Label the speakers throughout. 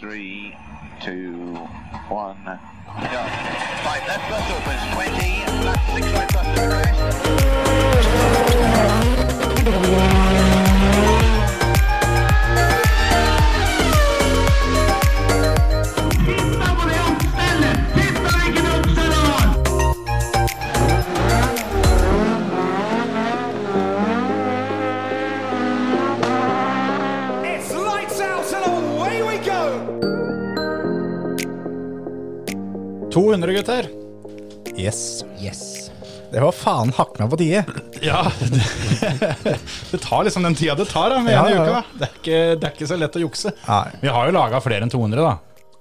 Speaker 1: Three, two, one, go. Five left bus opens, 20, left six right bus to rest.
Speaker 2: It's lights out and away we go!
Speaker 3: 200, gutter.
Speaker 4: Yes.
Speaker 5: Yes.
Speaker 4: Det var faen hakk meg på tide.
Speaker 3: Ja, det, det tar liksom den tida det tar da, med
Speaker 4: Ja,
Speaker 3: en
Speaker 4: ja,
Speaker 3: uke.
Speaker 4: ja.
Speaker 3: Da. Det, er ikke, det er ikke så lett å jukse.
Speaker 4: Nei.
Speaker 3: Vi har jo laga flere enn 200, da.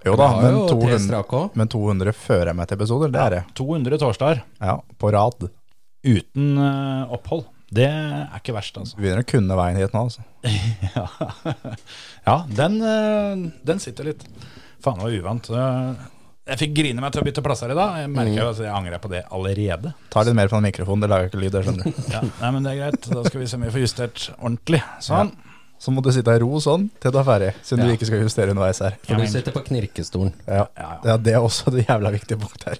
Speaker 4: Jo da,
Speaker 5: har
Speaker 4: men
Speaker 5: jo tre
Speaker 4: 200,
Speaker 5: strake også.
Speaker 4: men 200 fører jeg meg til episoder. Det er det.
Speaker 3: 200 torsdager
Speaker 4: Ja, på rad.
Speaker 3: uten eh, opphold. Det er ikke verst, altså.
Speaker 4: Du begynner å kunne veien hit nå, altså.
Speaker 3: Ja, ja den, eh, den sitter litt. Faen, det var uvant. Eh, Jeg fikk grine meg til å bytte plasser i dag. Jeg
Speaker 4: Mm.
Speaker 3: merker jo at jeg angrer på det allerede.
Speaker 4: Tar litt mer fra mikrofonen, det lager ikke lyd, det skjønner du.
Speaker 3: Ja, nei, men det er greit. Da skal vi se om vi får justert ordentlig. Sånn.
Speaker 4: Så må du sitte i ro sånn til du er ferdig, siden
Speaker 3: Ja.
Speaker 4: du ikke skal justere underveis her.
Speaker 5: For
Speaker 3: Ja,
Speaker 5: du
Speaker 3: men-
Speaker 5: sitter på knirkestolen.
Speaker 4: Ja,
Speaker 3: Ja,
Speaker 4: ja det er også et jævla viktig punkt her.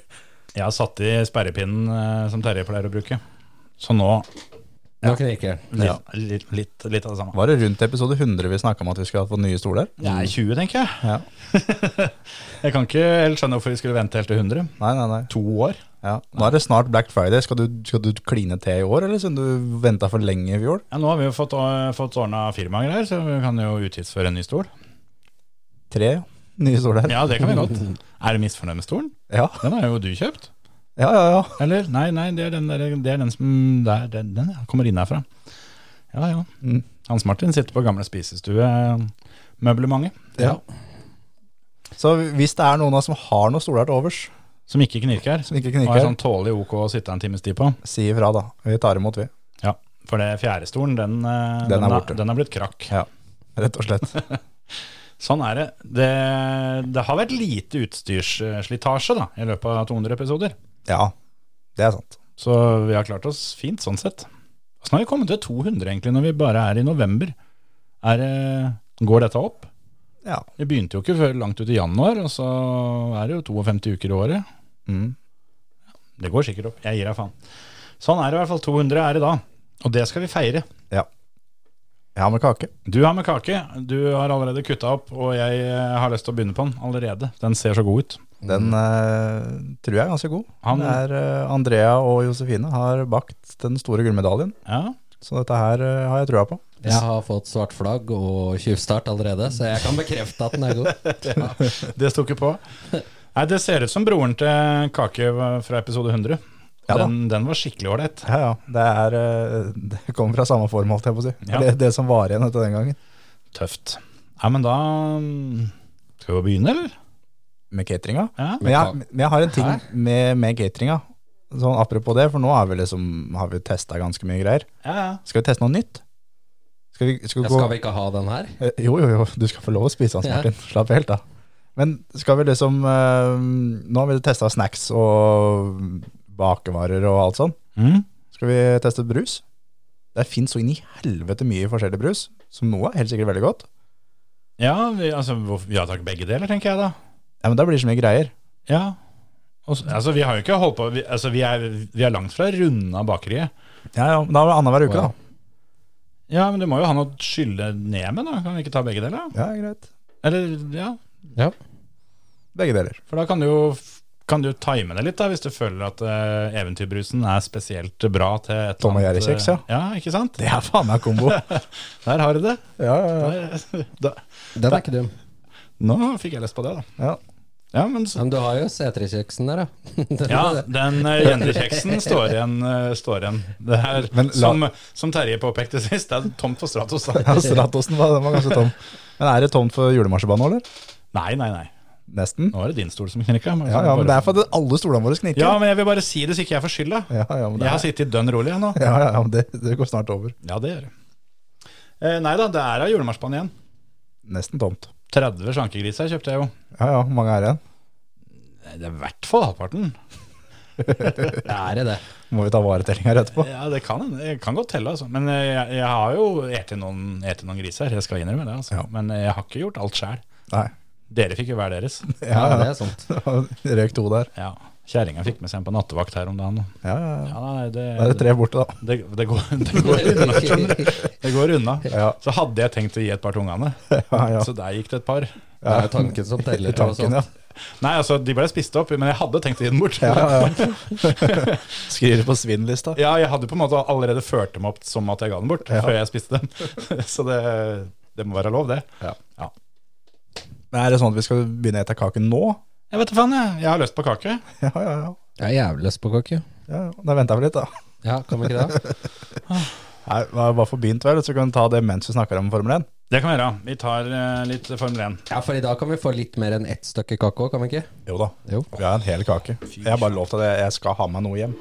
Speaker 3: Jeg har satt i sperrepinnen eh, som Terje pleier å bruke. Så nå
Speaker 5: Nå knirker den.
Speaker 3: litt, litt, litt, litt av det samme.
Speaker 4: Var det rundt episode 100 vi snakka om at vi skulle ha fått nye stoler?
Speaker 3: Jeg er 20, tenker jeg.
Speaker 4: Ja.
Speaker 3: Jeg kan ikke helt skjønne hvorfor vi skulle vente helt til 100.
Speaker 4: Nei, nei, nei.
Speaker 3: To år.
Speaker 4: Ja. Nå er det snart Black Friday. Skal du, skal du kline til i år, eller siden du venta for lenge i fjor?
Speaker 3: Ja, nå har vi jo fått, å- fått ordna firmagreier, så vi kan jo utgiftsføre en ny stol.
Speaker 4: Tre nye stoler?
Speaker 3: Ja, det kan vi godt. Er du misfornøyd med stolen?
Speaker 4: Ja,
Speaker 3: Den har jo du kjøpt.
Speaker 4: ja, ja. ja.
Speaker 3: Eller? Nei, nei, det er den, der, det er den som der, den, den ja, kommer inn herfra. Ja, ja.
Speaker 4: Mm.
Speaker 3: Hans Martin sitter på gamle eh, spisestuemøblementet.
Speaker 4: Ja. Så hvis det er noen av oss som har noen stoler til overs,
Speaker 3: Som ikke knirker.
Speaker 4: Som ikke knirker.
Speaker 3: Og er sånn tålelig ok å sitte en times tid på.
Speaker 4: si ifra, da. Vi tar imot, vi.
Speaker 3: Ja, For det fjerde stolen, den, eh,
Speaker 4: Den
Speaker 3: den,
Speaker 4: er borte.
Speaker 3: har, den har blitt krakk.
Speaker 4: Ja, rett og slett.
Speaker 3: Sånn er det. det. Det har vært lite utstyrsslitasje da, i løpet av 200 episoder.
Speaker 4: Ja, det er sant.
Speaker 3: Så vi har klart oss fint sånn sett. Åssen har vi kommet til 200 egentlig, når vi bare er i november? Er, det- går dette opp?
Speaker 4: Ja.
Speaker 3: Vi begynte jo ikke før langt ut i januar, og så er det jo 52 uker i året.
Speaker 4: Mm.
Speaker 3: Det går sikkert opp. Jeg gir deg faen. Sånn er det i hvert fall. 200 er det da. Og det skal vi feire.
Speaker 4: ja. Jeg har med kake.
Speaker 3: Du har med kake. Du har allerede kutta opp, og jeg eh, har lyst til å begynne på den allerede. Den ser så god ut.
Speaker 4: Den eh, tror jeg er ganske god.
Speaker 3: Mm. Han-
Speaker 4: Det er, eh, Andrea og Josefine har bakt den store gullmedaljen,
Speaker 3: Ja,
Speaker 4: så dette her eh, har jeg trua på.
Speaker 5: Jeg har fått svart flagg og tjuvstart allerede, så jeg kan bekrefte at den er god.
Speaker 3: Det sto ikke på. Nei, Det ser ut som broren til Kake fra episode 100.
Speaker 4: Ja da.
Speaker 3: den, den var skikkelig ålreit.
Speaker 4: Ja, ja. Det, er, eh, det kommer fra samme form, holdt jeg på å si.
Speaker 3: Ja.
Speaker 4: Det, det som var igjen etter den gangen.
Speaker 3: Tøft. Nei, men da mm, Skal vi begynne, eller?
Speaker 4: Med cateringa.
Speaker 3: Ja.
Speaker 4: Men jeg, men jeg har en ting
Speaker 5: Hæ?
Speaker 4: med, med cateringa. Sånn apropos det, for nå har vi, liksom, har vi testa ganske mye greier.
Speaker 3: Ja, ja.
Speaker 4: Skal vi teste noe nytt? Skal vi, skal vi
Speaker 5: Ja,
Speaker 4: gå
Speaker 5: skal vi ikke ha den her?
Speaker 4: Eh, Jo, jo, jo, du skal få lov å spise hans,
Speaker 5: Ja.
Speaker 4: Martin. Slapp helt av. Men skal vi liksom eh, Nå har vi testa snacks og bakevarer og alt sånn.
Speaker 3: Mm.
Speaker 4: Skal vi teste brus? Det fins så inn i helvete mye forskjellig brus, som noe er helt sikkert veldig godt.
Speaker 3: ja vi, altså, hvorfor- vi har tatt begge deler, tenker jeg da.
Speaker 4: Ja, Men da blir det så mye greier.
Speaker 3: Ja. Og så- altså, vi har jo ikke holdt på Vi, altså, vi, er, vi er langt fra runda bakeriet.
Speaker 4: Ja, ja, men Da er det annenhver uke,
Speaker 5: Wow.
Speaker 4: da.
Speaker 3: Ja, men du må jo ha noe å skylle ned med, da. Kan vi ikke ta begge deler? da?
Speaker 4: Ja, greit.
Speaker 3: Eller, ja.
Speaker 5: Ja.
Speaker 4: Begge deler.
Speaker 3: For da kan du jo kan du time det litt, da, hvis du føler at eh, eventyrbrusen er spesielt bra til et eller
Speaker 4: Tom og
Speaker 3: annet,
Speaker 4: Jerry-kjeks,
Speaker 3: eh,
Speaker 4: ja.
Speaker 3: Ja, ikke sant?
Speaker 4: Det er faen meg kombo. ja,
Speaker 3: Der har du det.
Speaker 4: ja,
Speaker 3: Der, da.
Speaker 5: Den er ikke dum.
Speaker 3: Nå fikk jeg lyst på det, da.
Speaker 4: ja.
Speaker 3: Ja, men så,
Speaker 5: Men du har jo setrekjeksen der, da. Den-
Speaker 3: ja, den eh, Jenny-kjeksen står igjen. eh, står igjen. Det er,
Speaker 4: Men la-
Speaker 3: som, som Terje påpekte sist, det er tomt for Stratos. Da.
Speaker 4: ja. Stratosen var, den var ganske tom. Men er det tomt for julemarsipan nå, eller?
Speaker 3: Nei, nei, nei.
Speaker 4: Nesten.
Speaker 3: Nå er det din stol som knirka. men
Speaker 4: Ja,
Speaker 3: kan
Speaker 4: ja,
Speaker 3: bare-
Speaker 4: men det er fordi alle stolene våre knirker.
Speaker 3: ja, men jeg vil bare si det så ikke jeg får skylda.
Speaker 4: ja, ja, men det
Speaker 3: Jeg har
Speaker 4: er,
Speaker 3: sittet dønn rolig jeg, nå.
Speaker 4: ja, ja, ja, men det, det går snart over.
Speaker 3: Ja, det gjør jeg. Eh, nei da, det er av julemarsipan igjen.
Speaker 4: Nesten tomt.
Speaker 3: 30 slankegriser kjøpte jeg jo.
Speaker 4: Ja, ja, hvor mange er igjen?
Speaker 3: Nei, Det er i hvert fall halvparten.
Speaker 5: Det er det.
Speaker 4: Må vi ta varetellinga etterpå?
Speaker 3: Ja, det kan hende. Jeg kan godt telle, altså. Men eh, jeg, jeg har jo ete noen, ete noen griser, jeg skal innrømme det. altså.
Speaker 4: Ja.
Speaker 3: Men jeg har ikke gjort alt sjæl.
Speaker 4: Nei.
Speaker 3: Dere fikk jo hver deres.
Speaker 5: Ja,
Speaker 4: Ja,
Speaker 5: det
Speaker 4: ja.
Speaker 5: er sant.
Speaker 4: Røk to der.
Speaker 3: Ja. Kjerringa fikk med seg en på nattevakt her om dagen.
Speaker 4: Ja, ja, ja.
Speaker 3: Ja, nei, det,
Speaker 4: Da er det tre borte, da.
Speaker 3: Det, det, går, det, går unna, skjønner du. det går unna.
Speaker 4: Ja.
Speaker 3: Så hadde jeg tenkt å gi et par til ungene,
Speaker 4: Ja, ja.
Speaker 3: så der gikk det et par.
Speaker 5: Det er jo sånn. tanken som teller. og
Speaker 4: Tanken,
Speaker 5: sånt.
Speaker 4: ja.
Speaker 3: Nei, altså, de ble spist opp, men jeg hadde tenkt å gi den bort.
Speaker 4: Ja, ja, ja. Skriver på svinnlista.
Speaker 3: Ja, jeg hadde på en måte allerede ført dem opp som at jeg ga dem bort,
Speaker 4: Ja.
Speaker 3: før jeg spiste dem. Så det, det må være lov, det.
Speaker 4: Ja.
Speaker 3: Ja.
Speaker 4: Men er det sånn at vi skal begynne å ete kaken nå?
Speaker 3: Jeg vet da faen, jeg. Jeg har lyst på kake.
Speaker 4: Ja, ja, ja.
Speaker 5: Jeg er jævlig lyst på kake.
Speaker 4: ja ja. da venter jeg vel litt, da.
Speaker 5: Ja, kan vi ikke det?
Speaker 4: Nei, vi har bare for begynt, vel, så kan vi ta det mens vi snakker om Formel 1.
Speaker 3: Det kan vi gjøre. Vi tar eh, litt Formel 1.
Speaker 5: Ja, for i dag kan vi få litt mer enn ett stykke kake òg, kan vi ikke?
Speaker 4: Jo da.
Speaker 5: Jo.
Speaker 4: Vi har en hel kake. Jeg har bare lovt at jeg- jeg skal ha med noe hjem.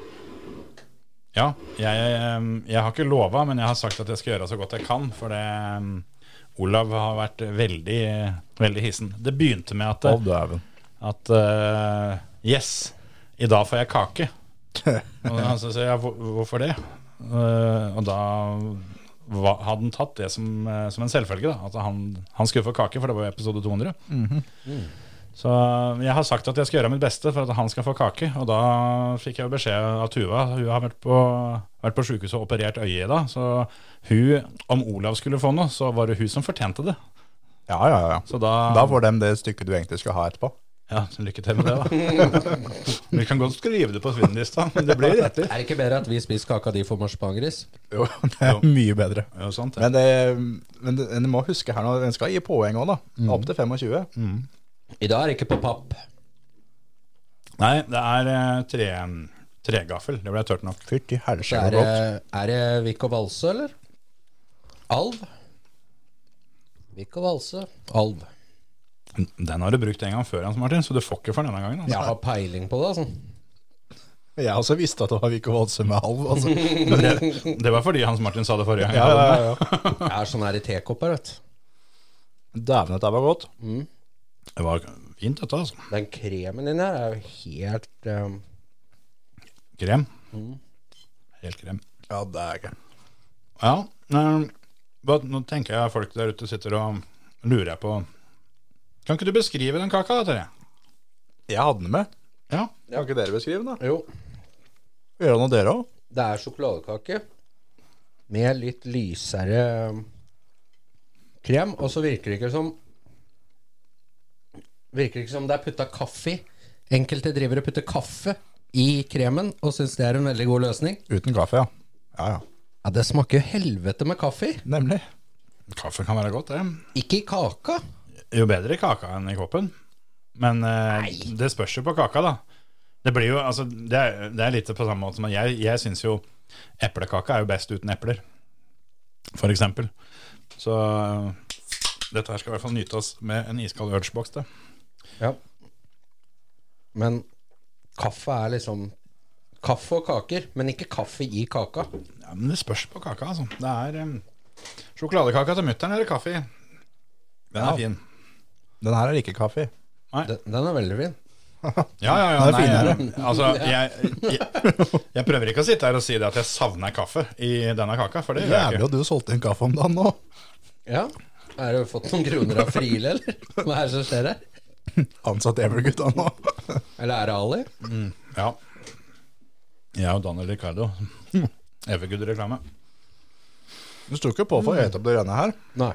Speaker 3: Ja, jeg, eh, jeg har ikke lova, men jeg har sagt at jeg skal gjøre så godt jeg kan. For det eh, Olav har vært veldig, veldig hissen. Det begynte med at, eh,
Speaker 4: Å, dæven.
Speaker 3: at eh, Yes, i dag får jeg kake. Og han sa ja, hvor- hvorfor det? Eh, og da va- hadde han tatt det som, eh, som en selvfølge. da At han, han skulle få kake, for det var jo episode 200. Så eh, jeg har sagt at jeg skal gjøre mitt beste for at han skal få kake. Og da fikk jeg jo beskjed av Tuva. Hun har vært på, vært på sjukehuset og operert øyet i dag. Så hun, om Olav skulle få noe, så var det hun som fortjente det.
Speaker 4: Ja, ja, ja.
Speaker 3: Så da,
Speaker 4: Da får dem det stykket du egentlig skal ha etterpå.
Speaker 3: Ja, så lykke til med det, da. Vi kan godt skrive det på svinnlista, men det blir rett i.
Speaker 5: Er det ikke bedre at vi spiser kaka di for marsipangris?
Speaker 4: Jo, det er mye bedre.
Speaker 3: Ja, sant, det.
Speaker 4: Men, det, men det, en må huske her nå, en skal gi poeng òg, da. Opp til 25.
Speaker 5: I dag er det ikke på papp.
Speaker 3: Nei, det er eh, tre, tregaffel. Det ble tørt nok.
Speaker 4: Fytti
Speaker 5: Det
Speaker 4: helsike,
Speaker 5: er,
Speaker 4: så godt.
Speaker 5: eh, er det Vik og Valse, eller? Alv? Vik og Valse. Alv.
Speaker 3: Den har du brukt en gang før, Hans Martin, så du får ikke for denne gangen. Altså.
Speaker 5: Jeg har peiling på det, altså.
Speaker 4: Jeg har også visste at det var Viggo Holse med halv. Altså.
Speaker 3: Men det, det var fordi Hans Martin sa det forrige gang.
Speaker 4: Ja, ja, ja, ja.
Speaker 5: Jeg er sånn her i tekopper, vet du.
Speaker 4: Dæven, dette var godt.
Speaker 3: Det var fint, dette, altså.
Speaker 5: Den kremen din her er jo helt eh,
Speaker 3: Krem. Helt krem.
Speaker 4: Ja, dægen.
Speaker 3: Ja, eh, hva- nå tenker jeg folk der ute sitter og lurer på Kan ikke du beskrive den kaka, da, Terje?
Speaker 4: Jeg hadde den med.
Speaker 3: Ja.
Speaker 4: Kan ikke dere beskrive den, da?
Speaker 5: Jo,
Speaker 4: Gjør noe dere òg?
Speaker 5: det er sjokoladekake med litt lysere ehm, krem, og så virker det ikke som Virker det ikke som det er putta kaffe i. Enkelte drivere putter kaffe i kremen og syns det er en veldig god løsning.
Speaker 4: Uten kaffe, ja. Ja, ja.
Speaker 5: Ja, Det smaker jo helvete med kaffe i.
Speaker 4: Nemlig.
Speaker 3: Kaffe kan være godt, det.
Speaker 5: Ikke i kaka.
Speaker 3: Jo bedre i kaka enn i koppen. Men eh, det spørs jo på kaka, da. Det blir jo, altså, det er, det er litt på samme måte som at jeg, jeg syns jo eplekake er jo best uten epler, for eksempel. Så eh, dette her skal i hvert fall nytes med en iskald urgebox, det.
Speaker 5: Ja. Men kaffe er liksom Kaffe og kaker, men ikke kaffe i kaka.
Speaker 3: Ja, men det spørs på kaka, altså. Det er um, sjokoladekaka til mutter'n eller kaffe i. Den er
Speaker 4: Ja.
Speaker 3: fin.
Speaker 4: Den her er ikke kaffe. i.
Speaker 5: Den, den er veldig fin.
Speaker 3: Ja, ja, ja.
Speaker 4: Den er
Speaker 3: Nei,
Speaker 4: finere.
Speaker 3: jeg- altså, jeg, jeg, jeg prøver ikke å sitte her og si det at jeg savner kaffe i denne kaka, for det gjør jeg
Speaker 4: Jævlig
Speaker 3: ikke.
Speaker 4: at du solgte en kaffe om dagen nå.
Speaker 5: Ja. Har du fått noen kroner av Friele, eller? Hva er det som skjer her?
Speaker 4: Ansatt Evergutta nå.
Speaker 5: Eller er det Ali?
Speaker 3: Ja. Jeg og Daniel Ricardo. Evergood reklame.
Speaker 4: Du sto ikke på for å ete opp det rønne her.
Speaker 5: Nei.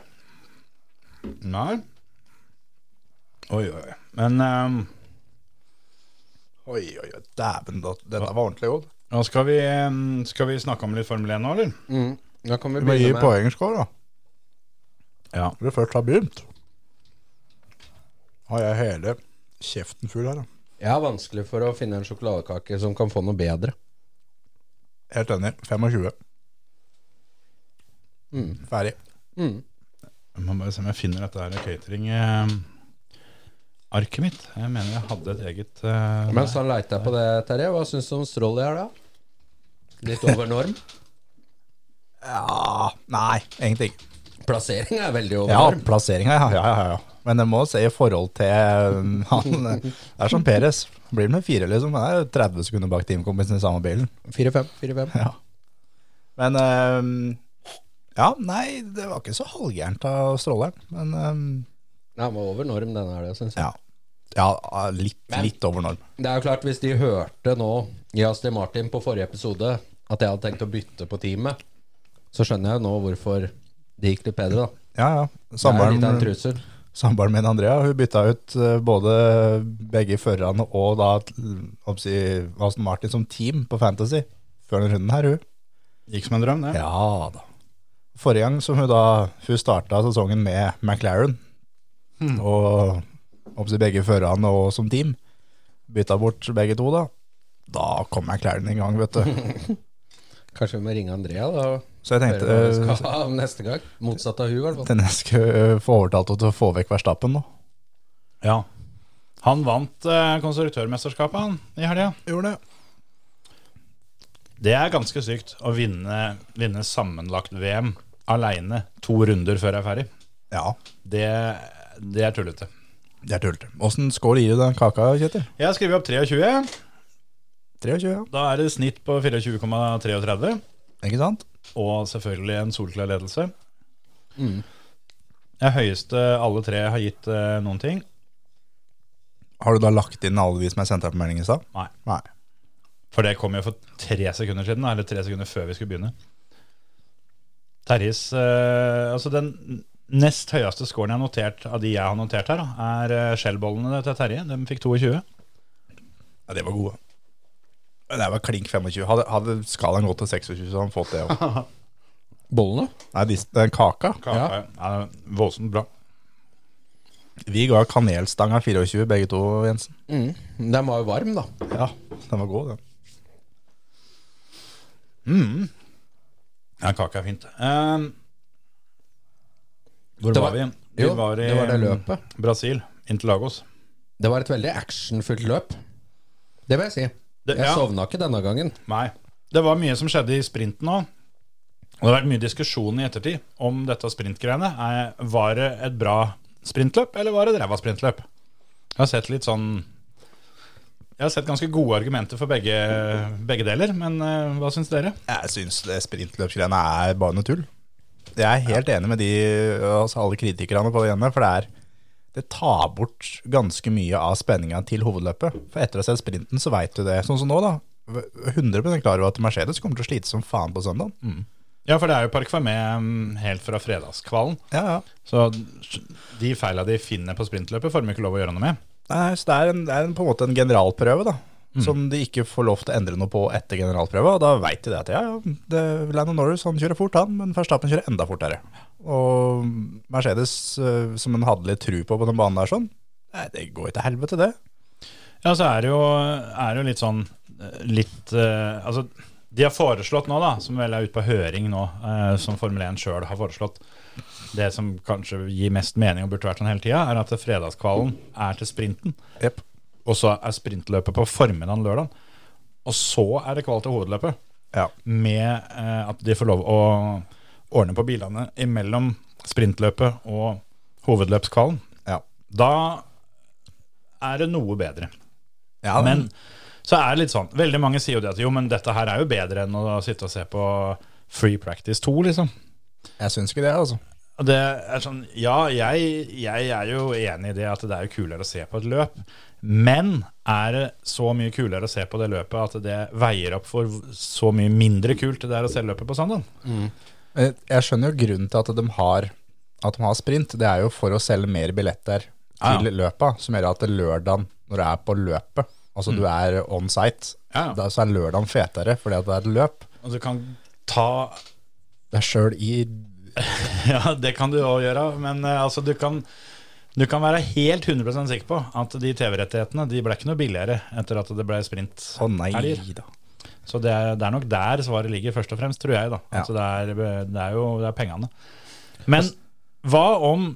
Speaker 3: Nei. Oi, oi, oi. Men um,
Speaker 4: Oi, oi, oi. Dæven, da- dette var ordentlig godt.
Speaker 3: nå skal vi, um, skal vi snakke om litt Formel 1 nå, eller?
Speaker 5: Mm. Da kan vi
Speaker 4: Vi må gi
Speaker 5: begynne med
Speaker 4: poengscore, da.
Speaker 3: Ja.
Speaker 4: Når vi først har begynt, har jeg hele kjeften full her, da.
Speaker 5: Jeg har vanskelig for å finne en sjokoladekake som kan få noe bedre.
Speaker 4: Helt enig. 25. Ferdig.
Speaker 3: Jeg må bare se om jeg finner dette her catering-arket mitt. Jeg mener jeg hadde et eget eh,
Speaker 5: Mens han leita på det, Terje, hva syns du om Strolli her, da? Litt over norm?
Speaker 4: Ja Nei, egentlig ikke.
Speaker 5: Plasseringa er veldig over
Speaker 4: Ja,
Speaker 5: norm.
Speaker 4: plasseringa, ja. ja, ja, ja. Men det må se i forhold til um, han eh, Det er som Peres. Blir med fire, liksom. Han er jo 30 sekunder bak teamkompisen i samme bilen.
Speaker 5: 4-5. 4-5.
Speaker 4: Ja. Men um, Ja, nei, det var ikke så halvgærent av stråleren. Men um,
Speaker 5: Den var over norm, denne helga, syns jeg.
Speaker 4: Ja, ja litt, litt over norm.
Speaker 5: Det er jo klart, hvis de hørte nå i Aston Martin på forrige episode at jeg hadde tenkt å bytte på teamet, så skjønner jeg jo nå hvorfor det gikk litt bedre, da.
Speaker 4: Ja, ja.
Speaker 5: Det er
Speaker 3: eh,
Speaker 5: litt av en
Speaker 4: Samboeren
Speaker 5: trussel.
Speaker 4: samboeren min Andrea hun bytta ut eh, både begge førerne og da oppsi, Aston Martin som team på Fantasy før den runden her, hun.
Speaker 3: Gikk som en drøm, det.
Speaker 4: Ja da. Forrige gang som hun da Hun starta sesongen med McLaren.
Speaker 3: Hmm.
Speaker 4: Og opptil begge førerne og som team. Bytta bort begge to, da. Da kom McLaren i gang, vet du.
Speaker 5: Kanskje vi må ringe Andrea, da. og
Speaker 4: Så jeg
Speaker 5: høre hva vi
Speaker 3: eh,
Speaker 4: tenkte
Speaker 5: skal ha om neste gang. Motsatt av hun, i hvert fall.
Speaker 4: Denne skulle øh, få overtalt henne til å få vekk Verstappen nå.
Speaker 3: Ja. Han vant eh, konstruktørmesterskapet han, i helga.
Speaker 4: Gjorde det.
Speaker 3: Det er ganske sykt å vinne, vinne sammenlagt VM aleine to runder før jeg er ferdig.
Speaker 4: Ja,
Speaker 3: Det, det er tullete.
Speaker 4: det er tullete. Åssen skål gir du den kaka, Kjetil?
Speaker 3: Jeg har skrevet opp 23.
Speaker 4: 23, ja.
Speaker 3: Da er det snitt på 24,33.
Speaker 4: Ikke sant?
Speaker 3: Og selvfølgelig en solklar ledelse. Jeg høyeste alle tre har gitt eh, noen ting.
Speaker 4: Har du da lagt inn alle de som jeg sendte deg på melding i stad?
Speaker 3: Nei.
Speaker 4: Nei.
Speaker 3: For det kom jo for tre sekunder siden, eller tre sekunder før vi skulle begynne. Terjes eh, Altså, den nest høyeste scoren jeg har notert av de jeg har notert her, da, er eh, skjellbollene til Terje. De fikk 22.
Speaker 4: Ja, de var gode. Det var klink 25. Hadde, hadde skalaen gått til 26, så hadde han fått det òg.
Speaker 5: Bollene?
Speaker 4: Nei, de, den kaka.
Speaker 3: Kaka, ja. det er voldsomt bra.
Speaker 4: Vi ga kanelstanga 24, begge to, Jensen.
Speaker 5: Den var jo varm, da.
Speaker 4: Ja, den var god, den.
Speaker 3: Ja, kake er fint. Eh, hvor
Speaker 5: Det
Speaker 3: var,
Speaker 5: var-
Speaker 3: vi? Vi
Speaker 5: jo,
Speaker 3: var i
Speaker 5: det var det løpet.
Speaker 3: Brasil. Interlagos.
Speaker 5: Det var et veldig actionfullt løp. Det vil jeg si.
Speaker 3: Det-
Speaker 5: jeg
Speaker 3: ja.
Speaker 5: sovna ikke denne gangen.
Speaker 3: Nei. Det var mye som skjedde i sprinten òg. Og det har vært mye diskusjon i ettertid om dette sprintgreiene. Er- Var det et bra sprintløp, eller var det et ræva sprintløp? Jeg har sett litt sånn Jeg har sett ganske gode argumenter for begge, begge deler, men eh, hva syns dere?
Speaker 4: Jeg syns det sprintløpsgreiene er bare noe tull. Jeg er helt enig med de, altså alle kritikerne på det ene, for det er det tar bort ganske mye av spenninga til hovedløpet. For etter å ha sett sprinten, så veit du det. Sånn som nå, da. 100 klar over at Mercedes kommer til å slite som faen på Mm. søndag.
Speaker 3: Ja, for det er jo Parkvermé mm, helt fra fredagskvalen.
Speaker 4: Ja, ja.
Speaker 3: Så de feila de finner på sprintløpet, får de ikke lov å gjøre noe med.
Speaker 4: Nei, så det er, en, det er en, på en måte en generalprøve, da. Som de ikke får lov til å endre noe på etter generalprøva. Og da veit de det at ja, ja, det, Landon Norris han kjører fort, han, men Verstappen kjører enda fortere. Og Mercedes, eh, som en hadde litt tru på på den banen der sånn, nei, det går jo til helvete, det.
Speaker 3: Ja, så er det jo, er det jo litt sånn eh, Litt eh, Altså, de har foreslått nå, da, som vel er ute på høring nå, eh, som Formel 1 sjøl har foreslått Det som kanskje gir mest mening og burde vært sånn hele tida, er at fredagskvalen er til sprinten,
Speaker 4: Jepp.
Speaker 3: og så er sprintløpet på formiddagen lørdag. Og så er det kval til hovedløpet,
Speaker 4: Ja.
Speaker 3: med eh, at de får lov å ordne på bilene imellom sprintløpet og hovedløpskvalen.
Speaker 4: ja.
Speaker 3: Da er det noe bedre.
Speaker 4: ja
Speaker 3: Men så er det litt sånn Veldig mange sier jo det at jo, men dette her er jo bedre enn å sitte og se på Free Practice 2, liksom.
Speaker 4: jeg syns ikke det, altså.
Speaker 3: Og det er sånn Ja, jeg, jeg er jo enig i det at det er jo kulere å se på et løp. Men er det så mye kulere å se på det løpet at det veier opp for så mye mindre kult det er å se løpet på søndag?
Speaker 4: Eh, Jeg skjønner jo grunnen til at de har, at de har sprint. Det er jo for å selge mer billetter
Speaker 3: Ja, ja.
Speaker 4: til løpa, som gjør at det lørdagen, når du er på løpet, altså du er on site,
Speaker 3: Mm. Ja, ja.
Speaker 4: da så er lørdagen fetere fordi at det er et løp.
Speaker 3: Og du kan ta
Speaker 4: Det er sjøl i
Speaker 3: Ja, det kan du òg gjøre, men eh, altså, du kan du kan være helt 100 sikker på at de TV-rettighetene de ble ikke noe billigere etter at det ble sprint.
Speaker 4: Å nei
Speaker 3: Helger.
Speaker 4: da.
Speaker 3: Så det er, det er nok der svaret ligger, først og fremst, tror jeg. da. Altså, det, er, det er jo det er pengene. Men hva om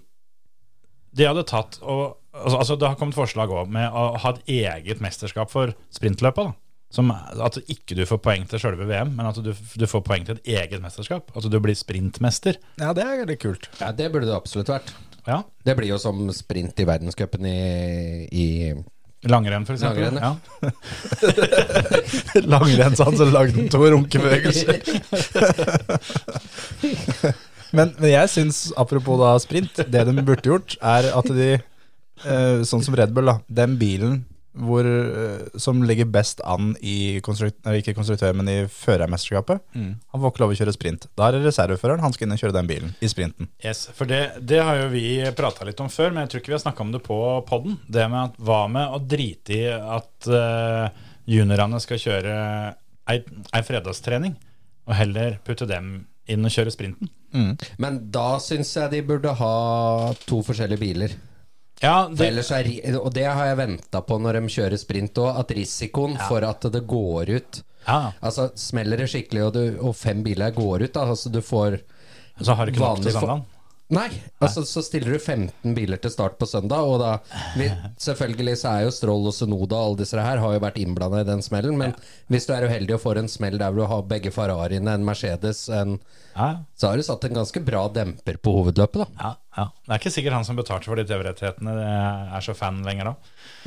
Speaker 3: de hadde tatt og altså, altså, Det har kommet forslag òg med å ha et eget mesterskap for sprintløpet. da. Som, at ikke du får poeng til sjølve VM, men at du, du får poeng til et eget mesterskap. At du blir sprintmester.
Speaker 4: Ja, det er veldig kult.
Speaker 5: Ja, det burde det absolutt vært.
Speaker 3: Ja.
Speaker 5: Det blir jo som sprint i verdenscupen i, i
Speaker 3: Langrenn, for eksempel.
Speaker 5: Langrenn, ja.
Speaker 3: ja.
Speaker 4: Langrennsansen lagde han to runkebevegelser. Men, men jeg syns, apropos da sprint, det de burde gjort, er at de eh, Sånn som Red Bull, da. Den bilen hvor, eh, som ligger best an i konstrukt, nei, ikke konstruktør, men i førermesterskapet,
Speaker 3: Mm.
Speaker 4: han får ikke lov å kjøre sprint. Da er det reserveføreren, han skal inn og kjøre den bilen i sprinten.
Speaker 3: Yes, for det, det har jo vi prata litt om før, men jeg tror ikke vi har snakka om det på poden. Det med at hva med å drite i at eh, juniorene skal kjøre ei, ei fredagstrening, og heller putte dem inn og kjøre sprinten?
Speaker 5: Men da syns jeg de burde ha to forskjellige biler.
Speaker 3: Ja,
Speaker 5: For
Speaker 3: det,
Speaker 5: ellers er, ri- og det har jeg venta på når de kjører sprint òg, at risikoen for at det går ut
Speaker 3: ja
Speaker 5: Altså, smeller det skikkelig, og, du, og fem biler går ut, da, altså du får
Speaker 3: så har du ikke nok
Speaker 5: vanlig
Speaker 3: til
Speaker 5: fo-
Speaker 3: søndagen.
Speaker 5: Nei, altså så stiller du 15 biler til start på søndag, og da vi, Selvfølgelig så er jo Stroll og Sunoda og alle disse her har jo vært innblanda i den smellen, men hvis du er uheldig og får en smell der hvor du har begge Ferrariene, en Mercedes, en
Speaker 3: Ja,
Speaker 5: Så har du satt en ganske bra demper på hovedløpet, da.
Speaker 3: ja, ja. Det er ikke sikkert han som betalte for de TV-rettighetene, er så fan lenger da.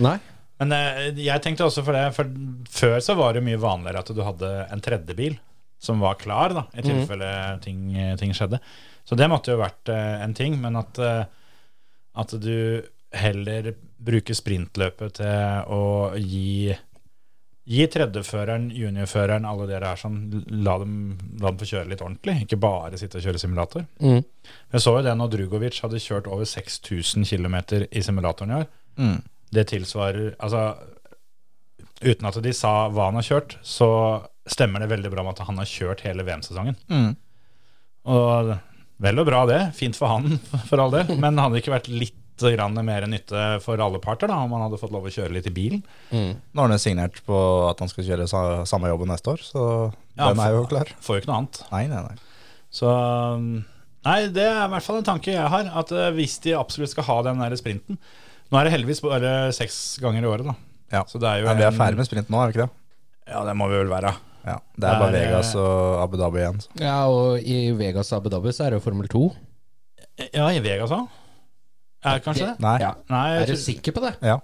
Speaker 5: Nei?
Speaker 3: Men eh, jeg tenkte også for det, for før så var det mye vanligere at du hadde en tredje bil som var klar, da, i tilfelle ting, ting skjedde. Så det måtte jo vært eh, en ting, men at, eh, at du heller bruker sprintløpet til å gi Gi tredjeføreren, juniorføreren, alle dere her sånn, la dem, la dem få kjøre litt ordentlig. Ikke bare sitte og kjøre simulator. Jeg så jo det når Drugovic hadde kjørt over 6000 km i simulatoren i år. Det tilsvarer Altså, uten at de sa hva han har kjørt, så stemmer det veldig bra med at han har kjørt hele VM-sesongen. Og vel og bra, det. Fint for han, for all del. Men hadde det ikke vært litt grann mer nytte for alle parter da, om han hadde fått lov å kjøre litt i bilen?
Speaker 4: Nå har han jo signert på at han skal kjøre sa, samme jobben neste år, så
Speaker 3: Ja,
Speaker 4: den er jo klar.
Speaker 3: Får jo ikke noe annet.
Speaker 4: Nei, nei, nei.
Speaker 3: Så um, Nei, det er i hvert fall en tanke jeg har. At eh, hvis de absolutt skal ha den der sprinten Nå er det heldigvis bare seks ganger i året, da.
Speaker 4: Ja.
Speaker 3: Så det er jo
Speaker 4: Nei, vi er
Speaker 3: en-
Speaker 4: ferdig med sprint nå, er vi ikke det?
Speaker 3: Ja, det må vi vel være.
Speaker 4: Ja, Det er
Speaker 3: Det er,
Speaker 4: bare
Speaker 3: eh,
Speaker 4: Vegas og Abu Dhabi igjen. Så.
Speaker 5: Ja, og i Vegas og Abu Dhabi så er det jo Formel 2.
Speaker 3: Ja, i Vegas òg. Er det kanskje det?
Speaker 4: Nei,
Speaker 5: Ja.
Speaker 3: Nei, jeg
Speaker 5: Er du
Speaker 3: tror-
Speaker 5: sikker på det?
Speaker 4: ja,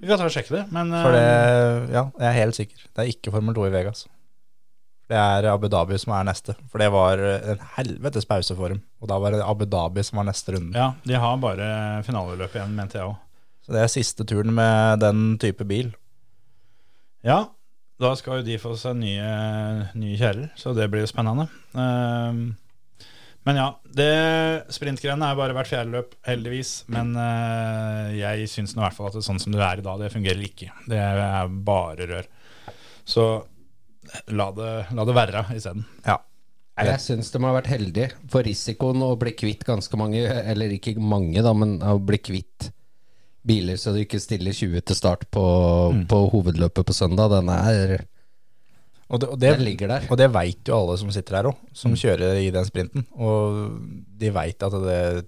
Speaker 3: vi kan ta og sjekke det. Men
Speaker 4: for det,
Speaker 3: eh,
Speaker 4: ja, jeg er helt sikker. Det er ikke Formel 2 i Vegas. Det er Abu Dhabi som er neste. For det var en helvetes pause for dem. Og da var det Abu Dhabi som var neste runde.
Speaker 3: ja, de har bare finaleløpet igjen, mente jeg òg.
Speaker 4: Så det er siste turen med den type bil.
Speaker 3: Ja, da skal jo de få seg nye, nye kjærer, så det blir jo spennende. Ehm, men ja, det sprintgreiene er bare hvert fjerde løp, heldigvis. Men eh, jeg syns nå i hvert fall at det, er sånn som det er i dag, det fungerer ikke. Det er bare rør. Så la det, la det være isteden.
Speaker 4: Ja.
Speaker 5: Jeg syns de har vært heldige, for risikoen å bli kvitt ganske mange, eller ikke mange, da, men å bli kvitt biler så du ikke stiller 20 til start på, på hovedløpet på søndag, den er
Speaker 4: Og det, og det,
Speaker 5: Den ligger der.
Speaker 4: Og det veit jo alle som sitter her òg, som kjører i den sprinten. Og de veit at det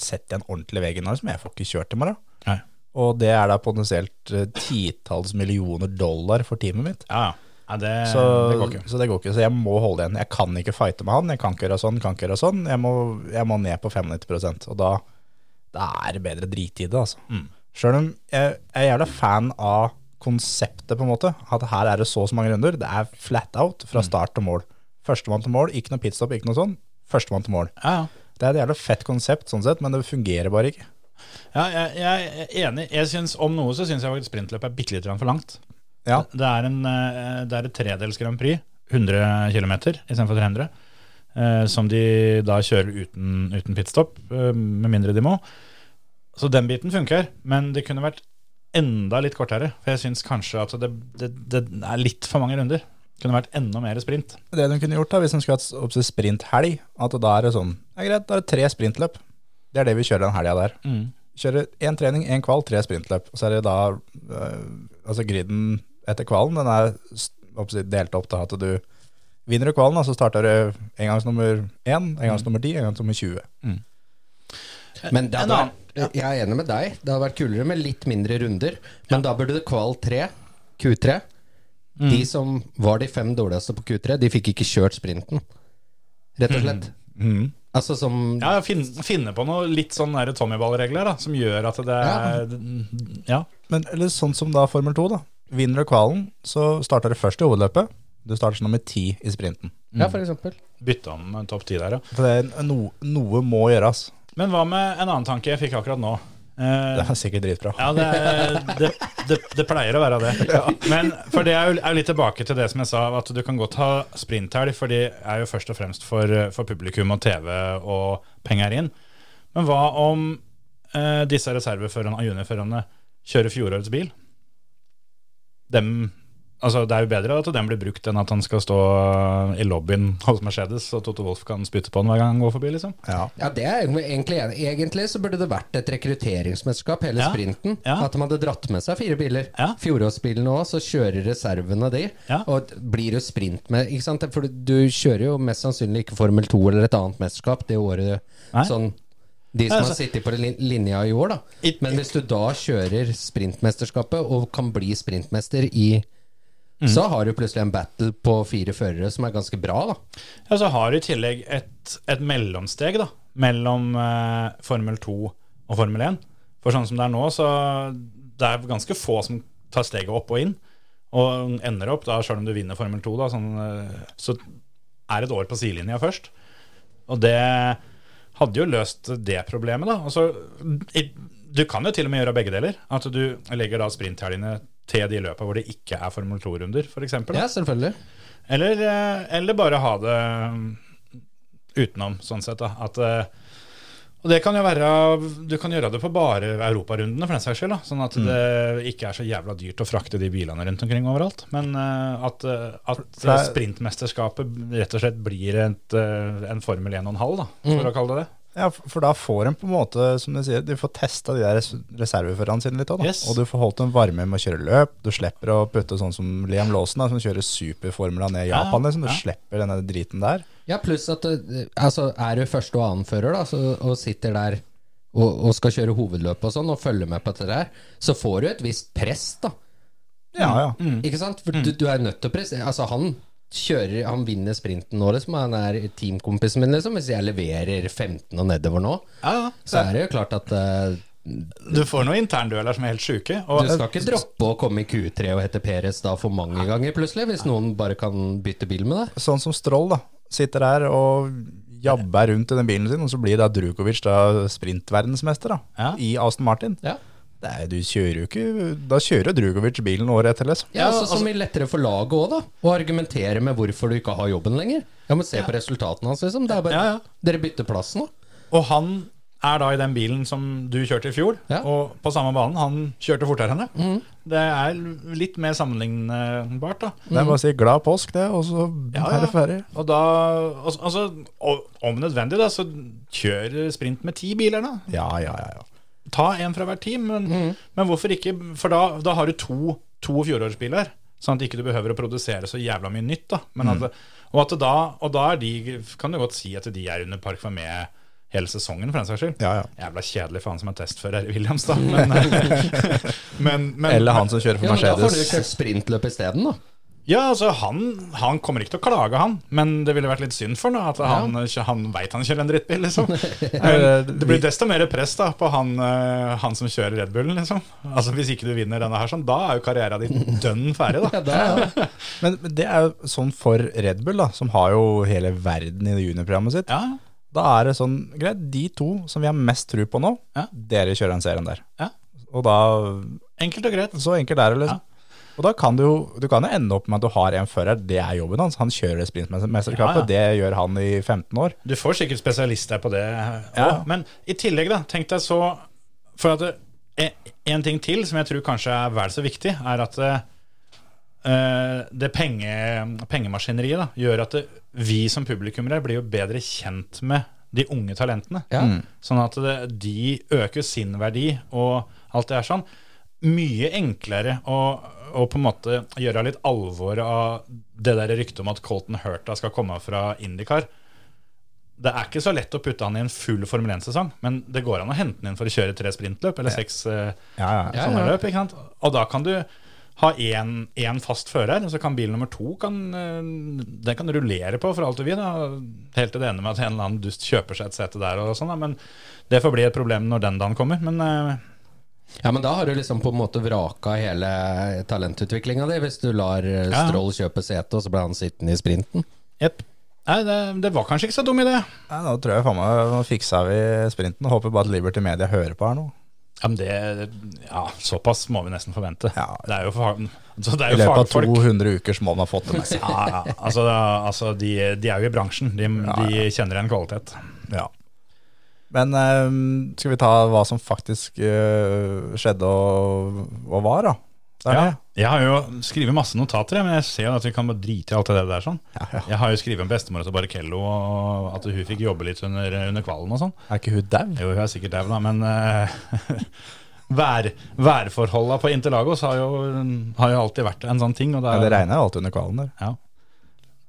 Speaker 4: setter en ordentlig vegg i Norge som jeg får ikke kjørt i morgen.
Speaker 3: Nei.
Speaker 4: Og det er da potensielt eh, titalls millioner dollar for teamet mitt.
Speaker 3: Ja, ja. Nei, det,
Speaker 4: Så
Speaker 3: Eh, det går ikke.
Speaker 4: så det går ikke, så jeg må holde igjen. Jeg kan ikke fighte med han. Jeg kan ikke gjøre sånn, kan ikke gjøre sånn. Jeg må, jeg må ned på 95 og da, da er det bedre drit i det, altså.
Speaker 3: Mm.
Speaker 4: Sjøl om jeg, jeg er jævla fan av konseptet, på en måte. At her er det så og så mange runder. Det er flat out
Speaker 3: Mm.
Speaker 4: fra start til mål. Førstemann til mål, ikke noe pitstop, ikke noe sånn. Førstemann til mål.
Speaker 3: Ja, ja.
Speaker 4: Det er et jævla fett konsept sånn sett, men det fungerer bare ikke.
Speaker 3: Ja, jeg, jeg er enig. Jeg synes, om noe så syns jeg faktisk sprintløp er bitte litt for langt.
Speaker 4: Ja.
Speaker 3: Det er, en, eh, det er et tredels Grand Prix, 100 km istedenfor 300, eh, som de da kjører uten, uten pitstop, eh, med mindre de må. Så den biten funker, men det kunne vært enda litt kortere. For jeg syns kanskje at det, det, det er litt for mange runder. Det kunne vært enda mer sprint.
Speaker 4: Det de kunne gjort da, hvis de skulle hatt opp til sprinthelg, at da er det sånn, ja greit, da er det tre sprintløp. Det er det vi kjører den helga der. Kjører én trening, én kval, tre sprintløp. Og så er det da, øh, altså griden etter kvalen, den er s- opp til- delt opp til at du vinner du kvalen, da, så starter du engangsnummer én, engangsnummer ti, engangsnummer 20.
Speaker 5: Men det hadde
Speaker 3: annen-
Speaker 5: vært, jeg er enig med deg. Det hadde vært kulere med litt mindre runder. Men da burde det kval 3, Q3 De som var de fem dårligste på Q3, de fikk ikke kjørt sprinten. Rett og slett. Altså som
Speaker 3: Ja, fin, Finne på noe litt sånn der Tommyball-regler da, som gjør at det er Ja.
Speaker 4: Men eller sånn som da Formel 2, da. Vinner du kvalen, så starter du først i hovedløpet. Du starter som nummer ti i sprinten.
Speaker 5: Ja, for eksempel.
Speaker 3: Bytte om eh, topp ti der, ja.
Speaker 4: For det er no, noe må gjøres.
Speaker 3: Men hva med en annen tanke jeg fikk akkurat nå? Eh,
Speaker 4: Det er sikkert dritbra.
Speaker 3: Ja, det, er- det, det, det pleier å være det. Men for det er jo, er jo litt tilbake til det som jeg sa, at du kan godt ha sprinthelg, for det er jo først og fremst for, for publikum og TV og penger inn. Men hva om eh, disse reserveførerne og juniorførerne kjører fjorårets bil? Dem, altså det er jo bedre at den blir brukt enn at han skal stå i lobbyen hos Mercedes, og Toto Wolff kan spytte på han hver gang han går forbi, liksom.
Speaker 4: Ja.
Speaker 5: Ja, det er jeg egentlig enig i. Egentlig så burde det vært et rekrutteringsmesterskap, hele
Speaker 3: Ja,
Speaker 5: sprinten.
Speaker 3: ja.
Speaker 5: At de hadde dratt med seg fire biler.
Speaker 3: Ja.
Speaker 5: Fjorårsbilene òg, så kjører reservene de.
Speaker 3: Ja.
Speaker 5: Og d- blir jo sprint med ikke sant? For du du kjører jo mest sannsynlig ikke Formel 2 eller et annet mesterskap det året du
Speaker 3: Nei.
Speaker 5: Sånn de som
Speaker 3: Altså-
Speaker 5: har sittet på lin- linja i år, da.
Speaker 3: I-
Speaker 5: Men hvis du da kjører sprintmesterskapet og kan bli sprintmester i
Speaker 3: Mhm.
Speaker 5: Så har du plutselig en battle på fire førere som er ganske bra, da.
Speaker 3: Ja, så har du i tillegg et, et mellomsteg da, mellom eh, Formel 2 og Formel 1. For sånn som det er nå, så det er ganske få som tar steget opp og inn, og ender opp da, selv om du vinner Formel 2 da, sånn, eh, så er det et år på sidelinja først. Og det hadde jo løst det problemet da. Altså, i- du kan jo til og med gjøre begge deler, at du legger da sprinthelgene til de løpene hvor det ikke er Formel 2-runder, for eksempel. Da.
Speaker 5: Ja, selvfølgelig.
Speaker 3: Eller, eh, eller bare ha det mm, utenom, sånn sett. Da. At, eh, og det kan jo være Du kan gjøre det på bare europarundene, for den saks skyld. Da. Sånn
Speaker 4: Mm.
Speaker 3: at det ikke er så jævla dyrt å frakte de bilene rundt omkring overalt. Men eh, at, eh, at
Speaker 4: det er-
Speaker 3: sprintmesterskapet rett og slett blir et, eh, en Formel 1,5, da,
Speaker 4: Mm.
Speaker 3: for å kalle det det.
Speaker 4: Ja, f- for da får en på en måte, som du sier, du får testa de der res- reserveførerne sine litt òg, da.
Speaker 3: Yes.
Speaker 4: Og du får holdt dem varme med å kjøre løp. Du slipper å putte sånn som Liam Lawson, da, som kjører superformula ned i
Speaker 3: Ja,
Speaker 4: Japan, liksom. Du
Speaker 3: ja.
Speaker 4: slipper denne driten der.
Speaker 5: Ja, pluss at eh, altså, er du første- og annenfører da, så, og sitter der og, og skal kjøre hovedløp og sånn, og følger med på dette der, så får du et visst press, da.
Speaker 4: Ja, ja.
Speaker 5: Ikke sant? For du, du er nødt til å presse. Altså, han kjører Han vinner sprinten nå, liksom. Han er teamkompisen min, liksom. Hvis jeg leverer 15 og nedover nå, så er det jo klart at eh,
Speaker 3: Du får noen interndueller som er helt sjuke. og-
Speaker 5: du skal ikke droppe å komme i Q3 og hete Peres da for mange ganger, plutselig, hvis noen bare kan bytte bil med deg.
Speaker 4: Sånn som Stroll, da. Sitter der og jabber rundt i den bilen sin, og så blir da Drukovic da sprintverdensmester, da.
Speaker 3: Ja.
Speaker 4: I Aston Martin.
Speaker 5: Ja.
Speaker 4: Nei, du kjører jo ikke Da kjører jo Drugovic bilen året etter, liksom.
Speaker 5: Ja, altså, som blir lettere for laget òg, da. Å argumentere med hvorfor du ikke har jobben lenger. Ja, men Se på resultatene hans, liksom. Det er bare,
Speaker 3: Ja, ja.
Speaker 5: Dere bytter plass nå.
Speaker 3: Og han er da i den bilen som du kjørte i fjor,
Speaker 5: Ja.
Speaker 3: og på samme banen. Han kjørte fortere enn deg. Det er litt mer sammenlignbart, da.
Speaker 4: Det er bare å si glad påsk, det, og så Mm. er det ferdig.
Speaker 3: Og da altså, altså, og, Om nødvendig, da, så kjør sprint med ti biler, da.
Speaker 4: Ja, ja, ja. Mm. ja.
Speaker 3: Ta en fra hvert team. Men, men hvorfor ikke? For da, da har du to, to fjorårsbiler. Sånn at ikke du behøver å produsere så jævla mye nytt. da men
Speaker 4: Mm.
Speaker 3: at, og, at det da, og da er de kan du godt si at de er under Park var med hele sesongen, for den saks skyld.
Speaker 4: Ja, ja.
Speaker 3: Jævla kjedelig for han som er testfører i Williams, da. Men, men, men,
Speaker 4: Eller han som kjører for
Speaker 5: Ja, men Da får du
Speaker 4: Mercedes.
Speaker 5: kjørt sprintløp isteden, da.
Speaker 3: Ja, altså, han, han kommer ikke til å klage, han. Men det ville vært litt synd for han, da, at han, han veit han kjører en drittbil, liksom. Men det blir desto mer press da på han, eh, han som kjører Red Bullen, liksom. Altså, Hvis ikke du vinner denne her, sånn, da er jo karrieren din dønn ferdig, da.
Speaker 5: Ja, da ja.
Speaker 4: Men men det er jo sånn for Red Bull, da, som har jo hele verden i det juniorprogrammet sitt.
Speaker 3: Ja,
Speaker 4: Da er det sånn, greit, de to som vi har mest tro på nå,
Speaker 3: Ja.
Speaker 4: dere kjører den serien der.
Speaker 3: ja.
Speaker 4: Og da,
Speaker 3: Enkelt og greit.
Speaker 4: så enkelt er det liksom. Og da kan du jo, du kan jo ende opp med at du har en fører, det er jobben hans, han kjører det sprintmesterskapet,
Speaker 3: Ja, ja.
Speaker 4: det gjør han i 15 år.
Speaker 3: Du får sikkert spesialister på det. eh, også,
Speaker 4: Ja.
Speaker 3: Men i tillegg, da, tenk deg så For at det, en, en ting til som jeg tror kanskje er vel så viktig, er at eh, det penge, pengemaskineriet da, gjør at det, vi som publikummere blir jo bedre kjent med de unge talentene.
Speaker 5: Ja. Mm.
Speaker 3: Sånn at det, de øker sin verdi og alt det er sånn. Mye enklere å, å på en måte gjøre litt alvor av det der ryktet om at Colton Hurta skal komme fra Indycar. Det er ikke så lett å putte han i en full Formel 1-sesong, men det går an å hente han inn for å kjøre tre sprintløp eller seks eh,
Speaker 4: Ja, ja, ja.
Speaker 5: Ja,
Speaker 3: sånne
Speaker 5: ja.
Speaker 3: løp. Ikke sant? Og da kan du ha én fast fører, og så kan bil nummer to kan, eh, den kan rullere på for alt du vil. Da. Helt til det ender med at en eller annen dust kjøper seg et sete der, og sånn, da. men det får bli et problem når den dagen kommer. Men eh,
Speaker 5: ja, men da har du liksom på en måte vraka hele talentutviklinga di, hvis du lar eh,
Speaker 3: Ja.
Speaker 5: Stroll kjøpe sete, og så blir han sittende i sprinten.
Speaker 3: jepp. Nei, det, det var kanskje ikke så dum idé.
Speaker 4: Nei, da tror jeg faen meg nå fiksa vi sprinten. og Håper bare at Liberty Media hører på her nå.
Speaker 3: Ja, men det, ja, såpass må vi nesten forvente.
Speaker 4: Ja.
Speaker 3: Det er jo, fag, altså, det
Speaker 4: I
Speaker 3: er jo
Speaker 4: løpet av
Speaker 3: fagfolk.
Speaker 4: 200 uker så må man ha fått det med seg.
Speaker 3: Ja, ja. Altså, da, altså de, de er jo i bransjen. De, de kjenner en kvalitet.
Speaker 4: Ja. Men eh, skal vi ta hva som faktisk eh, skjedde og, og var, da? Det er
Speaker 3: Ja.
Speaker 4: det.
Speaker 3: Jeg har jo skrevet masse notater, jeg, men jeg ser jo at vi kan bare drite i alt det der. sånn. Jeg har jo skrevet om bestemora til Barrichello, og at hun fikk jobbe litt under, under kvalen og sånn.
Speaker 4: Er ikke hun dau?
Speaker 3: Jo, hun er sikkert dau, da, men eh, vær, værforholda på Interlagos har jo, har jo alltid vært en sånn ting. og det
Speaker 4: Ja,
Speaker 3: er,
Speaker 4: det regner jo alltid under kvalen der.
Speaker 3: Ja.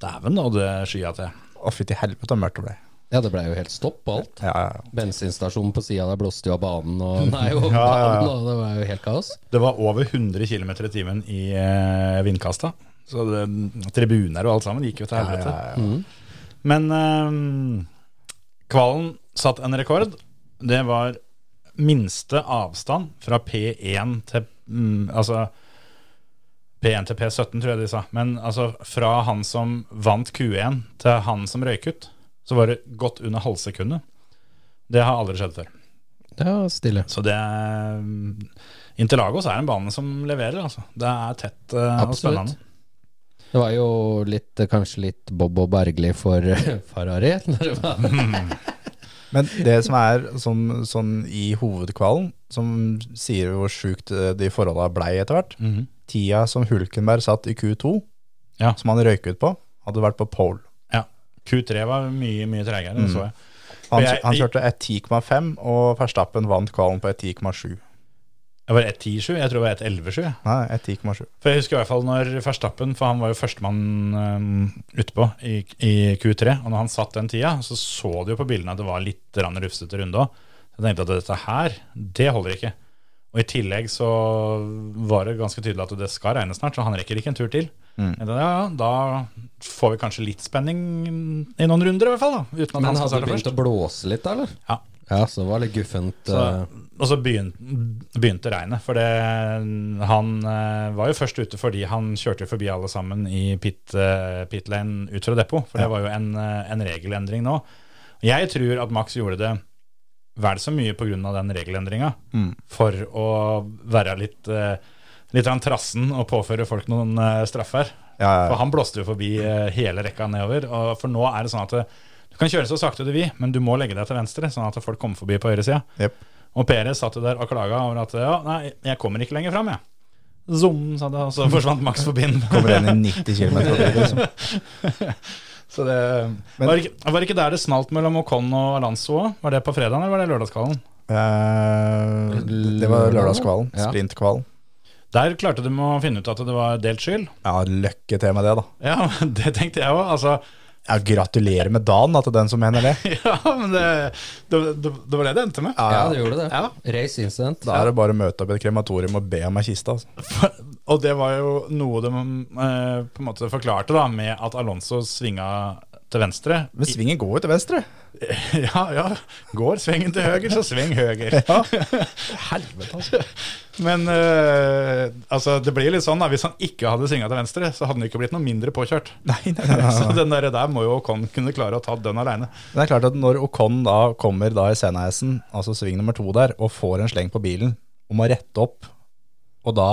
Speaker 3: Dæven, og det skya til.
Speaker 4: Å, fytti helvete, så mørkt det ble.
Speaker 5: Ja, det blei jo helt stopp på alt.
Speaker 4: Ja, ja, ja.
Speaker 5: Bensinstasjonen på sida der blåste jo av banen, og nei, og
Speaker 4: ja, ja.
Speaker 5: banen, og det var jo helt kaos.
Speaker 3: Det var over 100 km i timen i eh, vindkasta. Så det, tribuner og alt sammen gikk jo til helvete.
Speaker 4: Mm.
Speaker 3: Men eh, Kvalen satt en rekord. Det var minste avstand fra P1 til mm, Altså P1 til P17, tror jeg de sa. Men altså fra han som vant Q1 til han som røyk ut, så var det godt under halvsekundet. Det har aldri skjedd før.
Speaker 5: Det var stille.
Speaker 3: Så det er mm, Interlagos er en bane som leverer, altså. Det er tett eh, og
Speaker 5: Absolutt.
Speaker 3: spennende.
Speaker 5: Det var jo litt, eh, kanskje litt Bob og Bergli for eh, Ferrari. Når det var.
Speaker 4: Men det som er sånn, sånn i hovedkvalen, som sier hvor sjukt eh, de forholda blei etter hvert Tida som Hulkenberg satt i Q2,
Speaker 3: Ja.
Speaker 4: som han røyk ut på, hadde vært på pole.
Speaker 3: Ja. Q3 var mye, mye tregere, det så jeg.
Speaker 4: Han,
Speaker 3: Jeg-
Speaker 4: han kjørte 1.10,5, og Verstappen vant kvalen på 1.10,7.
Speaker 3: Jeg var 1.10,7. Jeg tror det var 1.11,7. jeg.
Speaker 4: Nei, 1.10,7.
Speaker 3: For jeg husker i hvert fall når Verstappen, for han var jo førstemann um, utpå i, i Q3, og når han satt den tida, så så du jo på bildene at det var litt rann rufsete runde òg. Jeg tenkte at dette her, det holder ikke. Og i tillegg så var det ganske tydelig at det skal regne snart, så han rekker ikke en tur til. Jeg tenkte, Ja, ja, da får vi kanskje litt spenning i noen runder i hvert fall, da. Uten at
Speaker 5: Men
Speaker 3: han skal
Speaker 5: hadde det
Speaker 3: starte
Speaker 5: begynt
Speaker 3: først.
Speaker 5: å blåse litt, da, eller?
Speaker 3: Ja.
Speaker 5: Ja, så det var litt guffent.
Speaker 3: Så,
Speaker 5: eh,
Speaker 3: og så begynte, begynte regnet, for det, han eh, var jo først ute fordi han kjørte forbi alle sammen i pit, eh, pit lane ut fra depot, for det var jo en, eh, en regelendring nå. Jeg tror at Max gjorde det vel så mye pga. den regelendringa, for å være litt eh, Litt av trassen og påføre folk noen eh, straffer.
Speaker 4: Ja, ja,
Speaker 3: For
Speaker 4: ja.
Speaker 3: han blåste jo forbi eh, hele rekka nedover. Og for nå er det sånn at eh, du kan kjøre så sakte du vil, men du må legge deg til venstre, sånn at folk kommer forbi på høyre sida.
Speaker 4: Jep.
Speaker 3: Og Perez satt jo der og klaga over at ja, nei, jeg kommer ikke lenger fram, jeg. Zoom, sa det, og så forsvant Max forbi den.
Speaker 4: Kommer igjen i 90 km. Liksom.
Speaker 3: Så det
Speaker 4: Men-
Speaker 3: var, ikke, var det ikke der det smalt mellom Ocon og Alonso òg? Var det på fredagen, eller var det lørdagskvallen?
Speaker 4: Eh, det var lørdagskvalen.
Speaker 5: Ja.
Speaker 4: Sprintkvalen.
Speaker 3: Der klarte de å finne ut at det var delt skyld.
Speaker 4: Ja, lykke til med det, da.
Speaker 3: Ja, men det tenkte jeg òg. Altså,
Speaker 4: Ja, gratulerer med dagen da, til den som mener det.
Speaker 3: ja, men det, det, det, det var det det endte med.
Speaker 5: ja, det gjorde det.
Speaker 3: Ja.
Speaker 5: Race incident.
Speaker 4: Da er det bare å møte opp i et krematorium og be om ei kiste. Altså.
Speaker 3: For, og det var jo noe de eh, på en måte forklarte da, med at Alonso svinga til venstre.
Speaker 4: Men svingen går jo til venstre.
Speaker 3: Ja, ja. Går svingen til høyre, så sving høyre.
Speaker 4: Helvete, altså.
Speaker 3: Men eh, altså, det blir litt sånn da, hvis han ikke hadde svinga til venstre, så hadde han ikke blitt noe mindre påkjørt.
Speaker 4: Nei, nei, nei, nei.
Speaker 3: Så den der, der må jo Ocon kunne klare å ta den aleine.
Speaker 4: Men Det er klart at når Ocon da kommer da i Senaisen, altså sving nummer to der, og får en sleng på bilen og må rette opp, og da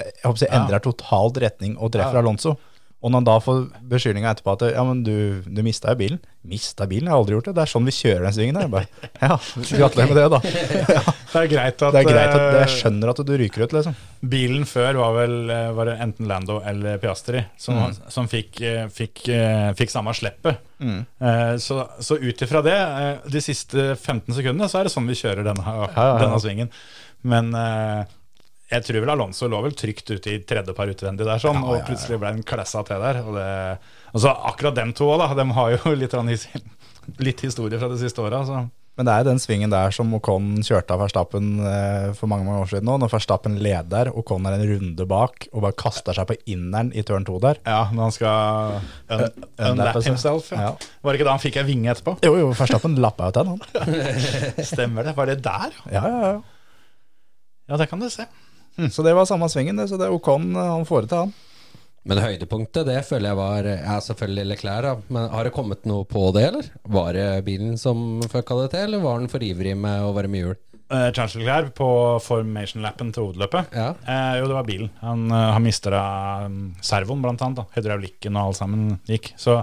Speaker 4: jeg håper å si, endrer totalt retning og treffer
Speaker 3: Ja.
Speaker 4: Alonso, og når han da får beskyldninga etterpå at ja, men du, du mista jo bilen Mista bilen? Jeg har aldri gjort det. Det er sånn vi kjører den svingen der. Jeg Bare, ja, gratulerer med det, da.
Speaker 3: Det er greit at,
Speaker 4: Det er greit at jeg
Speaker 3: eh,
Speaker 4: skjønner at du ryker ut, liksom.
Speaker 3: Bilen før var vel eh, var det enten Lando eller Piastri som,
Speaker 4: Mm.
Speaker 3: som fikk, eh, fikk, eh, fikk samme sleppet.
Speaker 4: Mm.
Speaker 3: Eh, Så, så ut ifra det, eh, de siste 15 sekundene, så er det sånn vi kjører denne,
Speaker 4: ja, ja.
Speaker 3: denne svingen. Men eh, jeg tror vel Alonso lå vel trygt ute i tredje par utvendig der, sånn, og plutselig ble han klessa til der. Og det, altså, akkurat dem to òg, da. De har jo litt, grann his, litt historie fra de siste åra. Så.
Speaker 4: Men det er den svingen der som Ocon kjørte av Verstappen eh, for mange mange år siden nå. Når Verstappen leder, Ocon er en runde bak og bare kaster seg på inneren i turn to der.
Speaker 3: Ja, når han skal un
Speaker 4: Eh, unlappe
Speaker 3: unlap
Speaker 4: seg.
Speaker 3: himself. Ja.
Speaker 4: Ja.
Speaker 3: Var det ikke da han fikk ei vinge etterpå?
Speaker 4: Jo, jo, Verstappen lappa jo til den, han.
Speaker 3: Stemmer det. Var det der? ja?
Speaker 4: Ja, ja, ja.
Speaker 3: Ja, det kan du se.
Speaker 4: Så det var samme svingen, det. Så det er Ocon eh, han får det til, han.
Speaker 5: Men høydepunktet, det føler jeg var Ja, selvfølgelig Leclerc, da. Men har det kommet noe på det, eller? Var det bilen som fucka det til, eller var den for ivrig med å varme hjul?
Speaker 3: Eh, Charles Leclerc på formation-lappen til hovedløpet.
Speaker 5: Ja.
Speaker 3: Eh, jo, det var bilen. Han, eh, han mista um, servoen, blant annet. Da. Hydraulikken og alt sammen gikk. Så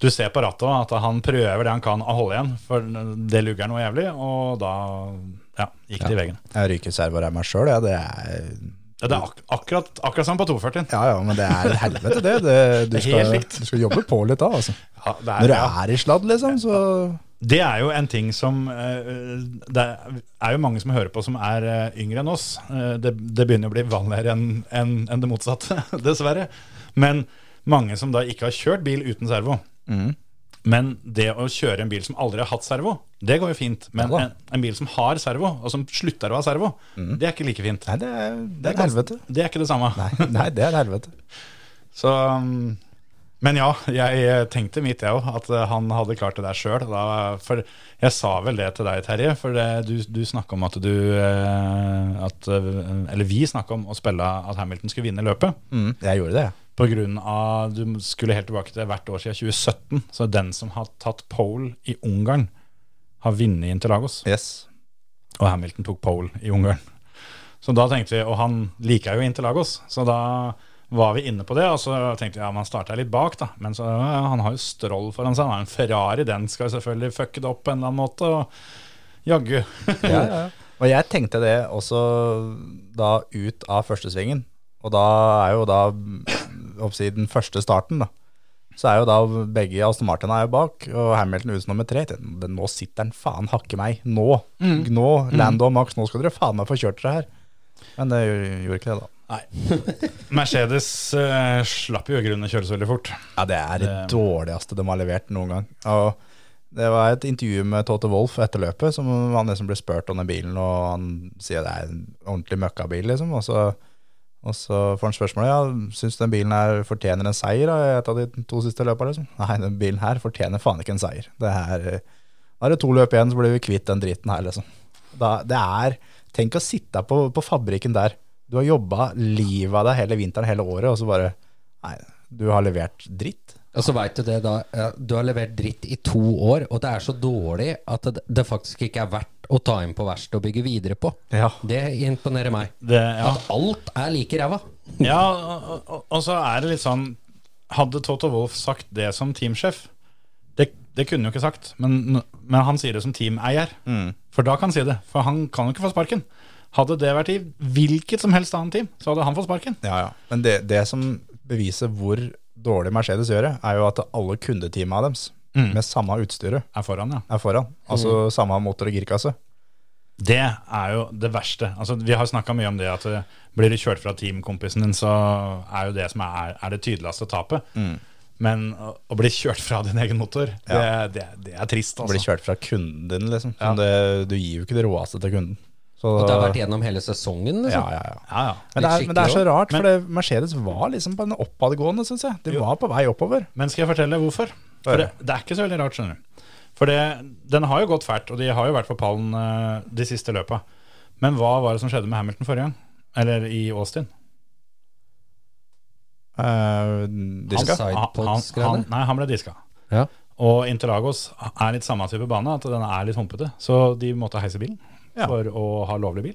Speaker 3: du ser på rattet også at han prøver det han kan å holde igjen, for det lugger noe jævlig, og da ja, gikk det i veggen.
Speaker 4: Jeg ryker servoramma sjøl, ja. Det er
Speaker 3: Ja, Det er ak akkurat, akkurat som på 240.
Speaker 4: Ja ja, men det er et helvete, det. det du,
Speaker 3: er helt
Speaker 4: skal,
Speaker 3: likt.
Speaker 4: du skal jobbe på litt da, altså.
Speaker 3: Ja, det,
Speaker 4: Når
Speaker 3: er,
Speaker 4: du er i sladd, liksom, så
Speaker 3: det er jo en ting som eh, Det er jo mange som hører på som er eh, yngre enn oss. Eh, det, det begynner å bli vanligere enn enn- enn det motsatte, dessverre. Men mange som da ikke har kjørt bil uten servo.
Speaker 4: Mm.
Speaker 3: Men det å kjøre en bil som aldri har hatt servo, det går jo fint. Men
Speaker 4: Ja da. Mm.
Speaker 3: en, en bil som har servo, og som slutter å ha servo, det er ikke like fint.
Speaker 4: Nei, det er, det er et helvete.
Speaker 3: Det er ikke det samme.
Speaker 4: Nei, nei, det er et helvete.
Speaker 3: Så um, Men ja, jeg eh, tenkte mitt, jeg òg, at eh, han hadde klart det der sjøl. For jeg sa vel det til deg, Terje, for det, du, du snakka om at du eh, at, eh, Eller vi snakka om å spille at Hamilton skulle vinne løpet.
Speaker 4: Mm, jeg gjorde det, jeg.
Speaker 3: På grunn av Du skulle helt tilbake til hvert år siden 2017. Så den som har tatt pole i Ungarn, har vunnet Interlagos.
Speaker 4: Yes.
Speaker 3: Og Hamilton tok pole i Ungarn. Så da tenkte vi, og han liker jo Interlagos, så da var vi inne på det, og så tenkte vi, ja, man startet litt bak da, men så, ja, han har jo stroll foran seg, han har en Ferrari, den skal jo selvfølgelig fucke det opp på en eller annen måte, og jaggu.
Speaker 4: Ja, ja. Og jeg tenkte det også da ut av første svingen. Og da er jo da oppsi den første starten, da. Så er jo da begge Aston Martin er jo bak, og Hamilton ute som nummer tre. Jeg tenkte, "Men Nå sitter han faen hakke meg. Nå! Nå, Lando og Max, nå skal dere faen meg få kjørt dere her. Men det gjorde- gjorde ikke det, da.
Speaker 3: Mercedes eh, slapp jo i grunnen å kjøre så veldig fort.
Speaker 4: Ja, det er det dårligste de har levert noen gang. Og det var et intervju med Tote Wolff etter løpet, som han liksom ble spurt om den bilen, og han sier det er en ordentlig møkkabil, liksom. Og så, og så får han spørsmålet, ja, syns du den bilen her fortjener en seier da, i et av de to siste løpene, liksom? Nei, den bilen her fortjener faen ikke en seier. Det er, eh, da er det to løp igjen, så blir vi kvitt den driten her, liksom. Da, det er, tenk å sitte på, på fabrikken der. Du har jobba livet av deg hele vinteren, hele året, og så bare Nei, du har levert dritt.
Speaker 5: Og så veit du det, da. eh, Du har levert dritt i to år, og det er så dårlig at det, det faktisk ikke er verdt å ta inn på verkstedet og bygge videre på.
Speaker 4: Ja.
Speaker 5: Det imponerer meg.
Speaker 3: Det, ja.
Speaker 5: At alt er like ræva.
Speaker 3: Ja, og, og, og så er det litt sånn Hadde Toto Wolff sagt det som teamsjef Det, det kunne han jo ikke sagt, men, men han sier det som teameier. For da kan han si det, for han kan jo ikke få sparken. Hadde det vært i hvilket som helst annet team, så hadde han fått sparken.
Speaker 4: Ja, ja. Men det, det som beviser hvor dårlig Mercedes gjør det, er jo at alle kundeteama deres med samme utstyret
Speaker 3: Er foran, ja.
Speaker 4: er foran. Altså samme motor og girkasse.
Speaker 3: Det er jo det verste. Altså, vi har snakka mye om det at eh, blir du kjørt fra teamkompisen din, så er jo det som er, er det tydeligste tapet. Men å, å bli kjørt fra din egen motor, det, det, det er trist,
Speaker 4: Blir
Speaker 3: altså.
Speaker 4: kjørt fra kunden din, liksom. Som Det, du gir jo ikke det råeste til kunden. Så,
Speaker 5: Og det har vært gjennom hele sesongen,
Speaker 4: ja,
Speaker 5: liksom.
Speaker 4: ja, ja.
Speaker 3: Ja, ja.
Speaker 4: Men det,
Speaker 5: Litt
Speaker 4: er, men det er så
Speaker 5: skikkelig
Speaker 4: rart, for det, Mercedes var liksom på en oppadgående, syns jeg. De var på vei oppover.
Speaker 3: Men skal jeg fortelle hvorfor? For det, det er ikke så veldig rart, skjønner du. For det, den har jo gått fælt, og de har jo vært på pallen eh, de siste løpa. Men hva var det som skjedde med Hamilton forrige gang? Eller i Austin?
Speaker 4: Eh, de
Speaker 5: Han
Speaker 4: skal.
Speaker 5: sa-
Speaker 3: Han, han, han,
Speaker 5: Sidepods-greiene?
Speaker 3: nei, han ble diska.
Speaker 5: Ja.
Speaker 3: Og Interlagos er litt samme type bane, at den er litt humpete. Så de måtte heise bilen
Speaker 4: Ja.
Speaker 3: for å ha lovlig bil.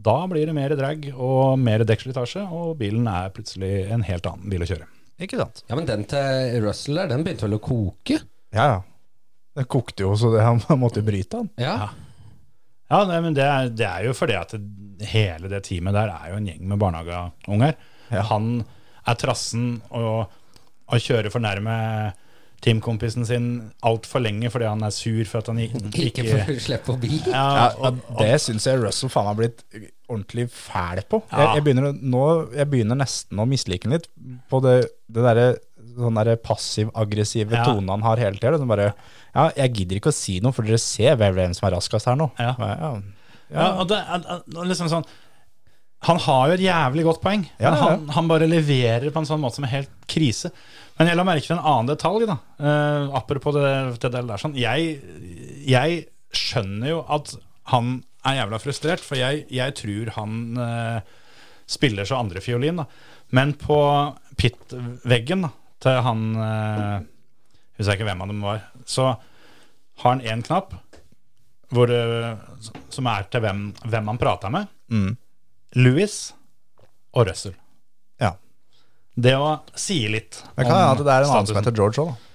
Speaker 3: Da blir det mer drag og mer dekkslitasje, og bilen er plutselig en helt annen bil å kjøre.
Speaker 4: Ikke sant?
Speaker 5: Ja, men den til Russell der, den begynte vel å koke?
Speaker 4: Ja, ja. Den kokte jo, så det, han måtte jo bryte han.
Speaker 5: Ja.
Speaker 3: Ja, nei, men det er, det er jo fordi at det, hele det teamet der er jo en gjeng med barnehageunger. Han er trassen og, og kjører for nærme teamkompisen sin altfor lenge fordi han er sur for at han ikke,
Speaker 5: Ikke for å slippe forbi.
Speaker 3: ja,
Speaker 4: Ja,
Speaker 3: og,
Speaker 4: det syns jeg Russell faen har blitt ordentlig fæl på.
Speaker 3: Ja.
Speaker 4: Jeg, jeg, begynner, å- nå, jeg begynner nesten å mislike den litt på det, det derre sånn derre passiv-aggressive
Speaker 3: Ja.
Speaker 4: tonen han har hele tida. Liksom bare Ja, jeg gidder ikke å si noe, for dere ser vel hvem som er raskest her nå.
Speaker 3: Ja.
Speaker 4: ja.
Speaker 3: ja, og det er er liksom sånn Han har jo et jævlig godt poeng,
Speaker 4: Ja,
Speaker 3: men
Speaker 4: ja, ja.
Speaker 3: han, han bare leverer på en sånn måte som er helt krise. Men jeg la merke til en annen detalj, da. Eh, apropos det, det der, der sånn. Jeg, jeg skjønner jo at han er jævla frustrert, for jeg, jeg tror han eh, spiller så andrefiolin, da. Men på, pit-veggen da, til han eh, Husker jeg ikke hvem av dem var. Så har han én knapp hvor, det- som er til hvem, hvem han prater med.
Speaker 4: Mm.
Speaker 3: Louis og Russell.
Speaker 4: Ja.
Speaker 3: Det å si litt
Speaker 4: Det kan hende at det er en annen som
Speaker 3: statusen.
Speaker 4: heter George òg, da.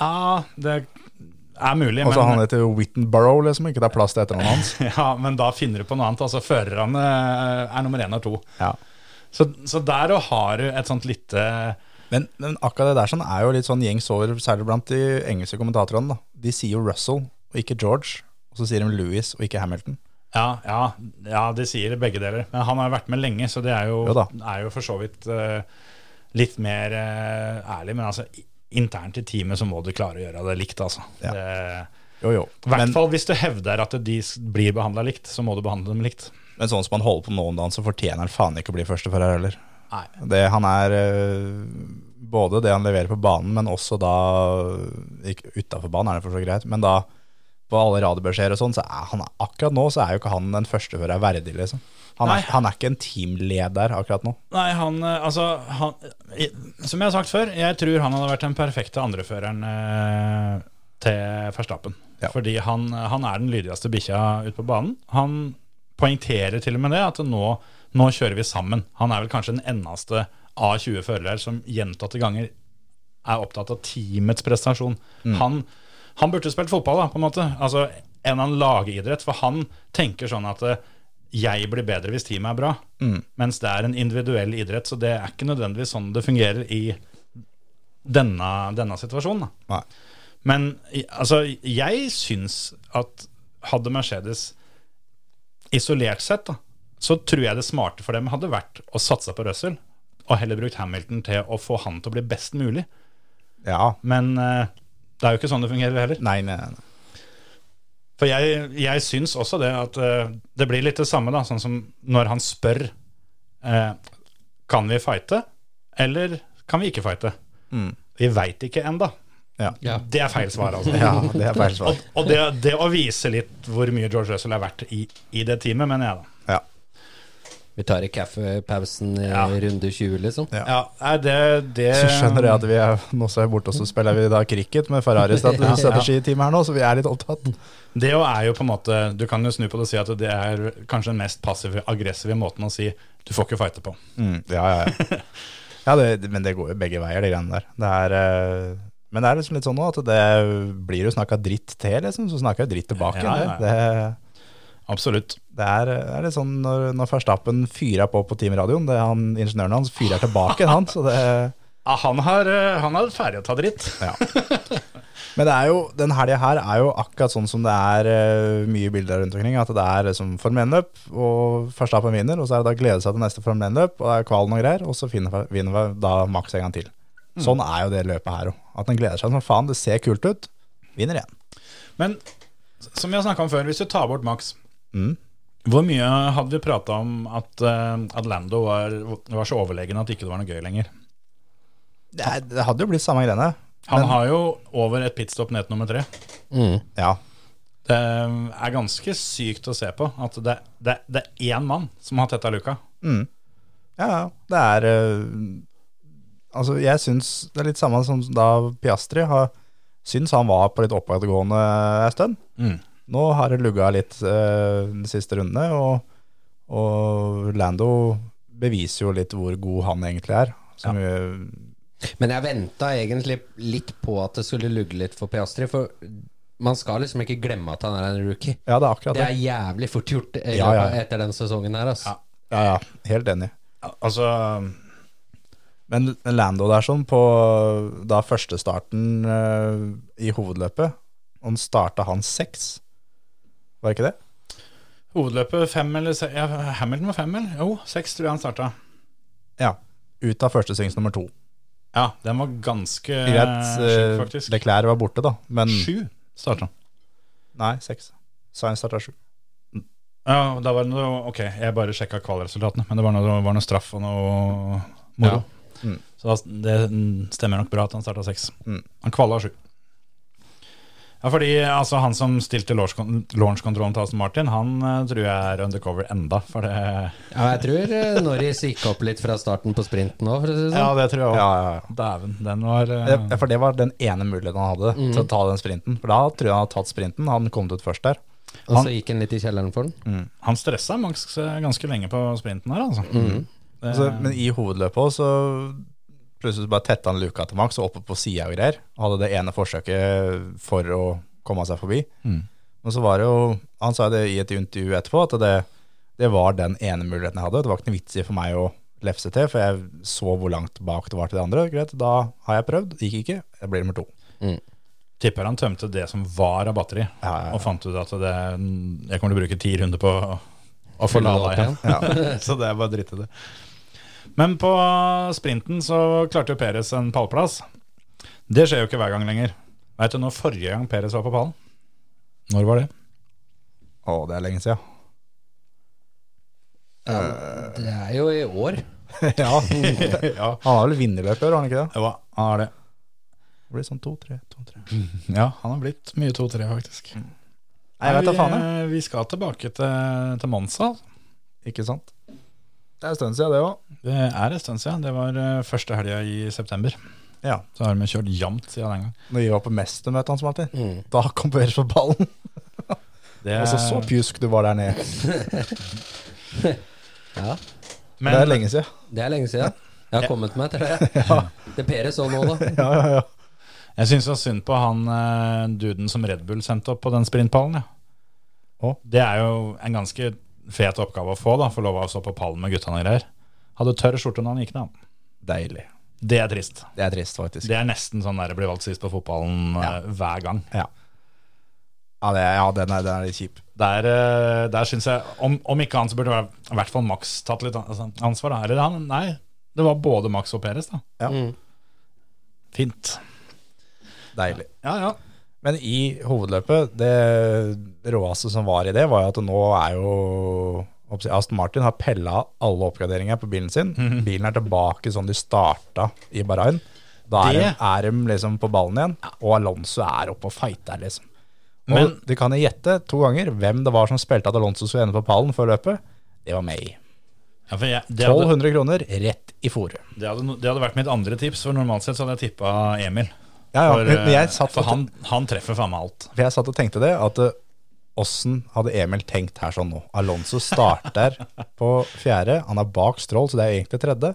Speaker 3: Ja, det er mulig,
Speaker 4: Og så han
Speaker 3: men,
Speaker 4: heter Whittenborough, liksom. Ikke det er plass til etternavnet hans.
Speaker 3: ja, men da finner du på noe annet. Altså Førerne eh, er nummer én og to.
Speaker 4: Ja.
Speaker 3: Så, så der og har du et sånt lite
Speaker 4: Men, men akkurat det der sånn er jo litt sånn gjengs over, særlig blant de engelske kommentatorene. da. De sier jo Russell og ikke George, og så sier de Louis og ikke Hamilton.
Speaker 3: ja, ja, ja, de sier begge deler. Men han har jo vært med lenge, så det er jo,
Speaker 4: Jo da.
Speaker 3: er jo for så vidt eh, litt mer eh, ærlig. Men altså, i- internt i teamet så må du klare å gjøre det likt, altså.
Speaker 4: Ja.
Speaker 3: Det-
Speaker 4: Jo, jo.
Speaker 3: I hvert
Speaker 4: Men,
Speaker 3: fall hvis du hevder at de s- blir behandla likt, så må du behandle dem likt.
Speaker 4: men sånn som han holder på nå om dagen, så fortjener han faen ikke å bli førstefører heller.
Speaker 3: Nei.
Speaker 4: Det, han er øh, både det han leverer på banen, men også da Ikke utafor banen, er det for så greit, men da på alle radiobeskjeder og sånn, så er han akkurat nå så er jo ikke han den førstefører verdig, liksom. Han
Speaker 3: Nei.
Speaker 4: er, han er ikke en teamleder akkurat nå.
Speaker 3: Nei, han eh, Altså, han i- Som jeg har sagt før, jeg tror han hadde vært den perfekte andreføreren eh, til Verstappen.
Speaker 4: Ja.
Speaker 3: Fordi han, han er den lydigste bikkja ute på banen. Han poengterer til og med det, at nå, nå kjører vi sammen. Han er vel kanskje den eneste av 20 førere som gjentatte ganger er opptatt av teamets prestasjon. Han, han burde spilt fotball, da, på en måte. Altså en eller annen lagidrett. For han tenker sånn at eh, jeg blir bedre hvis teamet er bra. Mens det er en individuell idrett, så det er ikke nødvendigvis sånn det fungerer i denne, denne situasjonen. Da.
Speaker 4: Nei.
Speaker 3: Men i- altså, jeg syns at hadde Mercedes isolert sett, da, så tror jeg det smarte for dem hadde vært å satse på Russell, og heller brukt Hamilton til å få han til å bli best mulig.
Speaker 4: Ja.
Speaker 3: Men eh, det er jo ikke sånn det fungerer heller.
Speaker 4: Nei, nei, nei.
Speaker 3: For jeg, jeg syns også det at eh, det blir litt det samme, da, sånn som når han spør eh, Kan vi fighte, eller kan vi ikke fighte?
Speaker 4: Mm.
Speaker 3: Vi veit ikke ennå.
Speaker 4: Ja.
Speaker 5: Ja.
Speaker 3: Det er feil svar, altså.
Speaker 4: ja, det er feil svar.
Speaker 3: Og, og det, det å vise litt hvor mye George Russell er verdt i, i det teamet, mener jeg, da.
Speaker 4: Ja.
Speaker 5: Vi tar i kaffepausen i
Speaker 3: Ja.
Speaker 5: runde 20, liksom.
Speaker 4: Ja.
Speaker 3: Ja, nei, det, det
Speaker 4: Så skjønner jeg at vi er nå så er jeg borte, og så spiller vi da cricket med Ferraris stat- strategiteam her nå, så vi er litt opptatt.
Speaker 3: Det jo er jo på en måte Du kan jo snu på det og si at det er kanskje den mest passive, aggressive måten å si du får ikke fighte på.
Speaker 4: Ja, ja, ja. ja det, men det går jo begge veier, de greiene der. Det er, eh, men det er liksom litt sånn nå at det blir jo snakka dritt til, liksom, så snakker jeg dritt tilbake.
Speaker 3: Ja, ja, ja.
Speaker 4: Det,
Speaker 3: Absolutt.
Speaker 4: det er, det er litt sånn når, når Verstappen fyrer på på teamradioen, det er han, ingeniøren hans fyrer tilbake, han, så det
Speaker 3: Ja, han har, eh, han har ferdig å ta dritt.
Speaker 4: Ja. Men det er jo, den helga her er jo akkurat sånn som det er eh, mye bilder rundt omkring. At det er liksom Formel 1-løp, og Verstappen vinner, og så er det da glede seg til neste Formel 1-løp, og det er kvalen og greier, og så finner, vinner vi da Max en gang til. Sånn er jo det løpet her òg. At den gleder seg som faen. Det ser kult ut. Vinner igjen.
Speaker 3: Men som vi har snakka om før, hvis du tar bort Max
Speaker 4: Mm.
Speaker 3: Hvor mye hadde vi prata om at, eh, at Lando var, var så overlegen at ikke det var noe gøy lenger?
Speaker 4: Det, er, det hadde jo blitt samme greiene.
Speaker 3: Han har jo over et pitstop ned til nummer tre.
Speaker 4: Ja.
Speaker 3: Det eh, er ganske sykt å se på at det, det, det er én mann som har tetta luka.
Speaker 4: Ja, ja. Det er eh, Altså, jeg syns det er litt samme som da Piastri har syns han var på litt oppadgående en stund.
Speaker 5: Mm.
Speaker 4: Nå har det lugga litt eh, de siste rundene, og, og Lando beviser jo litt hvor god han egentlig er. Som jo-
Speaker 5: Men jeg venta egentlig litt på at det skulle lugge litt for Piastri, for man skal liksom ikke glemme at han er en rookie.
Speaker 4: ja, det er akkurat
Speaker 5: Det
Speaker 4: det.
Speaker 5: er jævlig fort gjort eh,
Speaker 4: Ja, ja.
Speaker 5: etter den sesongen her, altså.
Speaker 4: Ja, ja, helt enig.
Speaker 3: Altså
Speaker 4: Men men Lando der sånn på da første starten eh, i hovedløpet, han starta han seks, var det ikke det?
Speaker 3: Hovedløpet fem eller se, ja, Hamilton var fem, eller? Jo, seks tror jeg han starta.
Speaker 4: Ja. Ut av første svings nummer to.
Speaker 3: Ja, den var ganske
Speaker 4: Greit,
Speaker 3: sjuk,
Speaker 4: eh,
Speaker 3: faktisk.
Speaker 4: Leclerc var borte, da. Men
Speaker 3: Sju starta han.
Speaker 4: Nei, seks. Sainz starta sju.
Speaker 3: Ja, da var det noe, ok, jeg bare sjekka kvalresultatene, men det var noe, det var noe straff og noe moro. Så da, det mm, stemmer nok bra at han starta seks. Han kvala sju. Ja, fordi altså, Han som stilte launch- launchkontrollen til Aston Martin, han eh, tror jeg er undercover enda. For det,
Speaker 5: Ja, jeg tror eh, Norris gikk opp litt fra starten på sprinten òg, for å si det sånn.
Speaker 3: det tror jeg også.
Speaker 4: Ja, ja, ja.
Speaker 3: Dæven, den var eh,
Speaker 4: Ja, For det var den ene muligheten han hadde til å ta den sprinten. For da tror jeg han hadde tatt sprinten. Han kom ut først der.
Speaker 5: Og så gikk han litt i kjelleren for
Speaker 4: Mm.
Speaker 5: den.
Speaker 3: Han stressa Max eh, ganske lenge på sprinten her, altså. Det,
Speaker 4: Så, men i hovedløpet også, så plutselig så bare tetta han luka til Max og oppe på sida og greier. Hadde det ene forsøket for å komme seg forbi.
Speaker 3: Mm.
Speaker 4: Men så var det jo Han sa det i et intervju etterpå, at det, det var den ene muligheten jeg hadde. Det var ikke noe vits i for meg å lefse til, for jeg så hvor langt bak det var til de andre. Greit, da har jeg prøvd. Gikk ikke. Jeg blir nummer to.
Speaker 5: Mm.
Speaker 3: tipper han tømte det som var av batteri,
Speaker 4: Ja, ja, ja.
Speaker 3: og fant ut at det, jeg kommer til å bruke ti runder på å- å få
Speaker 5: Fylle det
Speaker 3: lada
Speaker 5: opp
Speaker 3: igjen. så det er bare dritt i det. Men på sprinten så klarte jo Peres en pallplass. Det skjer jo ikke hver gang lenger. Veit du når forrige gang Peres var på pallen? Når var det?
Speaker 4: Å, det er lenge siden.
Speaker 5: Det er jo i år.
Speaker 4: ja. Han har vel vinnerløp i år, har han ikke det?
Speaker 3: Jo, han har det.
Speaker 4: Det blir sånn to-tre, to-tre.
Speaker 3: Ja, han har blitt mye 2-3, faktisk.
Speaker 4: Nei, jeg vet da faen,
Speaker 3: vi,
Speaker 4: jeg.
Speaker 3: vi skal tilbake til, til Monza.
Speaker 4: Ikke sant? Det er en stund siden, det òg.
Speaker 3: Det er en stund siden. Det var eh, første helga i september.
Speaker 4: Ja.
Speaker 3: Så har vi kjørt jevnt siden den gang.
Speaker 4: Når vi var på mestermøtet hans, Martin,
Speaker 5: Mm.
Speaker 4: da kom Børs på ballen.
Speaker 3: Det
Speaker 4: Altså, så pjusk du var der nede.
Speaker 5: Ja,
Speaker 3: men,
Speaker 4: det er lenge siden.
Speaker 5: Det er lenge siden. Jeg har kommet meg til det. Det Pere så nå, da.
Speaker 4: Ja, ja, ja.
Speaker 3: Jeg syns så synd på han eh, duden som Red Bull sendte opp på den sprintpallen. Ja. Det er jo en ganske fet oppgave å få, da, få lov å stå på pallen med guttene og greier. Hadde tørr skjorte når han gikk ned. han.
Speaker 4: Deilig.
Speaker 3: Det er trist.
Speaker 4: Det er trist, faktisk.
Speaker 3: Det er nesten sånn der det blir valgt sist på fotballen eh, hver gang.
Speaker 4: Ja, ja, det er, ja den, er, den er litt kjip.
Speaker 3: Der, eh, der syns jeg om, om ikke han, så burde være- i hvert fall Max tatt litt an- altså, ansvar. Da. Eller han, nei, det var både Max og Peres, da.
Speaker 4: Ja.
Speaker 3: Fint.
Speaker 4: Deilig.
Speaker 3: Ja, ja.
Speaker 4: Men i hovedløpet, det råeste som var i det, var jo at nå er jo hva skal jeg si, Aston Martin har pella alle oppgraderinger på bilen sin.
Speaker 3: Mhm.
Speaker 4: Bilen er tilbake sånn de starta i Bahrain. Da er,
Speaker 3: Det-
Speaker 4: de, er de liksom på ballen igjen, og Alonso er oppe og fighter, liksom. Og Men,
Speaker 3: Men-
Speaker 4: du kan jo gjette to ganger hvem det var som spilte at Alonso skulle ende på pallen før løpet. Det var meg.
Speaker 3: ja for jeg, det, hadde,
Speaker 4: 1200 kroner rett i fòret.
Speaker 3: det, hadde, no- det hadde vært mitt andre tips, for normalt sett så hadde jeg tippa Emil.
Speaker 4: Ja, ja,
Speaker 3: For,
Speaker 4: men- men jeg
Speaker 3: eh,
Speaker 4: satt
Speaker 3: for
Speaker 4: og-
Speaker 3: han, han treffer faen meg alt.
Speaker 4: For jeg satt og tenkte det, at eh, åssen hadde Emil tenkt her sånn nå? Alonso starter på fjerde, han er bak Stroll, så det er egentlig tredje.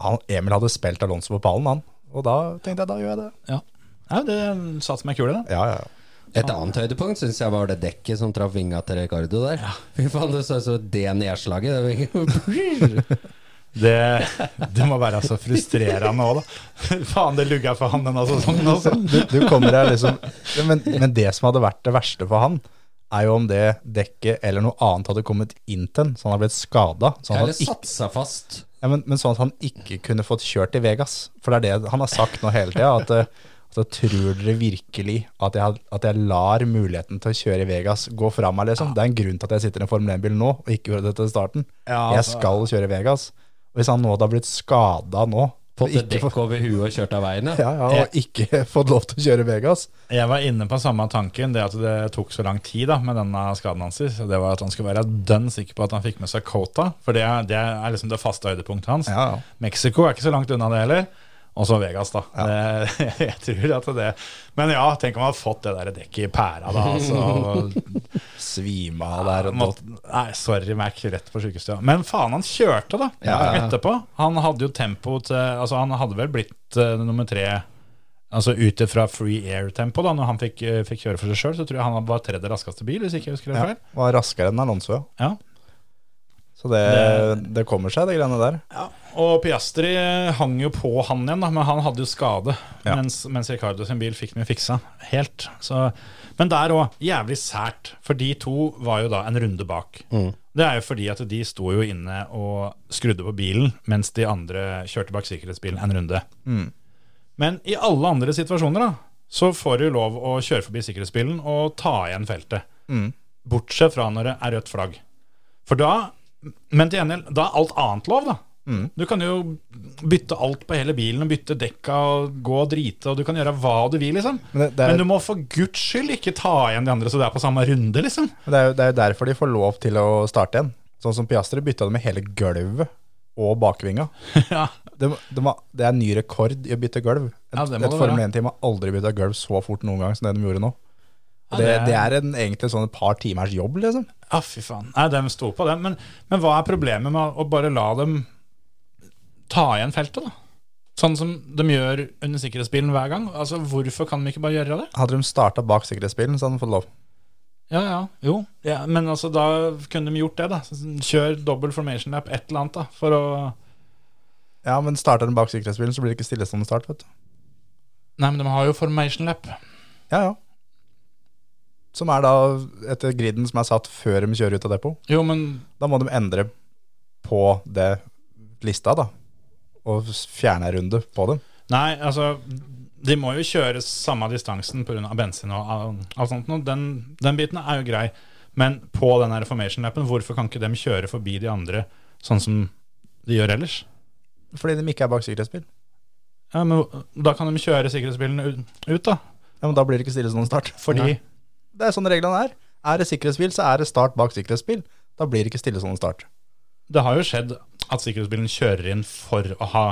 Speaker 4: Han, Emil hadde spilt Alonso på pallen, han. Og da tenkte jeg, da gjør jeg det.
Speaker 3: Ja, ja det satt som ei kule, det.
Speaker 4: Ja, ja, ja.
Speaker 5: Et annet høydepunkt syns jeg var det dekket som traff vinga til Ricardo der. Fy faen, det så ut som det nedslaget. Det var-
Speaker 3: det. Det må være så frustrerende òg, da. faen, det lugga for han denne sesongen også.
Speaker 4: Du, du kommer her liksom Ja, men, men det som hadde vært det verste for han, er jo om det dekket eller noe annet hadde kommet inn til han, så han hadde blitt skada. Sånn
Speaker 5: Eller
Speaker 4: at han ikke
Speaker 5: satt seg fast.
Speaker 4: Ja, men, men sånn at han ikke kunne fått kjørt til Vegas. For det er det han har sagt nå hele tida. At, eh, at jeg tror dere virkelig at jeg, at jeg lar muligheten til å kjøre i Vegas gå fra meg, liksom. Det er en grunn til at jeg sitter i en Formel 1-bil nå, og ikke gjorde det til starten.
Speaker 3: Ja,
Speaker 4: jeg
Speaker 3: altså.
Speaker 4: skal kjøre i Vegas. Og hvis han nå hadde blitt skada nå
Speaker 5: Fått et
Speaker 4: ikke,
Speaker 5: dekk over huet og kjørt av veien.
Speaker 4: ja, ja, og ikke fått lov til å kjøre i Vegas.
Speaker 3: Jeg var inne på samme tanken, det at det tok så lang tid da, med denne skaden hans. Det var at han skulle være dønn sikker på at han fikk med seg quota, for det er, det er liksom det faste høydepunktet hans.
Speaker 4: Ja, ja.
Speaker 3: Mexico er ikke så langt unna det heller. Og så Vegas, da. Det, jeg tror at det Men ja, tenk om han hadde fått det der dekket i pæra, da. Altså,
Speaker 4: Svima der og
Speaker 3: måtte, nei, sorry, Mac. Rett på sjukestua. Men faen, han kjørte, da.
Speaker 4: Ja, ja, ja.
Speaker 3: Etterpå. Han hadde jo tempo til Altså, han hadde vel blitt eh, nummer tre Altså ut ifra free air-tempo, da, når han fikk, eh, fikk kjøre for seg sjøl, så tror jeg han var tredje raskeste bil, hvis ikke jeg husker det
Speaker 4: ja,
Speaker 3: feil.
Speaker 4: Var raskere enn Alonso, ja.
Speaker 3: Ja.
Speaker 4: Så det, det kommer seg, de greiene der.
Speaker 3: Og Piastri eh, hang jo på han igjen, da, men han hadde jo skade.
Speaker 4: Ja.
Speaker 3: Mens, mens Ricardo sin bil fikk den jo fiksa helt. Så, men der òg, jævlig sært. For de to var jo da en runde bak. Det er jo fordi at de sto jo inne og skrudde på bilen, mens de andre kjørte bak sikkerhetsbilen en runde. Men i alle andre situasjoner da, så får du lov å kjøre forbi sikkerhetsbilen og ta igjen feltet.
Speaker 4: Mm.
Speaker 3: Bortsett fra når det er rødt flagg. For da, men til gjengjeld, da er alt annet lov, da.
Speaker 4: Mm.
Speaker 3: Du kan jo bytte alt på hele bilen, og bytte dekka og gå og drite, og du kan gjøre hva du vil, liksom.
Speaker 4: Men
Speaker 3: Men,
Speaker 4: det- det er-
Speaker 3: du må for guds skyld ikke ta igjen de andre så det er på samme runde, liksom.
Speaker 4: Men Det er, jo, det er jo derfor de får lov til å starte en. Sånn som Piastri bytta det med hele gulvet og bakvinga.
Speaker 3: ja.
Speaker 4: Det, det, var- det er ny rekord i å bytte gulv. Et,
Speaker 3: Ja, det må
Speaker 4: et
Speaker 3: det
Speaker 4: Formel
Speaker 3: være.
Speaker 4: 1-team har aldri bytta gulv så fort noen gang som det de gjorde nå. Og
Speaker 3: Ja,
Speaker 4: det,
Speaker 3: det er-
Speaker 4: det er en, egentlig sånn et par timers jobb, liksom.
Speaker 3: Ja, fy faen. Nei, de sto på det. Men, men hva er problemet med å bare la dem ta igjen feltet, da? Sånn som de gjør under sikkerhetsbilen hver gang. Altså, Hvorfor kan de ikke bare gjøre det?
Speaker 4: Hadde de starta bak sikkerhetsbilen, så hadde de fått lov.
Speaker 3: Ja, ja, jo. Ja, men altså, da kunne de gjort det, da. Så Kjør double formation lap, et eller annet, da. For å
Speaker 4: Ja, men starter de bak sikkerhetsbilen, så blir det ikke stillestående start, vet du.
Speaker 3: Nei, men de har jo formation lap.
Speaker 4: Ja, ja. Som er da etter griden som er satt før de kjører ut av depot.
Speaker 3: Jo, men
Speaker 4: Da må de endre på det lista, da. Og fjerne en runde på dem.
Speaker 3: Nei, altså De må jo kjøre samme distansen pga. bensin og alt- alt sånt. noe. Den, den biten er jo grei. Men på den her formation-lappen, hvorfor kan ikke de kjøre forbi de andre sånn som de gjør ellers?
Speaker 4: Fordi de ikke er bak sikkerhetsbil.
Speaker 3: Ja, men Da kan de kjøre sikkerhetsbilen ut- ut, da.
Speaker 4: Ja, men Da blir det ikke stillestående start.
Speaker 3: Fordi
Speaker 4: Nei. Det er sånn reglene er. Er det sikkerhetsbil, så er det start bak sikkerhetsbil. Da blir det ikke stillestående start.
Speaker 3: det har jo skjedd at sikkerhetsbilen kjører inn for å ha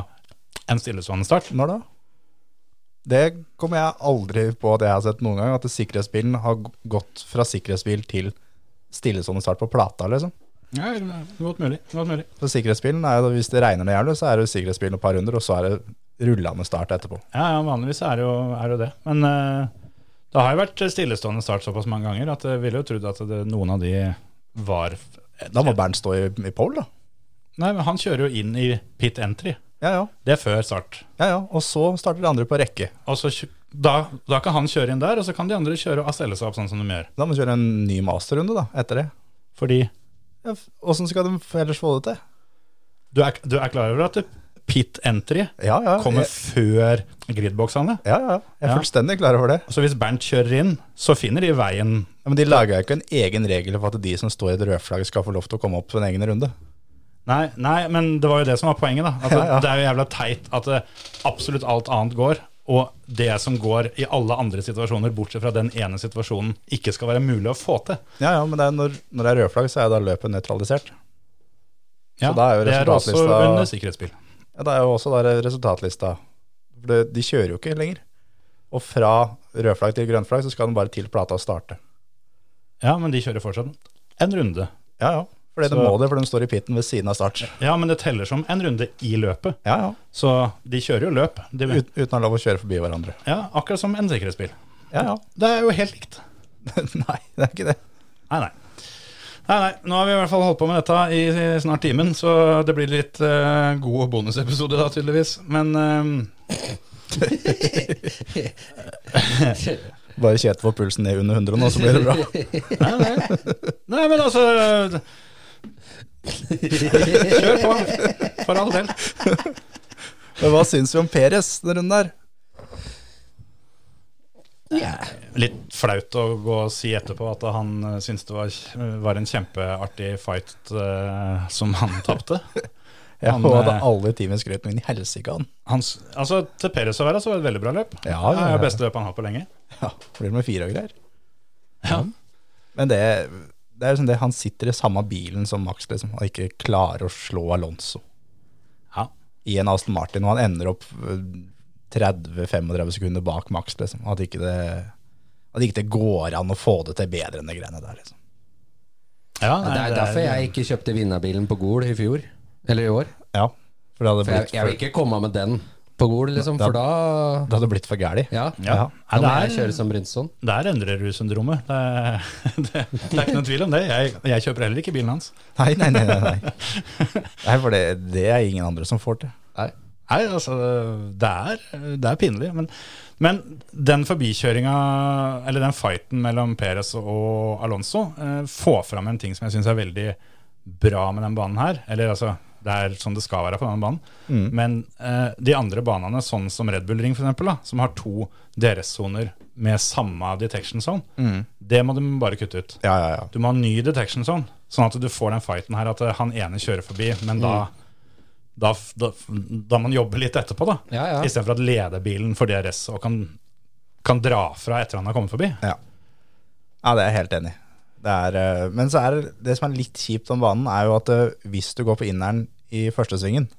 Speaker 3: en stillestående start.
Speaker 4: Når da? Det kommer jeg aldri på at jeg har sett noen gang, at sikkerhetsbilen har g- gått fra sikkerhetsbil til stillestående start på plata, liksom.
Speaker 3: Ja, godt mulig. Godt mulig.
Speaker 4: Så sikkerhetsbilen er jo, hvis det regner ned jævlig, så er det jo sikkerhetsbilen et par runder, og så er det rullende start etterpå.
Speaker 3: Ja, ja vanligvis er det jo, er det, jo det. Men eh, det har jo vært stillestående start såpass mange ganger at jeg ville jo trodd at det, noen av de var
Speaker 4: Da må Bernt stå i, i pole, da.
Speaker 3: Nei, men han kjører jo inn i pit entry.
Speaker 4: Ja, ja.
Speaker 3: Det er før start.
Speaker 4: ja, ja. Og så starter de andre på rekke.
Speaker 3: Og så, kjø- da, da kan han kjøre inn der, og så kan de andre kjøre og stelle seg opp sånn som de gjør.
Speaker 4: Da må de kjøre en ny masterrunde, da, etter det.
Speaker 3: Fordi
Speaker 4: Ja, f- Åssen skal de f- ellers få det til?
Speaker 3: du er, du er klar over at det- pit entry
Speaker 4: Ja, ja.
Speaker 3: kommer
Speaker 4: jeg-
Speaker 3: før gridboksene?
Speaker 4: Ja, ja. Jeg er
Speaker 3: Ja.
Speaker 4: fullstendig klar over det.
Speaker 3: Så hvis Bernt kjører inn, så finner de veien
Speaker 4: Ja, men de lager jo ikke en egen regel for at de som står i et rødflagg, skal få lov til å komme opp på en egen runde.
Speaker 3: Nei, nei, men det var jo det som var poenget. da At det,
Speaker 4: Ja, ja.
Speaker 3: det er jo jævla teit at det, absolutt alt annet går, og det som går i alle andre situasjoner, bortsett fra den ene situasjonen, ikke skal være mulig å få til.
Speaker 4: Ja, ja, men det er når, når det er rødflagg, så er da løpet nøytralisert.
Speaker 3: Ja,
Speaker 4: da er jo
Speaker 3: det er også
Speaker 4: resultatlista-
Speaker 3: under sikkerhetsbil.
Speaker 4: Ja, det er jo også da resultatlista. For det, de kjører jo ikke lenger. Og fra rødflagg til grønnflagg, så skal den bare til plata og starte.
Speaker 3: Ja, men de kjører fortsatt en runde.
Speaker 4: Ja, ja. Fordi
Speaker 3: Så-
Speaker 4: de må det, for de står i pitten ved siden av start.
Speaker 3: Ja, men det teller som en runde i løpet,
Speaker 4: Ja, ja.
Speaker 3: så de kjører jo løp. De,
Speaker 4: Ut, uten å ha lov å kjøre forbi hverandre.
Speaker 3: ja, akkurat som en sikkerhetsbil.
Speaker 4: Ja, ja.
Speaker 3: Det er jo helt likt.
Speaker 4: Nei, det er ikke det.
Speaker 3: Nei, nei. Nei, nei, Nå har vi i hvert fall holdt på med dette i i snart timen, så det blir litt eh, god bonusepisode da, tydeligvis. Men ehm,
Speaker 4: Bare Kjetil får pulsen ned under 100 nå, så blir det bra.
Speaker 3: Nei, nei. nei, men altså Kjør på, for all del.
Speaker 4: Men hva syns vi om Peres denne runden der?
Speaker 3: Litt flaut å gå og si etterpå at han eh, syntes det var, var en kjempeartig fight eh, som han tapte.
Speaker 4: Ja,
Speaker 3: Han,
Speaker 4: og hadde
Speaker 3: eh,
Speaker 4: alle i teamet skrøt, men i helsike han.
Speaker 3: Hans, altså, til Perez å være så var det et veldig bra løp.
Speaker 4: Ja, ja,
Speaker 3: Det
Speaker 4: ja.
Speaker 3: er beste løp han har hatt på lenge.
Speaker 4: Ja, blir det med fire og greier.
Speaker 3: Ja.
Speaker 4: Men det, det er jo sånn det, han sitter i samme bilen som Max, liksom, og ikke klarer å slå Alonso
Speaker 3: Ja.
Speaker 4: i en Aston Martin, og han ender opp øh, 30-35 sekunder bak Max, liksom. At ikke det, at ikke det går an å få det til bedre enn de greiene der, liksom.
Speaker 5: Ja, det er derfor jeg ikke kjøpte vinnerbilen på Gol i fjor. Eller i år.
Speaker 4: Ja, for det hadde
Speaker 5: For jeg,
Speaker 4: blitt
Speaker 5: jeg vil
Speaker 4: for,
Speaker 5: ikke komme med den på Gol, liksom, for da
Speaker 4: det hadde blitt for gærlig.
Speaker 5: Ja.
Speaker 3: ja.
Speaker 5: Da må
Speaker 3: Nei, det
Speaker 5: jeg
Speaker 3: er,
Speaker 5: kjøre som Brinson.
Speaker 3: det er endrerussyndromet. Det, er- det, det er ikke noen tvil om det. Jeg, jeg kjøper heller ikke bilen hans.
Speaker 4: Nei, nei, nei, nei, nei. nei for det, det er ingen andre som får til.
Speaker 5: Nei.
Speaker 3: Nei, altså, det er, det er pinlig. Men, men den forbikjøringa, eller den fighten mellom Perez og Alonso, eh, får fram en ting som jeg syns er veldig bra med den banen her. Eller altså, det er som det skal være på denne banen. Men eh, de andre banene, sånn som Red Bull Ring f.eks., som har to DRS-soner med samme detection zone, det må de bare kutte ut.
Speaker 4: Ja, ja, ja.
Speaker 3: Du sånn må ha ny detection zone, sånn at du får den fighten her at eh, han ene kjører forbi, men da da, f- da, f- da man jobber litt etterpå, da.
Speaker 5: Ja, ja.
Speaker 3: Istedenfor at lederbilen får DRS og kan, kan dra fra etter han har kommet forbi.
Speaker 4: Ja. ja, det er jeg helt enig i. Det er, eh, Men så er det, det som er litt kjipt om banen, er jo at eh, hvis du går på inneren i første svingen,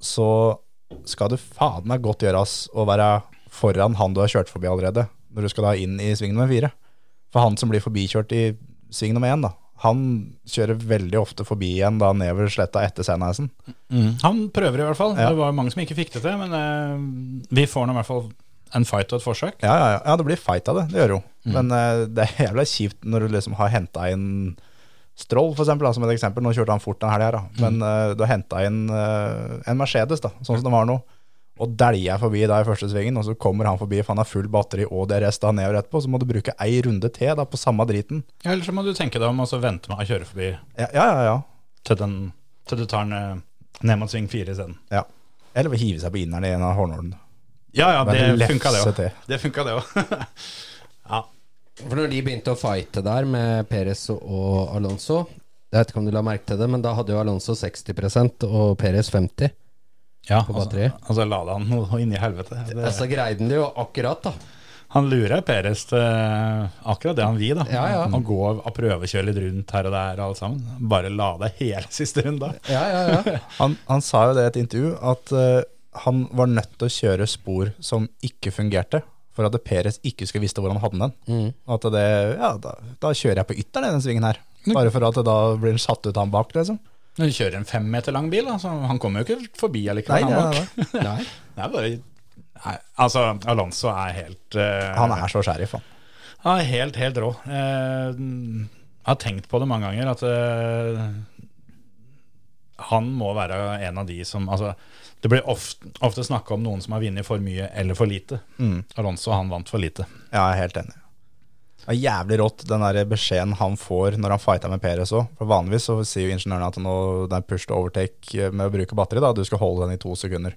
Speaker 4: så skal du faen meg godt gjøres å være foran han du har kjørt forbi allerede, når du skal da inn i sving nummer fire. For han som blir forbikjørt i sving nummer én, da, han kjører veldig ofte forbi igjen da nedover sletta etter Sandheisen.
Speaker 3: Han prøver i hvert fall. Det var mange som ikke fikk det til, men eh, vi får nå i hvert fall en fight og et forsøk.
Speaker 4: Ja, ja, ja. ja, det blir fight av det. Det gjør det jo.
Speaker 3: Mm.
Speaker 4: Men eh, det er jævla kjipt når du liksom har henta inn Stroll, for eksempel, da, som et eksempel. Nå kjørte han fort denne helga,
Speaker 3: Mm.
Speaker 4: da. Men eh, du har henta inn eh, en Mercedes, da, sånn som den var nå. Og dæljer jeg forbi da i første svingen, og så kommer han forbi, for han har full batteri og DRS da nedover etterpå, så må du bruke ei runde til da på samme driten.
Speaker 3: Ja, Eller så må du tenke deg om og så vente med å kjøre forbi
Speaker 4: Ja, ja, ja.
Speaker 3: til, den, til du tar den eh, ned mot sving fire isteden.
Speaker 4: ja. ja. Eller hive seg på inneren i en av hornhålene.
Speaker 3: Ja, ja,
Speaker 4: Men
Speaker 3: det
Speaker 4: lefse
Speaker 3: funka det òg.
Speaker 4: til.
Speaker 3: Det funka det òg. ja.
Speaker 5: For når de begynte å fighte der med Perez og Alonso Jeg vet ikke om du la merke til det, men da hadde jo Alonso 60 og Perez 50
Speaker 3: ja
Speaker 5: På
Speaker 3: og så-
Speaker 5: batteriet.
Speaker 3: Og så lada han noe inni helvete. Det,
Speaker 5: Altså greide han det jo akkurat, da.
Speaker 3: han lurer Peres til eh, akkurat det han vil. da
Speaker 5: Ja, ja.
Speaker 3: Å gå og prøvekjøre litt rundt her og der, alle sammen. Bare lade hele siste runde.
Speaker 5: Ja, ja, ja.
Speaker 4: Han, han sa jo det i et intervju, at eh, han var nødt til å kjøre spor som ikke fungerte, for at Peres ikke skulle visste hvor han hadde den. At det, ja, da, da kjører jeg på ytteren i denne svingen her. Bare for at det da blir han satt ut han bak, liksom.
Speaker 3: Når du kjører en fem meter lang bil, da, så han kommer jo ikke forbi allikevel.
Speaker 4: Nei, nei,
Speaker 3: han
Speaker 4: nei,
Speaker 3: bak. Det er bare Nei, altså, Alonso er helt eh,
Speaker 4: Han er så sheriff, han.
Speaker 3: Ja, helt, helt rå. Eh, jeg har tenkt på det mange ganger at eh, han må være en av de som altså, Det blir ofte, ofte snakka om noen som har vunnet for mye eller for lite.
Speaker 4: Mm.
Speaker 3: Alonso han vant for lite.
Speaker 4: Ja, jeg er helt enig. Det er jævlig rått den der beskjeden han får når han fighter med Peres òg. For vanligvis så sier jo ingeniørene at nå, det er push to overtake eh, med å bruke batteri. da, Du skal holde den i to sekunder.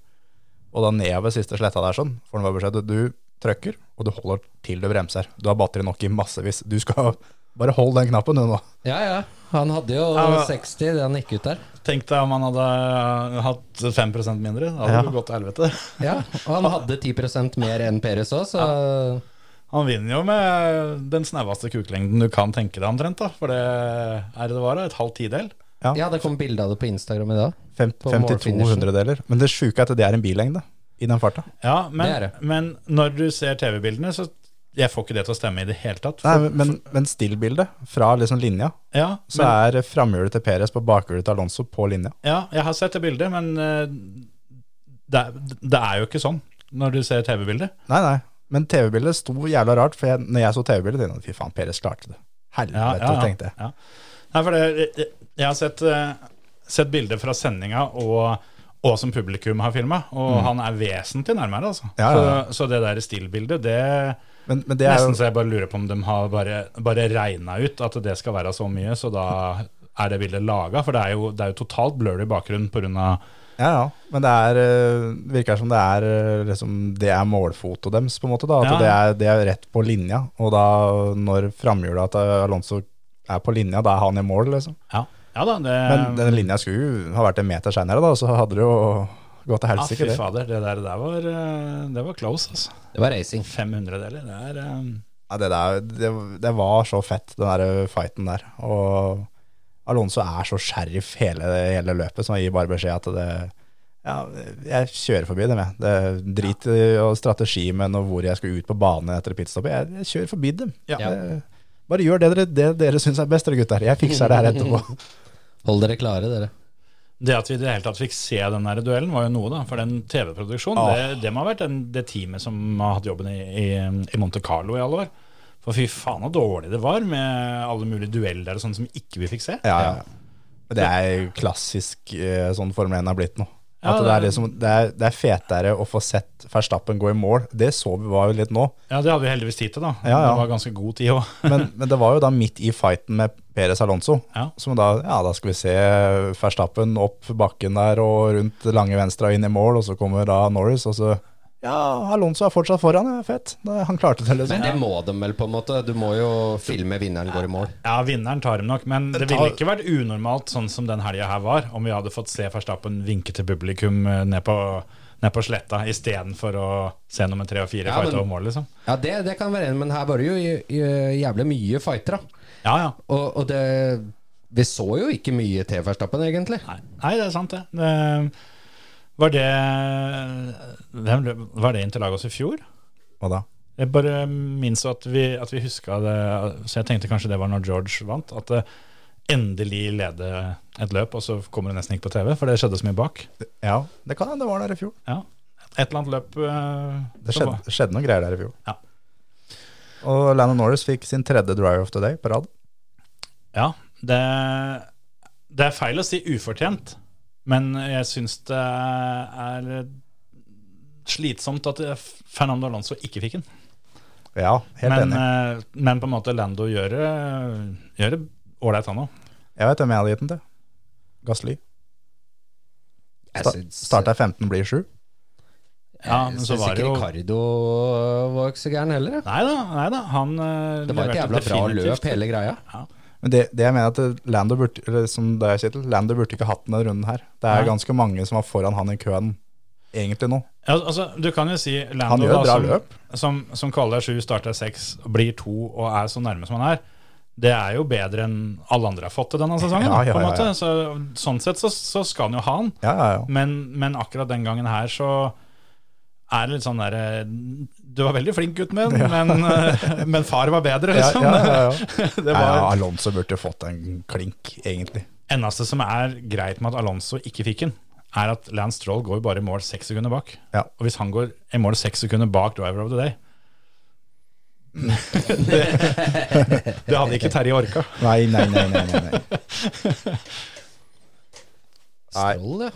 Speaker 4: Og da nedover siste sletta der sånn, får han bare beskjed du trykker, og du holder til du bremser. Du har batteri nok i massevis. Du skal bare holde den knappen, du nå.
Speaker 5: ja, ja. Han hadde jo
Speaker 3: men-
Speaker 5: 60 da han gikk ut der.
Speaker 3: Tenk deg om han hadde eh, hatt 5 mindre. Da hadde
Speaker 4: Ja.
Speaker 3: det gått til helvete.
Speaker 5: Ja, Og han hadde 10 mer enn Perez òg, så
Speaker 3: Han vinner jo med den snaueste kuklengden du kan tenke deg, omtrent. da, For det er det det var, da, et halvt tidel.
Speaker 5: Ja, det kom bilde av det på Instagram i dag.
Speaker 4: Fem-
Speaker 5: På
Speaker 4: 52
Speaker 5: målfinishen.
Speaker 4: hundredeler. Men det sjuke er at det er en billengde i den farta.
Speaker 3: Ja, men,
Speaker 5: Det er det.
Speaker 3: men når du ser TV-bildene, så jeg får ikke det til å stemme i det hele tatt.
Speaker 4: Nei, men, men- men still-bildet fra liksom linja,
Speaker 3: Ja,
Speaker 4: så er eh, framhjulet til Peres på bakhjulet til Alonso på linja.
Speaker 3: Ja, jeg har sett det bildet, men eh, det, er- det er jo ikke sånn når du ser TV-bildet.
Speaker 4: Nei, nei. Men TV-bildet sto jævla rart, for jeg, når jeg så TV-bildet, tenkte jeg fy faen, Peres klarte det. Helvete,
Speaker 3: Ja, ja, ja.
Speaker 4: tenkte jeg.
Speaker 3: Ja. Nei, for det, jeg, jeg har sett, eh, sett bilder fra sendinga og, og som publikum har filma, og han er vesentlig nærmere, altså.
Speaker 4: Mm. Ja, ja, ja.
Speaker 3: Så, så det der stillbildet, det
Speaker 4: Men, men det er jo
Speaker 3: Nesten så jeg bare lurer på om de har bare, bare regna ut at det skal være så mye, så da er det bildet laga. For det er jo, det er jo totalt blurry bakgrunn pga.
Speaker 4: Ja, ja. Men det er, øh, virker som det er øh, liksom, det er målfoto deres, på en måte. da, At
Speaker 3: Ja,
Speaker 4: det,
Speaker 3: ja.
Speaker 4: er, det er rett på linja. Og da når framhjula til Alonso er på linja, da er han i mål, liksom.
Speaker 3: Ja. ja da, det
Speaker 4: Men den linja skulle jo ha vært en meter seinere, da, så hadde det jo gått til
Speaker 3: Ja,
Speaker 4: helsike,
Speaker 3: Ah, fy
Speaker 4: det.
Speaker 3: fader, det der, det der var, eh, det var close, altså.
Speaker 5: Det var racing.
Speaker 3: 500 deler, det er eh,
Speaker 4: Ja, det, der, det, det var så fett, den der eh, fighten der. Og Alonso er så sheriff hele, hele løpet, så han gir bare beskjed at det ja, jeg kjører forbi dem, jeg. Det Drit i og strategi men og hvor jeg skal ut på bane etter pitstoppet. Jeg, jeg kjører forbi dem.
Speaker 3: Ja.
Speaker 4: Det- Bare gjør det dere, det dere syns er best, dere gutter. Jeg fikser det her etterpå.
Speaker 5: Hold dere klare, dere.
Speaker 3: Det at vi i det hele tatt fikk se den der duellen, var jo noe, da. For den TV-produksjonen,
Speaker 4: Ah.
Speaker 3: det, det må ha vært den, det teamet som har hatt jobben i, i, i Monte Carlo i alle år. For fy faen så dårlig det var med alle mulige dueller og sånn som ikke vi fikk se.
Speaker 4: Ja, ja. Men Det er jo klassisk eh, sånn Formel 1 har blitt nå.
Speaker 3: Ja,
Speaker 4: At det, er
Speaker 3: det-
Speaker 4: liksom, det, er, det er fetere å få sett Verstappen gå i mål. Det så vi var jo litt nå.
Speaker 3: Ja, det hadde vi heldigvis tid til, da.
Speaker 4: Ja, ja.
Speaker 3: Det var ganske god tid òg.
Speaker 4: men, men det var jo da midt i fighten med Perez Alonso.
Speaker 3: Ja.
Speaker 4: Som da, ja, da skal vi se Verstappen opp bakken der og rundt lange venstre og inn i mål, og så kommer da Norris, og så Ja, Alonso er fortsatt foran, ja, fett. Da- Han klarte det, liksom.
Speaker 5: Men det må de vel, på en måte. Du må jo filme vinneren går i mål.
Speaker 3: Ja, vinneren tar dem nok, men det ville ikke vært unormalt sånn som den helga her var, om vi hadde fått se Verstappen vinke til publikum eh, ned på, ned på sletta istedenfor å se nummer tre og fire
Speaker 5: Ja,
Speaker 3: fighte
Speaker 5: men-
Speaker 3: over mål, liksom.
Speaker 5: Ja, det, det kan være enig, men her var det jo j- j- jævlig mye fighter, da.
Speaker 3: Ja, ja.
Speaker 5: Og, og det Vi så jo ikke mye til Verstappen, egentlig.
Speaker 3: Nei, nei det er sant, det. det var det hvem, lø- Var det Interlagos i fjor?
Speaker 4: Hva da?
Speaker 3: Jeg bare minnes at vi, at vi huska det, så jeg tenkte kanskje det var når George vant. At det endelig lede et løp, og så kommer det nesten ikke på TV, for det skjedde så mye bak.
Speaker 4: Ja, det kan hende det var der i fjor.
Speaker 3: Ja. Et eller annet løp eh,
Speaker 4: Det
Speaker 3: som var-
Speaker 4: skjedde, skjedde noen greier der i fjor.
Speaker 3: Ja.
Speaker 4: Og Landon Norris fikk sin tredje driver of the day på rad.
Speaker 3: Ja, det, det er feil å si ufortjent, men jeg syns det er slitsomt at eh, Fernando Alonso ikke fikk den.
Speaker 4: Ja, helt
Speaker 3: Men,
Speaker 4: enig.
Speaker 3: eh, men på en måte Lando gjør det- gjør det ålreit, han òg.
Speaker 4: Jeg vet hvem jeg hadde gitt den til. Gassly.
Speaker 5: Jeg
Speaker 4: Sta-
Speaker 5: syns-
Speaker 4: Starta 15, blir 7.
Speaker 3: Ja,
Speaker 5: jeg
Speaker 3: men så
Speaker 5: syns
Speaker 3: var
Speaker 5: ikke
Speaker 3: det jo
Speaker 5: Ricardo var ikke så gæren heller. jeg.
Speaker 3: Nei da, nei da. Han eh,
Speaker 5: Det var et
Speaker 3: leverte
Speaker 5: jævla bra
Speaker 3: definitivt.
Speaker 5: løp, hele greia.
Speaker 4: Men det, det jeg mener er at Lando burde, eller som det er, Kjetil, Lando burde ikke hatt den denne runden her. Det er
Speaker 3: Nei.
Speaker 4: ganske mange som var foran han i køen egentlig nå.
Speaker 3: Ja, altså, du kan jo si Lando,
Speaker 4: Han gjør et
Speaker 3: da,
Speaker 4: bra
Speaker 3: som,
Speaker 4: løp.
Speaker 3: Som, som kaller sju, starter seks, blir to og er så nærme som han er. Det er jo bedre enn alle andre har fått til denne sesongen.
Speaker 4: Ja, ja,
Speaker 3: på en
Speaker 4: ja,
Speaker 3: måte.
Speaker 4: ja.
Speaker 3: Så, sånn sett så, så skal han jo ha den.
Speaker 4: Ja, ja, ja.
Speaker 3: Men, men akkurat den gangen her så er det litt sånn derre Du var veldig flink, gutt min, men, eh, men far var bedre,
Speaker 4: Ja,
Speaker 3: liksom.
Speaker 4: ja, ja, ja.
Speaker 3: Det
Speaker 4: Nei, ja,
Speaker 3: var
Speaker 4: Alonso burde fått en klink, egentlig.
Speaker 3: eneste som er greit med at Alonso ikke fikk den, er at Lance Stroll går jo bare i mål seks sekunder bak.
Speaker 4: Ja.
Speaker 3: Og hvis han går i mål seks sekunder bak Driver of the Day det, det hadde ikke Terje orka.
Speaker 4: Nei, nei, nei, nei, nei, nei. Nei.
Speaker 5: Stroll, ja.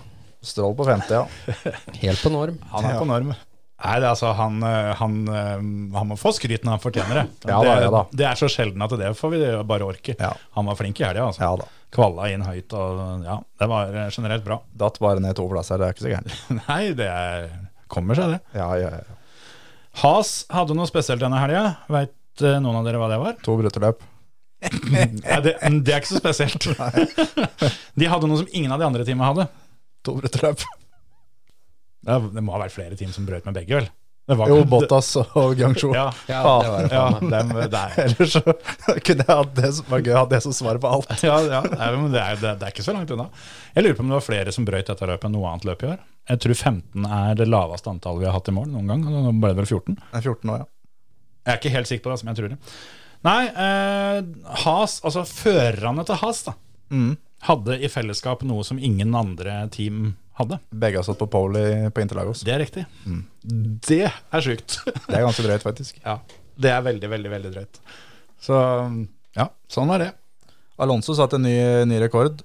Speaker 4: Stroll på femte, ja.
Speaker 5: Helt på norm.
Speaker 3: Han er på norm. Nei, det er altså, han, eh, han, eh, han må få skryt når han fortjener det.
Speaker 4: Ja da,
Speaker 3: det,
Speaker 4: ja da.
Speaker 3: det er så sjelden at det får vi bare orke.
Speaker 4: Ja.
Speaker 3: Han var flink i helga, altså.
Speaker 4: Ja da.
Speaker 3: Kvalla inn høyt og ja, det var eh, generelt bra.
Speaker 4: Datt bare ned to plasser, det er ikke så gærent.
Speaker 3: Nei, det er, kommer seg, det.
Speaker 4: Ja, ja, ja.
Speaker 3: Has hadde noe spesielt denne helga. Veit eh, noen av dere hva det var?
Speaker 4: To brutterløp.
Speaker 3: Nei, det, det er ikke så spesielt. De hadde noe som ingen av de andre teamene hadde.
Speaker 4: To brutterløp.
Speaker 3: Det, er- det må ha vært flere team som brøt med begge, vel? Det var
Speaker 4: Jo,
Speaker 3: ikke-
Speaker 4: Bottas og Gangsjo.
Speaker 3: Ja,
Speaker 5: Ja, det var
Speaker 4: Faen.
Speaker 5: det.
Speaker 3: ja, dem, det er,
Speaker 4: Ellers så kunne jeg hatt det som var gøy, hatt det som svar på alt.
Speaker 3: ja, ja nei, men det, er, det, det er ikke så langt unna. Jeg lurer på om det var flere som brøt dette løpet enn noe annet løp i år. Jeg tror 15 er det laveste antallet vi har hatt i mål noen gang. og Nå ble det vel 14.
Speaker 4: Jeg er 14 år, ja.
Speaker 3: Jeg er ikke helt sikker på det, som jeg tror det. Nei, eh, Has, altså førerne til Has, da,
Speaker 5: Mm.
Speaker 3: hadde i fellesskap noe som ingen andre team hadde.
Speaker 4: Begge har stått på pole i- på Interlagos.
Speaker 3: Det er riktig.
Speaker 5: Mm.
Speaker 3: Det er sjukt.
Speaker 4: Det er ganske drøyt, faktisk.
Speaker 3: ja, det er veldig, veldig, veldig drøyt. Så ja, sånn var det.
Speaker 4: Alonso satte en ny, ny rekord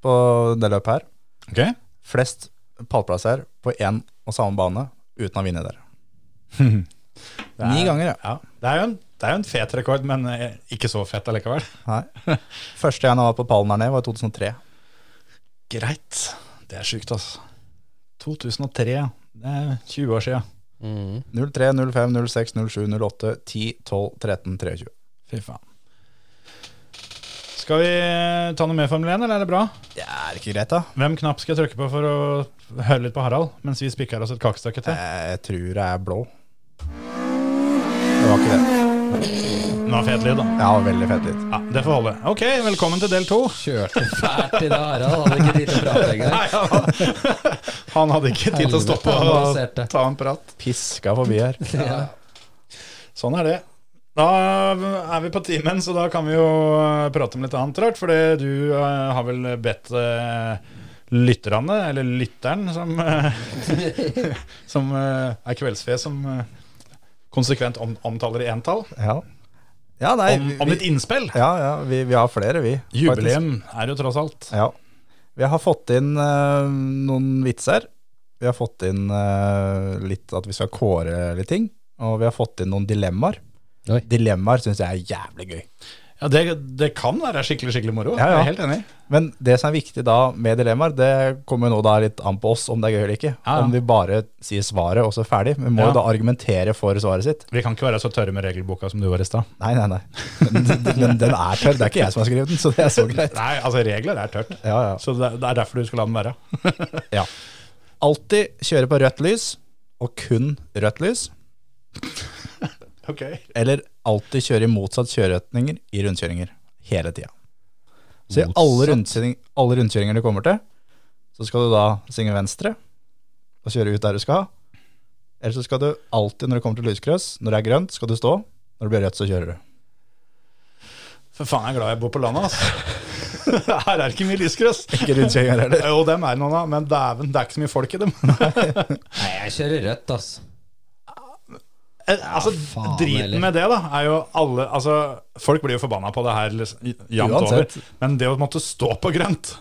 Speaker 4: på det løpet her.
Speaker 3: Ok,
Speaker 4: Flest pallplasser på én og samme bane uten å vinne der. Ni ganger, ja.
Speaker 3: ja. Det er jo en, det er jo en fet rekord, men eh, ikke så fet allikevel.
Speaker 4: Nei. Første gang han var på pallen her nede, var i 2003.
Speaker 3: Greit. Det er sjukt, altså. 2003, ja. det er 20 år siden.
Speaker 4: 03, 05, 06, 07, 08, 10, 12, 13, 23.
Speaker 3: Fy faen. Skal vi eh, ta noe mer Formel 1, eller er det bra?
Speaker 4: Det er ikke greit, da.
Speaker 3: Hvem knapp skal jeg trykke på for å høre litt på Harald, mens vi spikker oss et kakestykke til?
Speaker 4: Jeg tror jeg er blå. Det var ikke det.
Speaker 3: Nå er fet lyd, da.
Speaker 4: Ja, veldig fett litt.
Speaker 3: Ja, det får holde. Ok, velkommen til del to.
Speaker 5: Kjørte fælt i det, Harald. Hadde ikke tid til å prate engang.
Speaker 3: Nei, han, han hadde ikke tid til å stoppe
Speaker 5: Helvete, han
Speaker 3: og
Speaker 5: baserte.
Speaker 3: ta en prat.
Speaker 4: Piska forbi her.
Speaker 5: Ja.
Speaker 3: Sånn er det. Da er vi på timen, så da kan vi jo eh, prate om litt annet rart. Fordi du eh, har vel bedt eh, lytterne, eller lytteren, som, eh, som eh, er kveldsfe, som eh, konsekvent om, omtaler i entall,
Speaker 4: Ja, ja nei
Speaker 3: om, om ditt innspill.
Speaker 4: Ja, ja, vi, vi har flere, vi. faktisk.
Speaker 3: Jubileum er jo tross alt.
Speaker 4: Ja. Vi har fått inn eh, noen vitser. Vi har fått inn eh, litt at vi skal kåre litt ting. Og vi har fått inn noen dilemmaer.
Speaker 5: Oi.
Speaker 4: Dilemmaer syns jeg er jævlig gøy.
Speaker 3: Ja, det, det kan være skikkelig skikkelig moro.
Speaker 4: Ja, ja.
Speaker 3: Jeg er helt enig.
Speaker 4: Men det som er viktig da med dilemmaer, det kommer jo nå da litt an på oss om det er gøy eller ikke.
Speaker 3: Ja, ja.
Speaker 4: Om vi bare sier svaret og så ferdig. Vi må
Speaker 3: Ja.
Speaker 4: jo da argumentere for svaret sitt.
Speaker 3: Vi kan ikke være så tørre med regelboka som du var i stad.
Speaker 4: Nei, nei, nei. Men den, den, den er tørr. Det er ikke jeg som har skrevet den, så det er så greit.
Speaker 3: Nei, altså regler er tørt.
Speaker 4: Ja, ja.
Speaker 3: Så det er- det er derfor du skal la den være.
Speaker 4: Ja. Alltid kjøre på rødt lys, og kun rødt lys.
Speaker 3: Ok.
Speaker 4: Eller alltid kjøre i motsatt kjøreretninger i rundkjøringer. Hele tida. Så i alle, rundkjøring, alle rundkjøringer du kommer til, så skal du da svinge venstre og kjøre ut der du skal. Eller så skal du alltid, når du kommer til lyskryss, når det er grønt, skal du stå. Når det blir rødt, så kjører du.
Speaker 3: For faen, jeg er glad jeg bor på landet, altså. Her er det ikke mye lysgrøss.
Speaker 4: Ikke rundkjøringer heller.
Speaker 3: Jo, dem er noen av, men dæven, det er ikke så mye folk i dem.
Speaker 5: Nei, jeg kjører rødt, ass.
Speaker 3: altså,
Speaker 5: faen,
Speaker 3: Driten
Speaker 5: eller?
Speaker 3: med det, da, er jo alle Altså, folk blir jo forbanna på det her liksom, jevnt over,
Speaker 4: Uansett.
Speaker 3: men det å måtte stå på grønt,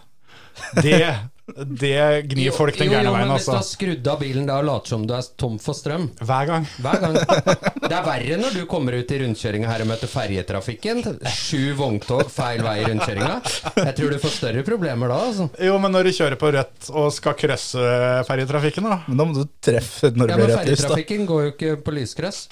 Speaker 3: det, det gnir folk den
Speaker 5: Jo, jo,
Speaker 3: gærne
Speaker 5: men
Speaker 3: veien,
Speaker 5: Hvis du
Speaker 3: altså.
Speaker 5: har skrudd av bilen da og later som du er tom for strøm
Speaker 3: Hver gang.
Speaker 5: hver gang. Det er verre når du kommer ut i rundkjøringa her og møter ferjetrafikken. Sju vogntog feil vei i rundkjøringa. Jeg tror du får større problemer da, altså.
Speaker 3: Jo, men når du kjører på rødt og skal krøsse ferjetrafikken, da.
Speaker 4: Men da må du treffe når
Speaker 5: Ja,
Speaker 4: det
Speaker 5: men
Speaker 4: blir rødt lys, da.
Speaker 5: ferjetrafikken går jo ikke på lysgress.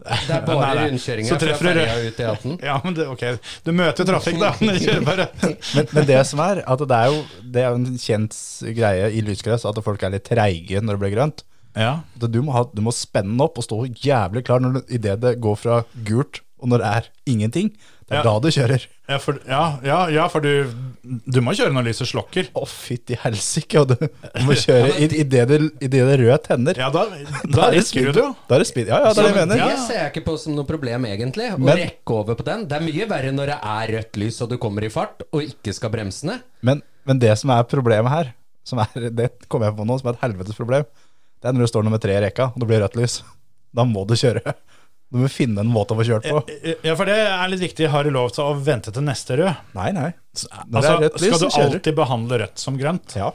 Speaker 5: Det er bare
Speaker 3: Nei, nei. Så
Speaker 5: rundkjøringa fra
Speaker 3: treffer du rød-
Speaker 5: ferja ut i E18.
Speaker 3: Ja, men det, ok, du møter jo trafikk, da, når du kjører på rødt.
Speaker 4: Men, men det som er, at det er jo, det er jo en kjent greie i lysgress at folk er litt treige når det blir grønt.
Speaker 3: Ja.
Speaker 4: At Du må, ha, du må spenne den opp og stå jævlig klar når du- i det det går fra gult og når det er ingenting. Det er
Speaker 3: Ja.
Speaker 4: da du kjører.
Speaker 3: Ja, for, ja, ja, ja, for du, du må kjøre når lyset slokker.
Speaker 4: Å, fytti helsike. Og du du må kjøre i, i, det det, i det det røde tenner.
Speaker 3: Ja, da, da rekker du det jo.
Speaker 4: Da er det speed. Ja, ja, det er det jeg mener.
Speaker 5: Det ser jeg ikke på som noe problem, egentlig. Å
Speaker 4: Men-
Speaker 5: rekke over på den. Det er mye verre når det er rødt lys og du kommer i fart og ikke skal bremse ned.
Speaker 4: Men, men det som er problemet her, som er, det kommer jeg på nå, som er et helvetes problem, det er når du står nummer tre i rekka, og det blir rødt lys. Da må du kjøre. Du må finne en måte å få kjørt på.
Speaker 3: Eh, Ja, for det er litt viktig. Har du lov til å vente til neste rød?
Speaker 4: Nei, nei. Når det
Speaker 3: Altså,
Speaker 4: er rødt lys,
Speaker 3: skal du
Speaker 4: så kjører du.
Speaker 3: alltid behandle rødt som grønt,
Speaker 4: Ja.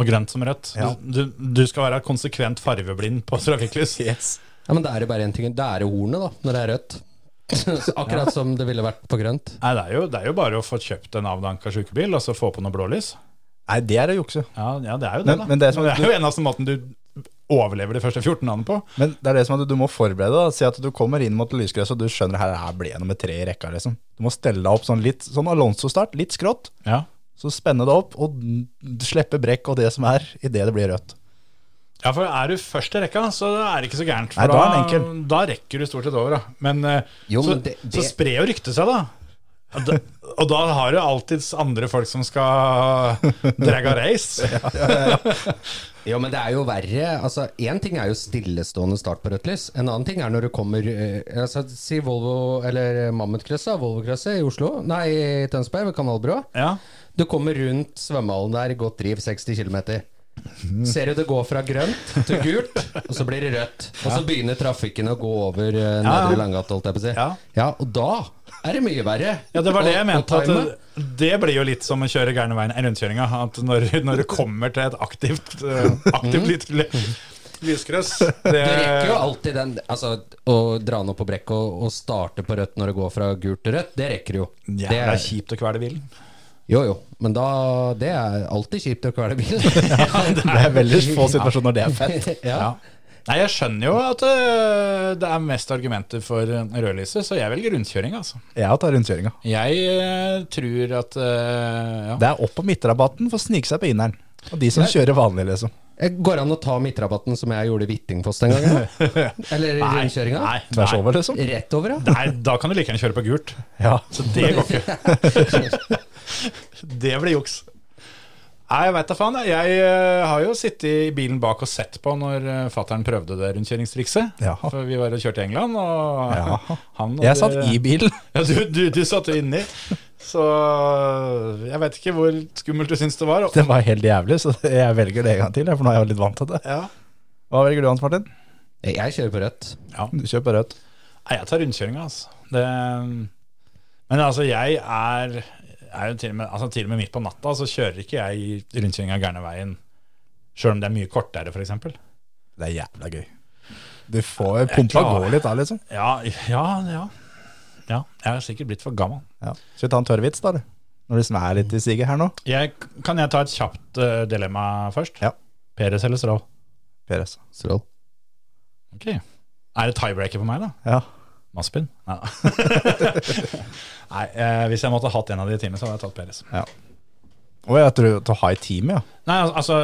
Speaker 3: og grønt som rødt?
Speaker 4: Ja.
Speaker 3: Du, du, du skal være konsekvent farveblind på trafikklys.
Speaker 4: Yes.
Speaker 5: Ja, Men da er det bare én ting. Da er det hornet, da, når det er rødt. Så Akkurat som det ville vært på grønt.
Speaker 3: Nei, det er, jo, det er jo bare å få kjøpt en avdanka sjukebil, og så få på noe blålys.
Speaker 4: Nei, det er å jukse.
Speaker 3: Ja, ja, det er jo det,
Speaker 4: Men-
Speaker 3: da.
Speaker 4: men det som-
Speaker 3: er jo eneste måten du overlever de første 14 dagene på.
Speaker 4: Men det er det som at du må forberede deg. Si at du kommer inn mot lysgress, og du skjønner her, her blir jeg nummer tre i rekka. liksom. Du må stelle deg opp sånn litt sånn Alonso-start, litt skrått.
Speaker 3: Ja.
Speaker 4: Så spenne deg opp, og n- slippe brekk og det som er, idet det blir rødt.
Speaker 3: Ja, for er du først i rekka, så er det ikke så gærent. For
Speaker 4: Nei, da er den enkel.
Speaker 3: da rekker du stort sett over, da. Men, eh,
Speaker 5: Jo,
Speaker 3: så,
Speaker 5: men det-
Speaker 3: så
Speaker 5: det-
Speaker 3: sprer jo ryktet seg, da. Og da- Og da har du alltids andre folk som skal dragge race.
Speaker 5: Jo, men det er jo verre. Altså, Én ting er jo stillestående start på rødt lys. En annen ting er når du kommer eh, altså, Si Volvo eller Mammutkrysset, Volvokrysset i Oslo Nei, i Tønsberg, ved Kanalbrua.
Speaker 3: Ja.
Speaker 5: Du kommer rundt svømmehallen der, godt driv, 60 km. Ser du det går fra grønt til gult, og så blir det rødt. Og så begynner trafikken å gå over
Speaker 3: ja.
Speaker 5: uh, Nedre Langgata, holdt jeg på å si.
Speaker 3: Ja.
Speaker 5: og da er det mye verre.
Speaker 3: ja, det var det jeg
Speaker 5: Og-
Speaker 3: mente.
Speaker 5: og time.
Speaker 3: At det, det blir jo litt som å kjøre gærne veien i rundkjøringa. At når, når du kommer til et aktivt, eh, aktivt lys- ly- lyskrøss det,
Speaker 5: Mhm. Du rekker jo alltid den Altså, å dra den opp på brekket og, og starte på rødt når det går fra gult til rødt, det rekker du jo.
Speaker 3: ja,
Speaker 5: det
Speaker 3: det er kjipt å kvele bilen.
Speaker 5: Jo, jo, men da Det er alltid kjipt å kvele bilen.
Speaker 4: Det er veldig få situasjoner det er fett.
Speaker 5: ja.
Speaker 3: Ja. Nei, jeg skjønner jo at eh, det er mest argumenter for rødlyset, så jeg velger rundkjøring, altså.
Speaker 4: Jeg tar rundkjøringa.
Speaker 3: Jeg eh, tror at eh, ja.
Speaker 4: Det er opp på midtrabatten for å snike seg på inneren. Og de som kjører vanlig, liksom.
Speaker 5: Eh, Går det an å ta midtrabatten som jeg gjorde i Hvittingfoss den gangen? da? Eller
Speaker 3: Nei,
Speaker 5: rundkjøringa?
Speaker 3: Nei,
Speaker 4: Tvers
Speaker 3: nei.
Speaker 4: over, liksom.
Speaker 5: Rett over, ja.
Speaker 3: Nei, da kan du like gjerne kjøre på gult.
Speaker 4: Ja.
Speaker 3: Så det går ikke. det blir juks. Nei, jeg veit da faen. jeg. Jeg eh, har jo sittet i bilen bak og sett på når uh, fattern prøvde det rundkjøringstrikset.
Speaker 4: Ja.
Speaker 3: For vi var og kjørte i England, og
Speaker 4: Ja.
Speaker 3: han
Speaker 4: Jeg satt i bilen.
Speaker 3: Ja, du, du, du satt jo inni. Så jeg veit ikke hvor skummelt du syns det var.
Speaker 4: Det var helt jævlig, så jeg velger det en gang til, jeg, for nå er jeg jo litt vant til det.
Speaker 3: Ja.
Speaker 4: Hva velger du, Hans Martin?
Speaker 5: Jeg kjører på rødt.
Speaker 4: Du kjøper rødt.
Speaker 3: Nei, jeg tar rundkjøringa, altså. Det, men altså, jeg er, er jo til og, med, altså, til og med midt på natta, så kjører ikke jeg rundkjøringa gærne veien. Sjøl om det er mye kortere, f.eks.
Speaker 4: Det er jævla gøy. Du får pumpa
Speaker 3: klarer
Speaker 4: gå litt da, liksom.
Speaker 3: Ja, ja, ja. Ja, jeg er sikkert blitt for gammel.
Speaker 4: Ja. Skal vi ta en tørr vits, da? eller? Når det snær litt i siget her nå.
Speaker 3: Jeg, kan jeg ta et kjapt eh, dilemma først?
Speaker 4: Ja.
Speaker 3: Peres eller Strål?
Speaker 4: Peres.
Speaker 5: Strål.
Speaker 3: Ok. Er det tiebreaker for meg, da?
Speaker 4: Ja.
Speaker 3: Maspin? Nei, Nei eh, hvis jeg måtte hatt en av de i teamet, så hadde jeg tatt Peres.
Speaker 4: Og jeg tror til å ha i teamet, ja.
Speaker 3: Nei, al- altså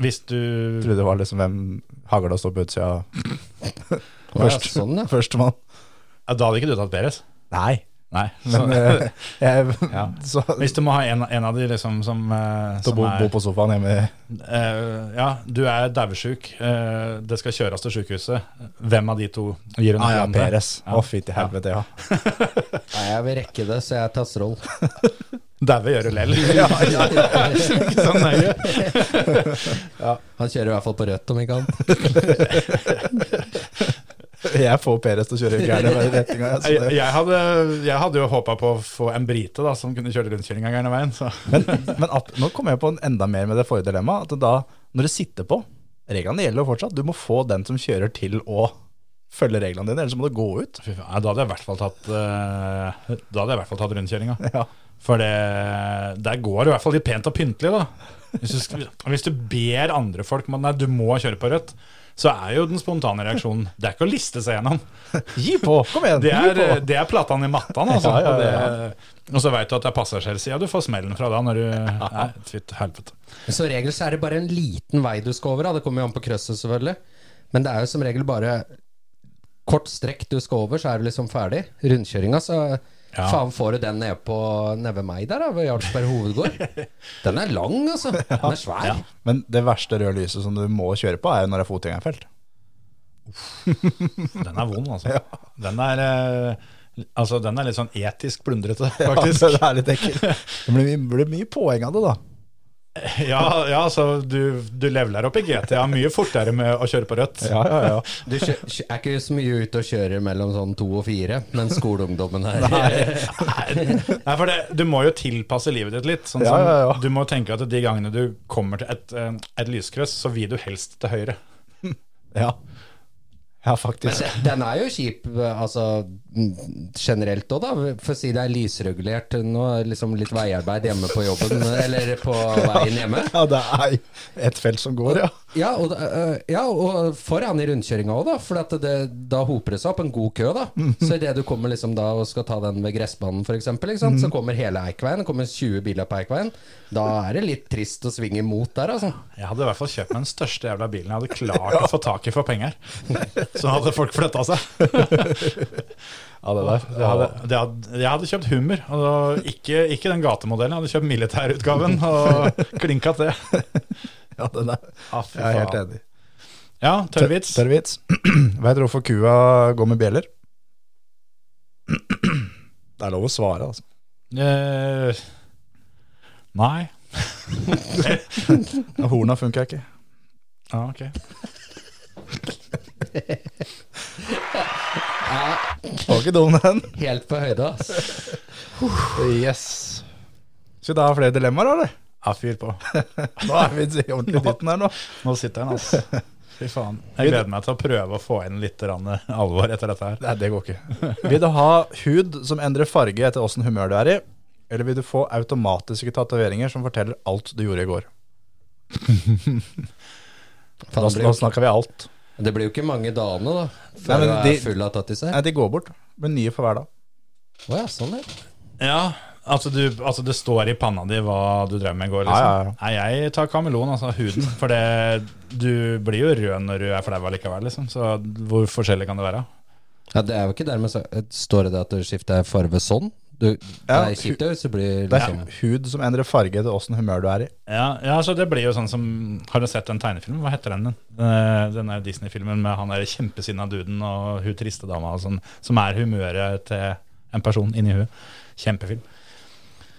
Speaker 3: Hvis du
Speaker 4: Jeg trodde det var liksom hvem hagla står på utsida
Speaker 5: Først.
Speaker 4: først.
Speaker 5: Ja, sånn, ja.
Speaker 4: Førstemann.
Speaker 3: Ja, Da hadde ikke du tatt Peres.
Speaker 4: Nei.
Speaker 3: Nei. Så,
Speaker 5: Sånn,
Speaker 4: Men eh, jeg, så,
Speaker 3: hvis du må ha en, en av de liksom som, eh,
Speaker 4: så
Speaker 3: som
Speaker 4: bo,
Speaker 3: er
Speaker 4: bo på sofaen hjemme
Speaker 3: eh, Ja, du er daudsjuk. eh, det skal kjøres til sykehuset. Hvem av de to gir hun
Speaker 4: ah, ja,
Speaker 3: hånden til?
Speaker 4: Peres. Å,
Speaker 3: Ja.
Speaker 4: fy til helvete, ja.
Speaker 5: Nei, jeg vil rekke det, så jeg tar Strål.
Speaker 3: Daue gjør det lell. Ikke så nøye.
Speaker 5: Han kjører i hvert fall på rødt, om ikke annet.
Speaker 4: Jeg får Peres til å kjøre i gærne vei i retninga. jeg, så
Speaker 3: Jeg,
Speaker 4: det-
Speaker 3: jeg, hadde, jeg hadde jo håpa på å få en brite da, som kunne kjøre rundkjøringa gærne veien. Så.
Speaker 4: Men, men at, nå kommer jeg på en enda mer med det forrige dilemmaet. At da, når du sitter på Reglene gjelder jo fortsatt. Du må få den som kjører til å følge reglene dine, ellers må du gå ut.
Speaker 3: Fy faen, ja, da hadde jeg i hvert fall tatt eh, Da hadde jeg i hvert fall tatt rundkjøringa.
Speaker 4: Ja.
Speaker 3: For det, der går det i hvert fall litt pent og pyntelig, da. Hvis du, skal- hvis du ber andre folk om at nei, du må kjøre på rødt, så er jo den spontane reaksjonen Det er ikke å liste seg gjennom.
Speaker 4: Gi på! Kom igjen!
Speaker 3: Det er, eh,
Speaker 4: gi på!
Speaker 3: det er platan i mattan, altså.
Speaker 4: Ja, ja, ja.
Speaker 3: Og, det, og så veit du at det er passasjersida du får smellen fra da, når du Nei, fy til helvete.
Speaker 5: Så regel så er det bare en liten vei du skal over. Da. Det kommer jo an på krøsset, selvfølgelig. Men det er jo som regel bare kort strekk du skal over, så er du liksom ferdig. Rundkjøringa, så
Speaker 3: Ja.
Speaker 5: faen får du den nede på nede ved meg der, da, ved Jarlsberg hovedgård. Den er lang, altså. Den er svær.
Speaker 4: Men det verste røde lyset som du må kjøre på, er jo når det er fotgjengerfelt.
Speaker 3: Den er vond, altså. Den, er, eh, altså den er litt sånn etisk plundrete,
Speaker 4: Ja,
Speaker 3: faktisk.
Speaker 4: det er litt ekkelt. Det blir, mye- blir mye poeng av det, da.
Speaker 3: Ja, ja så du, du leveler opp i GTA mye fortere med å kjøre på rødt.
Speaker 4: Ja, ja, ja.
Speaker 5: Du kjø- kjø- er ikke så mye ute og kjører mellom sånn to og fire, men skoleungdommen her
Speaker 3: Nei, for det, Du må jo tilpasse livet ditt litt. Sånn
Speaker 4: Ja,
Speaker 3: som,
Speaker 4: ja, ja.
Speaker 3: Du må tenke at de gangene du kommer til et, eh, et lyskryss, så vil du helst til høyre.
Speaker 4: Ja, ja
Speaker 5: Men
Speaker 4: faktisk.
Speaker 5: den- den er jo kjip altså, mm, generelt òg, da. For å si det er lysregulert nå, liksom litt veiarbeid hjemme på jobben, eller på veien hjemme.
Speaker 4: Ja, det er et felt som går, ja.
Speaker 5: Ja, og, øh, ja, og foran i rundkjøringa òg, da. For at det, da hoper det seg opp en god kø, da. Så idet du kommer liksom da og skal ta den ved gressbanen, f.eks., så kommer hele Eikveien. Det kommer 20 biler på Eikveien. Da er det litt trist å svinge imot der, altså.
Speaker 3: Jeg hadde i hvert fall kjøpt meg den største jævla bilen jeg hadde klart å få tak i for penger. Så hadde folk flytta seg.
Speaker 4: Ja, det der.
Speaker 3: Jeg hadde, det hadde, jeg hadde kjøpt Hummer, og da- ikke, ikke den gatemodellen. Jeg hadde kjøpt militærutgaven og klinka til.
Speaker 4: Ja, det der.
Speaker 3: Ah, fy
Speaker 4: Jeg er helt
Speaker 3: faen.
Speaker 4: enig.
Speaker 3: Ja, tørrvits.
Speaker 4: Tørr vits. Vet du hvorfor kua går med bjeller? Det er lov å svare, altså.
Speaker 3: Eh, nei.
Speaker 4: Horna funker ikke.
Speaker 3: Ja, ok.
Speaker 4: Var ikke dum, den.
Speaker 5: Helt på høyde, ass.
Speaker 4: Yes. Skal vi da ha flere dilemmaer, eller?
Speaker 3: Ja, fyr på.
Speaker 4: Nå er vi i ordentlig dytten her nå.
Speaker 3: Nå sitter den, altså. Fy faen. Jeg gleder meg til å prøve å få inn litt grann alvor etter dette her.
Speaker 4: Nei, det går ikke. Vil du ha hud som endrer farge etter åssen humør du er i, eller vil du få automatiske tatoveringer som forteller alt du gjorde i går?
Speaker 5: Faen,
Speaker 4: Nå,
Speaker 5: det blir
Speaker 4: nå
Speaker 5: jo-
Speaker 4: snakker vi alt.
Speaker 5: Det blir jo ikke mange dagene da
Speaker 4: Nei,
Speaker 5: før
Speaker 4: men
Speaker 5: du er
Speaker 4: de-
Speaker 5: full av tattiser.
Speaker 4: Nei, de går bort. Med nye for hver dag.
Speaker 5: Å ja, sånn ja.
Speaker 3: Ja, altså, du, altså det står i panna di hva du drev med i går, liksom.
Speaker 4: Ja, ja, ja.
Speaker 3: Nei, jeg tar kameleon, altså huden. For det, du blir jo rød når du er flau allikevel, liksom. Så hvor forskjellig kan det være?
Speaker 5: ja. Det er jo ikke dermed så Står det det at du skifter farve sånn? Du,
Speaker 4: Ja,
Speaker 5: det er kjipt, det, hvis du blir
Speaker 4: Det er
Speaker 5: liksom
Speaker 4: hud som endrer farge etter åssen humør du er i.
Speaker 3: Ja, ja, så det blir jo sånn som Har du sett den tegnefilmen? Hva heter den? Den, eh, den der Disney-filmen med han der kjempesinna duden og hun triste dama og sånn, som er humøret til en person inni huet. Kjempefilm.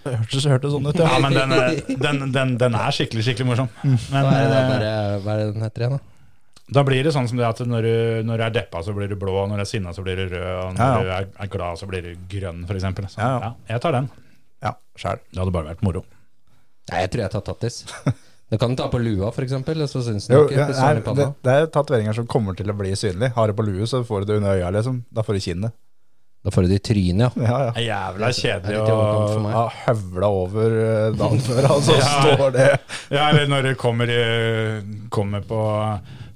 Speaker 4: Det Mm. hørtes, hørtes sånn ut, ja.
Speaker 3: Ja, men den, eh, den, den, den er skikkelig, skikkelig morsom. Men
Speaker 5: Hva er det
Speaker 3: eh,
Speaker 5: der, hva er det den heter igjen, da?
Speaker 3: da blir det sånn som det at når du, når du er deppa, så blir du blå, og når du er sinna, så blir du rød, og når
Speaker 4: Ja, ja.
Speaker 3: du er, er glad, så blir du grønn, f.eks. Så
Speaker 4: Ja, ja.
Speaker 3: ja, jeg tar den.
Speaker 4: Ja, sjæl.
Speaker 3: Det hadde bare vært moro.
Speaker 5: Nei, jeg tror jeg tar tattis. Det kan du ta på lua, for eksempel. og Så syns den
Speaker 4: Jo,
Speaker 5: ikke.
Speaker 4: ja,
Speaker 5: hvis du har
Speaker 4: nei,
Speaker 5: den i
Speaker 4: det,
Speaker 5: panna.
Speaker 4: det er tatoveringer som kommer til å bli synlige. Har du på lue, så får du det under øya, liksom. Da får du kinnet.
Speaker 5: Da får du det i trynet, ja.
Speaker 4: Ja, ja.
Speaker 3: Det er jævla
Speaker 5: Det er
Speaker 3: kjedelig
Speaker 5: litt i
Speaker 3: å
Speaker 5: overkant for meg.
Speaker 4: Ja, høvla over eh, dagen før, altså, står det
Speaker 3: Ja, eller når det kommer, eh, kommer på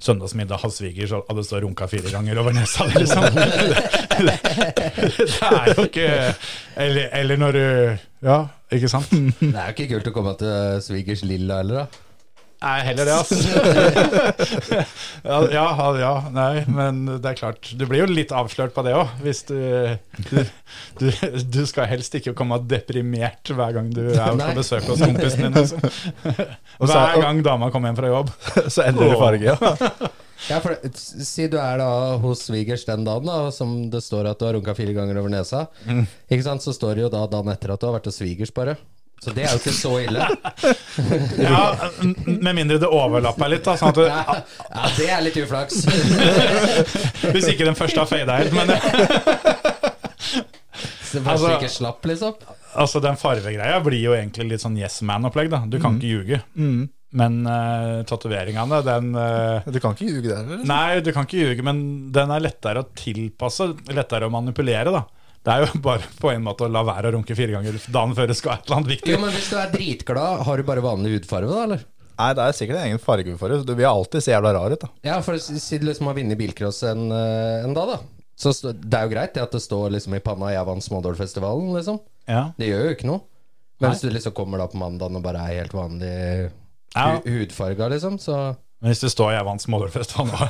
Speaker 3: søndagsmiddag hos svigers, og det står runka fire ganger over nesa. Liksom. Det, det, det er jo ikke Eller, eller når du Ja, ikke sant? Nei,
Speaker 5: Det er jo ikke kult å komme til svigers lilla heller, da.
Speaker 3: heller det, altså. Ja, ja, ja, nei, men det er klart. Du blir jo litt avslørt på det òg, hvis du du, du skal helst ikke komme deprimert hver gang du er
Speaker 5: Nei.
Speaker 3: på besøk hos kompisen din. Altså.
Speaker 4: så-
Speaker 3: Hver gang dama kommer hjem fra jobb.
Speaker 4: Så endrer det farge. Ja.
Speaker 5: Ja, for det- Si du er da hos svigers den dagen, da, som det står at du har runka fire ganger over nesa. Ikke sant, Så står det jo da dagen etter at du har vært hos svigers, bare. Så det er jo ikke så ille.
Speaker 3: Ja, m- Med mindre det overlapper litt. Da, sånn at du,
Speaker 5: Ja, Det er litt uflaks.
Speaker 3: hvis ikke den første har fada helt. Men det,
Speaker 5: Så Først
Speaker 3: Altså-
Speaker 5: ikke slapp, liksom.
Speaker 3: altså, den farvegreia blir jo egentlig litt sånn yes man-opplegg. da Du kan ikke ljuge. Men uh, tatoveringene, den eh,
Speaker 4: Du kan ikke ljuge der, eller?
Speaker 3: Nei, du kan ikke ljuge, men den er lettere å tilpasse, lettere å manipulere, da. Det er jo bare på en måte å la være å runke fire ganger dagen før det skal et eller annet viktig.
Speaker 5: Jo, men Hvis du er dritglad, har du bare vanlig hudfarve, da? eller?
Speaker 4: Nei, det er sikkert en egen farge for det. så Du vil alltid se jævla rar ut, da.
Speaker 5: Ja, for si si du liksom har vunnet bilcross en, eh, en dag, da. Så st- det er jo greit det at det står liksom i panna 'Jeg vant Smådålfestivalen', liksom.
Speaker 3: Ja.
Speaker 5: Det gjør jo ikke noe. Men hvis du liksom kommer da på mandagen og bare er helt vanlig
Speaker 3: Ja.
Speaker 5: hu- hudfarga, liksom, så,
Speaker 3: Men hvis det står 'jeg vant Smålørfestivalen' nå,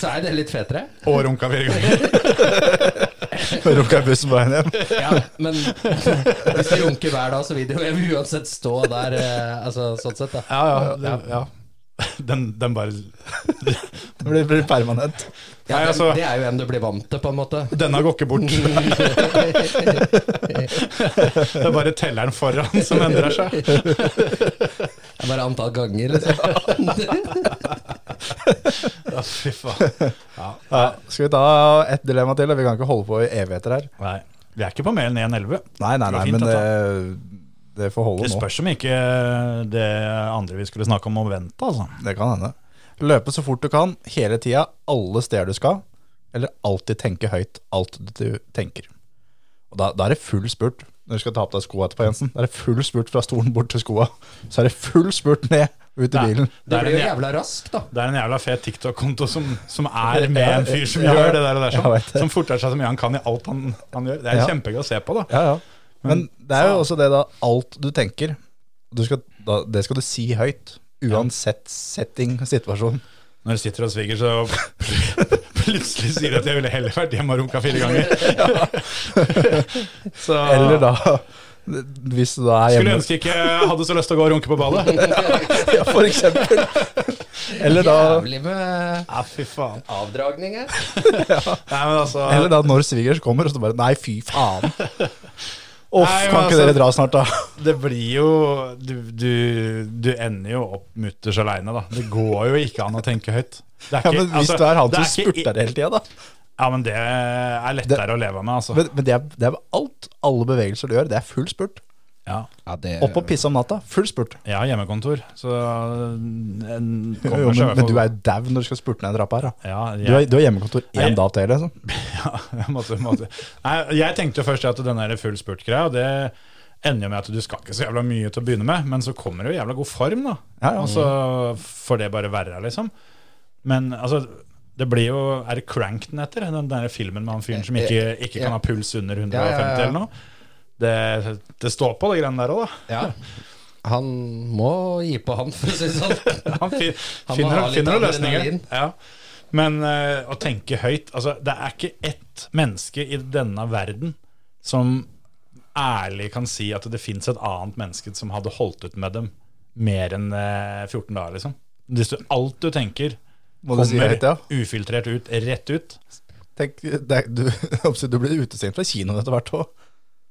Speaker 5: så er det litt fetere.
Speaker 3: og runka fire ganger
Speaker 4: Runka i bussen på veien hjem.
Speaker 5: Ja, men hvis du runker hver dag, så vil du jo uansett stå der, eh, altså sånn sett, da.
Speaker 3: Ja, ja, ja, ja. Den, den bare
Speaker 4: Det blir, blir permanent.
Speaker 5: Ja,
Speaker 3: Nei,
Speaker 5: det,
Speaker 3: altså-
Speaker 5: det er jo en du blir vant til, på en måte.
Speaker 3: Denne går ikke bort. Det er bare telleren foran som endrer seg.
Speaker 5: Det er bare antall ganger, liksom.
Speaker 3: Ja, fy faen.
Speaker 4: Ja, skal vi ta et dilemma til? da? Vi kan ikke holde på i evigheter her.
Speaker 3: Nei, vi er ikke på mer enn 1,11.
Speaker 4: Nei, nei,
Speaker 3: Det var
Speaker 4: nei,
Speaker 3: fint
Speaker 4: men
Speaker 3: å
Speaker 4: det,
Speaker 3: ta.
Speaker 4: det får holde
Speaker 3: Det
Speaker 4: nå.
Speaker 3: spørs om ikke det andre vi skulle snakke om, må vente, altså.
Speaker 4: Det kan hende. Løpe så fort du kan, hele tida, alle steder du skal. Eller alltid tenke høyt alt du tenker. Og da, da er det full spurt når du skal ta på deg skoa etterpå, Jensen. Da er det full spurt fra stolen bort til skoa. Så er det full spurt ned ut i
Speaker 3: Det er,
Speaker 4: bilen.
Speaker 5: Det
Speaker 3: det er,
Speaker 5: blir jo
Speaker 3: en, jævla,
Speaker 5: jævla rask, da.
Speaker 3: det er en jævla fet TikTok-konto som, som er med en fyr som gjør det der og der,
Speaker 4: Jeg
Speaker 3: som,
Speaker 4: vet det.
Speaker 3: som forter seg så mye han kan i alt han, han gjør. Det er
Speaker 4: Ja.
Speaker 3: kjempegøy å se på, da.
Speaker 4: Ja, ja. Men det er jo også det, da. Alt du tenker, du skal, da, det skal du si høyt. Uansett setting, situasjon.
Speaker 3: Når du sitter og sviger, så plutselig sier du at jeg ville heller vært hjemme og runka fire ganger. Så-
Speaker 4: Eller da Hvis du da er
Speaker 3: Skulle
Speaker 4: hjemme
Speaker 3: ønske ikke jeg hadde så lyst til å gå og runke på ballet.
Speaker 4: Ja, for eksempel. Eller da,
Speaker 5: Jævlig med
Speaker 3: Ja, fy faen.
Speaker 5: avdragning her.
Speaker 3: Nei, men altså,
Speaker 4: eller da når svigers kommer, og så bare Nei, fy faen. Uff,
Speaker 3: Nei, men
Speaker 4: kan ikke
Speaker 3: altså-
Speaker 4: dere dra snart, da?
Speaker 3: det blir jo du, du, du ender jo opp mutters aleine, da. Det går jo ikke an å tenke høyt. Det
Speaker 4: Ja, men Hvis
Speaker 3: altså,
Speaker 4: du er han
Speaker 3: det
Speaker 4: som
Speaker 3: ikke-
Speaker 4: spurter hele tida, da.
Speaker 3: Ja, men det er lettere å leve med, altså.
Speaker 4: Men, men det, er, det er alt. Alle bevegelser du gjør, det er full spurt.
Speaker 3: Ja,
Speaker 5: Ja, det,
Speaker 4: Opp og pisse om natta, full spurt.
Speaker 3: jeg har hjemmekontor, så en
Speaker 4: Jo,
Speaker 3: kommer
Speaker 4: men,
Speaker 3: seg
Speaker 4: men du er jo dau når du skal spurte ned en trappe her, da.
Speaker 3: ja,
Speaker 4: Du har,
Speaker 3: jeg,
Speaker 4: du har hjemmekontor
Speaker 3: Nei.
Speaker 4: én dag til, liksom.
Speaker 3: ja, jeg måtte, måtte. Nei, jeg tenkte jo først at den der full spurt-greia, det ender jo med at du skal ikke så jævla mye til å begynne med, men så kommer du i jævla god form, da.
Speaker 4: Ja, ja.
Speaker 3: Og så får det bare verre, liksom. Men altså, det blir jo Er det Crankton etter? Den der filmen med han fyren som ikke, ikke
Speaker 5: Eh, Ja.
Speaker 3: kan ha puls under 150
Speaker 5: Ja, ja, ja.
Speaker 3: eller noe? Det, det står på, det greiene der òg, da.
Speaker 5: Ja. Han må gi på, han, for å si det sånn.
Speaker 3: Han fin,
Speaker 5: Han må
Speaker 3: finner,
Speaker 5: ha litt
Speaker 3: finner noen løsninger.
Speaker 5: adrenalin.
Speaker 3: Ja. Men eh, å tenke høyt altså, Det er ikke ett menneske i denne verden som ærlig kan si at det fins et annet menneske som hadde holdt ut med dem mer enn eh, 14 dager, liksom. Hvis du, alt du tenker,
Speaker 4: Må du si
Speaker 3: kommer
Speaker 4: høyt, ja.
Speaker 3: ufiltrert ut, rett ut.
Speaker 4: Tenk, det, er- du, du blir utestengt fra kinoen etter hvert òg.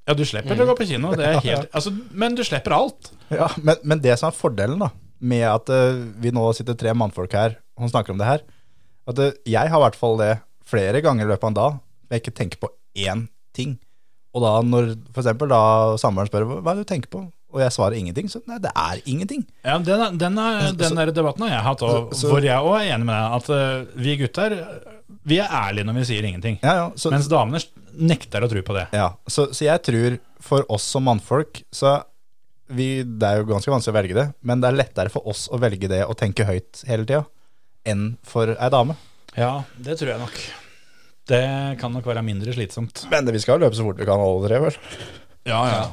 Speaker 3: Ja, du slipper
Speaker 5: Mm.
Speaker 3: å gå på kino, det er helt, altså, men du slipper alt.
Speaker 4: Ja, men, men det som er fordelen da med at eh, vi nå sitter tre mannfolk her og snakker om det her, at eh, jeg har i hvert fall det flere ganger i løpet av en dag, hvor jeg ikke tenker på én ting. Og da når for eksempel da samboeren spør hva hva er det du tenker på, og jeg svarer ingenting, så nei, det er ingenting.
Speaker 3: Ja, den, Eh, er- den, er, den der debatten har jeg hatt, og,
Speaker 4: så-
Speaker 3: hvor jeg òg er enig med deg. At eh, vi eh, gutter vi er ærlige når vi sier ingenting.
Speaker 4: Ja, ja, så,
Speaker 3: Mens damene nekter å tro på det.
Speaker 4: ja, så, så jeg tror for oss som mannfolk, så vi, det er jo ganske vanskelig å velge det, men det er lettere for oss å velge det og tenke høyt hele tida enn for ei dame.
Speaker 3: Ja, det tror jeg nok. Det kan nok være mindre slitsomt.
Speaker 4: Men det, vi skal jo løpe så fort vi kan alle tre, vel?
Speaker 3: Ja, ja.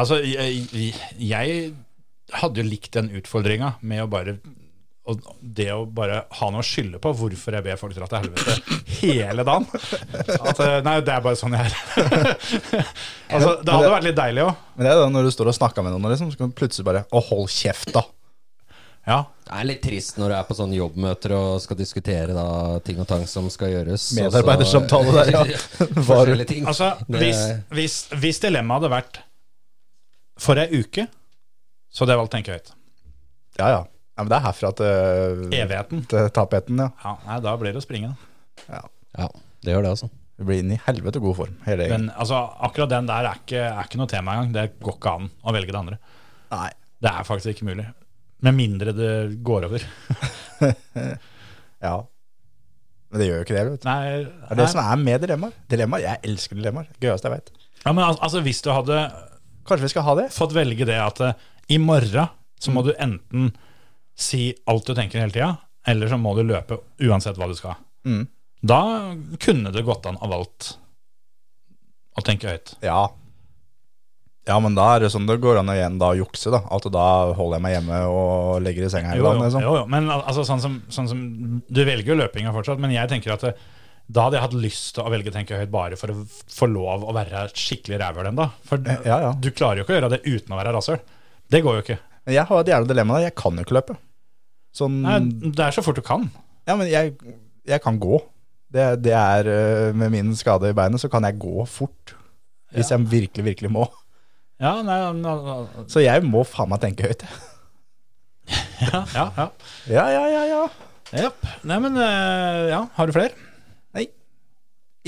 Speaker 3: altså, jeg, jeg hadde jo likt den utfordringa med å bare og det å bare ha noe å skylde på hvorfor jeg ber folk dra til helvete hele dagen. At, eh, nei, det er bare sånn jeg er. altså, det hadde vært litt deilig òg.
Speaker 4: Men det er da når du står og snakker med noen, liksom, så kan du plutselig bare Å, hold kjeft, da.
Speaker 3: Ja.
Speaker 5: Det er litt trist når du er på sånne jobbmøter og skal diskutere da, ting og tang som skal gjøres. og så-
Speaker 4: Medarbeidersamtale der, ja. Var-
Speaker 5: Forskjellige ting.
Speaker 3: Altså,
Speaker 5: Det-
Speaker 3: hvis, hvis, hvis dilemmaet hadde vært for ei uke, så hadde jeg valgt å tenke høyt.
Speaker 4: Ja, ja. ja men det er herfra til,
Speaker 3: Evigheten.
Speaker 4: til tapeten, ja.
Speaker 3: Ja, nei, da blir det å springe. da.
Speaker 5: Ja, det gjør det, altså.
Speaker 4: Du blir inn i helvete god form. Hele gjengen.
Speaker 3: Men altså, akkurat den der er ikke, er ikke noe tema engang. Det går ikke an å velge det andre.
Speaker 4: Nei.
Speaker 3: Det er faktisk ikke mulig. Med mindre det går over.
Speaker 4: Ja. Men det gjør jo ikke det, vet du.
Speaker 3: Nei,
Speaker 4: Det er det
Speaker 3: nei.
Speaker 4: som er med dilemmaer. Dilemmaer, Jeg elsker dilemmaer. Gøyeste jeg vet.
Speaker 3: Ja, men al- altså, hvis du hadde
Speaker 4: Kanskje vi skal ha det?
Speaker 3: fått velge det at eh, i morgen så
Speaker 4: Mm.
Speaker 3: må du enten si alt du tenker hele tida, eller så må du løpe uansett hva du skal.
Speaker 4: Mm.
Speaker 3: Da kunne det gått an å valgt å tenke høyt.
Speaker 4: Ja. Ja, men da er det sånn det går an å igjen da jukse, da. At da holder jeg meg hjemme og legger i senga hele
Speaker 3: Jo,
Speaker 4: dagen,
Speaker 3: jo,
Speaker 4: liksom.
Speaker 3: jo, jo. Men al- altså, sånn, som, sånn som Du velger jo løpinga fortsatt, men jeg tenker at eh, da hadde jeg hatt lyst til å velge å tenke høyt bare for å f- få lov å være skikkelig rævhøl ennå. For
Speaker 4: Eh, ja, ja.
Speaker 3: du klarer jo ikke å gjøre det uten å være rasshøl. Det går jo ikke.
Speaker 4: Men jeg har et jævla dilemma der. Jeg kan jo ikke løpe. Sånn
Speaker 3: Nei, det er så fort du kan.
Speaker 4: Ja, men jeg, jeg kan gå. Det, det er øh, Med min skade i beinet så kan jeg gå fort. Hvis jeg virkelig, virkelig må.
Speaker 3: Ja, nei, ja,
Speaker 4: Så jeg må faen meg tenke høyt. jeg.
Speaker 3: ja. ja.
Speaker 4: Ja, ja, ja, ja.
Speaker 3: Japp. Nei, men eh, ja, har du flere?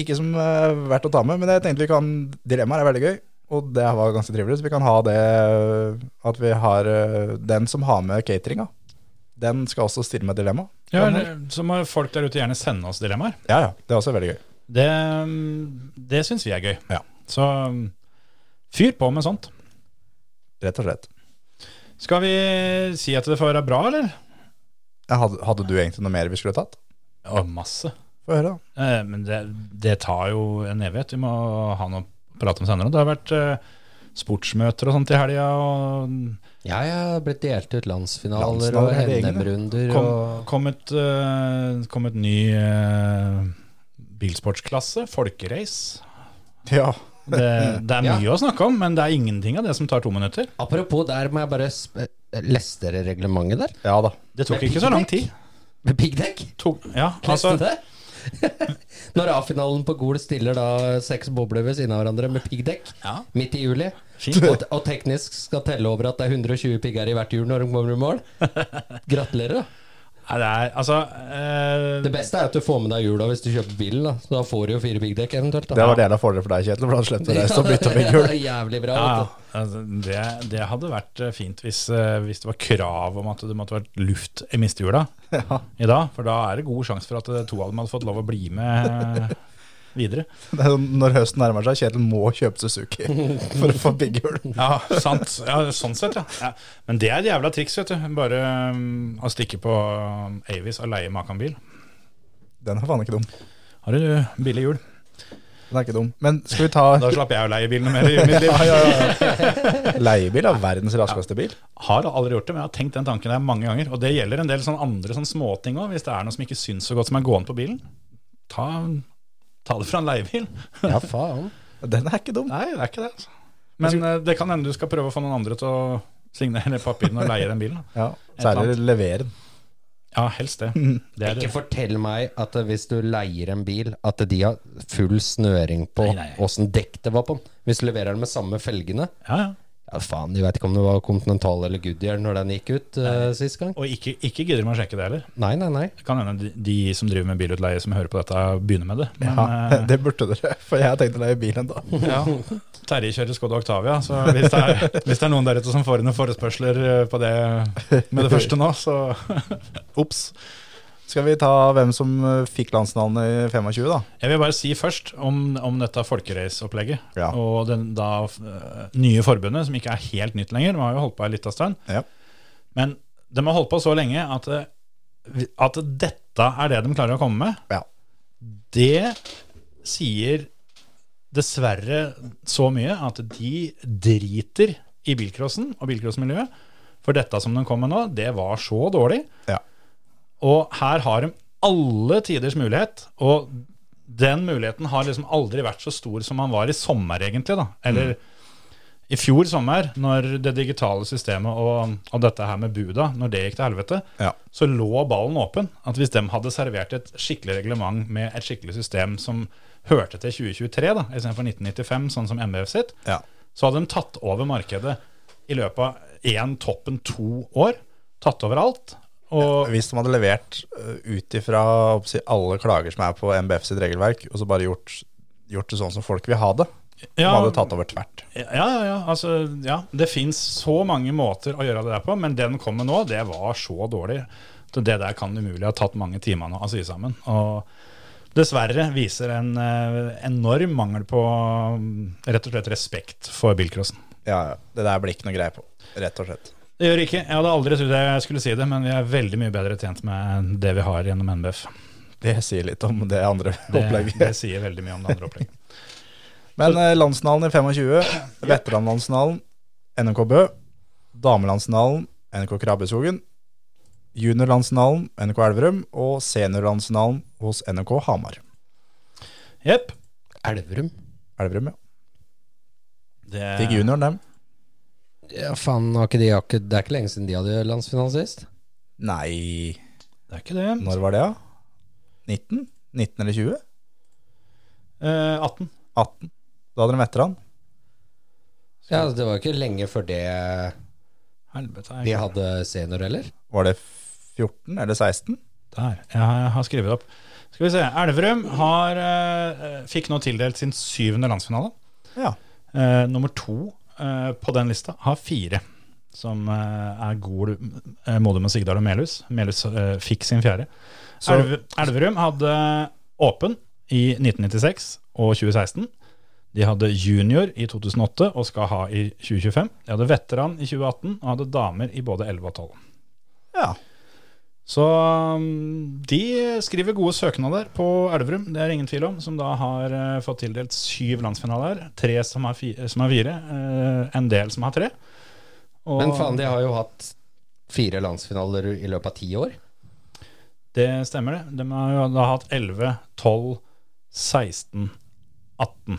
Speaker 4: Ikke som øh, verdt å ta med, men jeg tenkte vi kan Dilemmaer er veldig gøy, og det var ganske trivelig. Så vi kan ha det øh, at vi har øh, Den som har med cateringa, den skal også stille med dilemma.
Speaker 3: Ja, eller så må folk der ute gjerne sende oss dilemmaer.
Speaker 4: Ja, ja. Det er også veldig gøy.
Speaker 3: Det, mm, det syns vi er gøy.
Speaker 4: Ja.
Speaker 3: Så mm, fyr på med sånt.
Speaker 4: Rett og slett.
Speaker 3: Skal vi si at det får være bra, eller?
Speaker 4: Ja, Hadde, hadde du egentlig noe mer vi skulle tatt?
Speaker 3: Å, masse.
Speaker 4: Få høre, da.
Speaker 3: Eh, Men det, det tar jo en evighet. Vi må ha noe å prate om senere. Det har vært eh, sportsmøter og sånt i helga. Og
Speaker 5: Ja, jeg har blitt delt ut landsfinaler
Speaker 4: Landsfinaler
Speaker 5: og
Speaker 4: er det egne, det.
Speaker 5: NM-runder
Speaker 3: kom,
Speaker 5: og
Speaker 3: kom, et, eh, kom et ny eh, bilsportsklasse, folkerace.
Speaker 4: Ja.
Speaker 3: Det, det er mye
Speaker 5: Ja.
Speaker 3: å snakke om, men det er ingenting av det som tar to minutter.
Speaker 5: Apropos, der må jeg bare sp- Leste dere reglementet der?
Speaker 4: ja da.
Speaker 3: Det tok
Speaker 5: Men
Speaker 3: ikke så lang
Speaker 5: piggdekk?
Speaker 3: tid.
Speaker 5: Med piggdekk?
Speaker 3: Tok, ja,
Speaker 5: Leste
Speaker 3: altså,
Speaker 5: det? Når A-finalen på Gol stiller da seks bobler ved siden av hverandre med piggdekk
Speaker 3: Ja.
Speaker 5: midt i juli,
Speaker 3: Fint.
Speaker 5: og, og teknisk skal telle over at det er 120 pigger i hvert hjul når de kommer i mål Gratulerer, da.
Speaker 3: nei, det er, altså eh,
Speaker 5: Det beste er at du får med deg hjula hvis du kjøper bilen. da Så da får du jo fire piggdekk eventuelt. Da.
Speaker 4: Det var det jeg fordel for deg, Kjetil, for da slipper du å reise og bytte med
Speaker 5: Ja,
Speaker 4: hjul.
Speaker 5: det er Jævlig bra.
Speaker 3: ja,
Speaker 5: vet
Speaker 3: ja,
Speaker 5: du.
Speaker 3: altså, det, det hadde vært eh, fint hvis, eh, hvis det var krav om at det måtte vært luft i mistehjula i dag. For da er det god sjanse for at eh, to av dem hadde fått lov å bli med eh, videre.
Speaker 4: Det er sånn, når høsten nærmer seg, Kjetil må kjøpe Suzuki for å få big hull.
Speaker 3: Ja, sant. Ja, sånn sett, ja. ja. Men det er et jævla triks, vet du. Bare mm, å stikke på um, Avis og leie makanbil.
Speaker 4: Den er faen ikke dum.
Speaker 3: Har du billig hjul?
Speaker 4: Den er ikke dum. Men skal vi ta
Speaker 3: Da slapp jeg å leie bilen mer i mitt liv.
Speaker 4: leiebil? Er verdens raskeste bil.
Speaker 3: Har aldri gjort det, men jeg har tenkt den tanken der mange ganger. Og det gjelder en del sånne andre sånne småting òg, hvis det er noe som ikke syns så godt som er gående på bilen. Ta, ta det fra en leiebil.
Speaker 5: Ja, faen.
Speaker 4: Den er ikke dum.
Speaker 3: Nei, det er ikke det. Altså. Men eh, det kan hende du skal prøve å få noen andre til å signere papirene og leie den bilen. da.
Speaker 4: Ja, Særlig levere den.
Speaker 3: Ja, helst det. det er
Speaker 5: Ikke
Speaker 3: det.
Speaker 5: fortell meg at hvis du leier en bil, at de har full snøring på
Speaker 3: Nei, nei.
Speaker 5: åssen dekk det var på den. Hvis du leverer den med samme felgene
Speaker 3: Ja, ja.
Speaker 5: Ja, faen, de veit ikke om det var Continental eller Goodyear når den gikk ut eh, sist gang.
Speaker 3: Og ikke, ikke gidder man å sjekke det heller.
Speaker 5: Nei, nei, nei.
Speaker 3: Det kan hende de, de som driver med bilutleie som hører på dette, begynner med det. Men
Speaker 4: Ja,
Speaker 3: eh,
Speaker 4: det burde dere, for jeg har tenkt å leie bil en dag.
Speaker 3: Terje kjører Skoda Octavia, så hvis det, er, hvis det er noen der ute som får inn noen forespørsler eh, på det med det første nå, så ops.
Speaker 4: Skal vi ta hvem som eh, fikk landsnavnet i 25, da?
Speaker 3: Jeg vil bare si først om, om dette folkereisopplegget.
Speaker 4: Ja.
Speaker 3: Og den da eh, nye forbundet, som ikke er helt nytt lenger. De har jo holdt på en liten stund.
Speaker 4: Ja.
Speaker 3: Men de har holdt på så lenge at, eh, vi- at dette er det de klarer å komme med.
Speaker 4: Ja.
Speaker 3: Det sier dessverre så mye at de driter i bilcrossen og bilcrossmiljøet. For dette som de kom med nå, det var så dårlig.
Speaker 4: Ja.
Speaker 3: Og her har de alle tiders mulighet, og den muligheten har liksom aldri vært så stor som han var i sommer, egentlig. da.
Speaker 4: Mm.
Speaker 3: Eller i fjor sommer, når det digitale systemet og, og dette her med buda, når det gikk til helvete,
Speaker 4: Ja.
Speaker 3: så lå ballen åpen. At hvis de hadde servert et skikkelig reglement med et skikkelig system som hørte til 2023 da, istedenfor 1995, sånn som MBF sitt,
Speaker 4: Ja.
Speaker 3: så hadde de tatt over markedet i løpet av én, toppen to år. Tatt over alt. Og,
Speaker 4: Hvis de hadde levert eh, ut ifra hva skal jeg si, alle klager som er på MBF sitt regelverk, og så bare gjort, gjort det sånn som folk vil ha det, de
Speaker 3: Ja.
Speaker 4: hadde tatt over tvert.
Speaker 3: Ja, ja, ja. Altså, ja. Det fins så mange måter å gjøre det der på, men den kommer nå. Det var så dårlig. Så det der kan umulig ha tatt mange timer nå å sy sammen. Og dessverre viser en eh, enorm mangel på mm, rett og slett respekt for bilcrossen.
Speaker 4: Ja, ja. Det der blir ikke noe greie på, rett og slett.
Speaker 3: Det gjør det ikke. Jeg hadde aldri trodd jeg skulle si det, men vi er veldig mye bedre tjent med det vi har gjennom NBF.
Speaker 4: Det sier litt om det andre
Speaker 3: Det, det
Speaker 4: opplegget.
Speaker 3: sier veldig mye om det andre opplegget.
Speaker 4: Men eh, landsfinalen i 25, veteranlandsfinalen NMK Bø, damelandsfinalen NMK Krabbeskogen, juniorlandsfinalen NMK Elverum og seniorlandsfinalen hos NMK Hamar.
Speaker 3: Jepp.
Speaker 5: Elverum?
Speaker 4: Elverum, ja.
Speaker 3: Det-
Speaker 4: Fikk junioren dem?
Speaker 5: Ja, faen, har ikke de, har ikke, det er ikke lenge siden de hadde landsfinale sist.
Speaker 4: Nei
Speaker 3: Det er ikke det.
Speaker 4: Når var det, da? 19? 19 eller 20?
Speaker 3: Eh, 18.
Speaker 4: 18? Da hadde de veteran.
Speaker 5: Ja, altså, Det var ikke lenge før det
Speaker 3: Helvete. jeg
Speaker 5: de hadde senior, eller?
Speaker 4: Var det 14 eller 16?
Speaker 3: Der, jeg har skrevet det opp. Skal vi se. Elverum har, eh, fikk nå tildelt sin syvende landsfinale.
Speaker 4: Ja.
Speaker 3: Eh, nummer to eh, på den lista har fire, som eh, er Gol, eh, Modum og Sigdal og Melhus. Melhus eh, fikk sin fjerde.
Speaker 4: Så-
Speaker 3: Elve, Elverum hadde åpen i 1996 og 2016. De hadde junior i 2008 og skal ha i 2025. De hadde veteran i 2018 og hadde damer i både 11 og 12.
Speaker 4: Ja.
Speaker 3: Så um, de skriver gode søknader på Elverum, det er ingen tvil om, som da har eh, fått tildelt syv landsfinaler. Tre som har fire, som har fire eh, en del som har tre. Og
Speaker 5: Men faen, de har jo hatt fire landsfinaler i løpet av ti år.
Speaker 3: det stemmer, det. De har jo da hatt 11, 12, 16, 18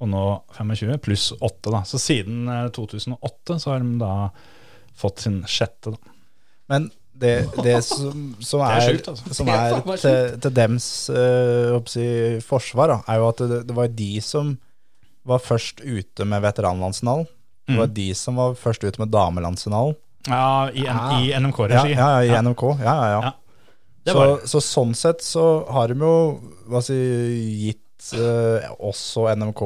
Speaker 3: og nå 25, pluss 8, da. Så siden eh, 2008 så har de da fått sin sjette, da.
Speaker 4: Men det, det som, som
Speaker 3: er
Speaker 4: er,
Speaker 3: sjukt, altså.
Speaker 4: som
Speaker 5: Det er
Speaker 4: er
Speaker 5: faen meg
Speaker 4: til, til dems eh, håper jeg å si, forsvar, da, er jo at det, det var de som var først ute med veteranlandsfinalen. Det
Speaker 3: Mm.
Speaker 4: var de som var først ute med damelandsfinalen.
Speaker 3: Ja, i, N-
Speaker 5: Ah.
Speaker 3: i
Speaker 4: Ja,
Speaker 3: NMK-regi.
Speaker 4: ja, ja, i NMK. Ja, ja, ja.
Speaker 3: Ja. Det
Speaker 4: Så,
Speaker 3: var det.
Speaker 4: så sånn sett så har de jo hva si, gitt eh, også NMK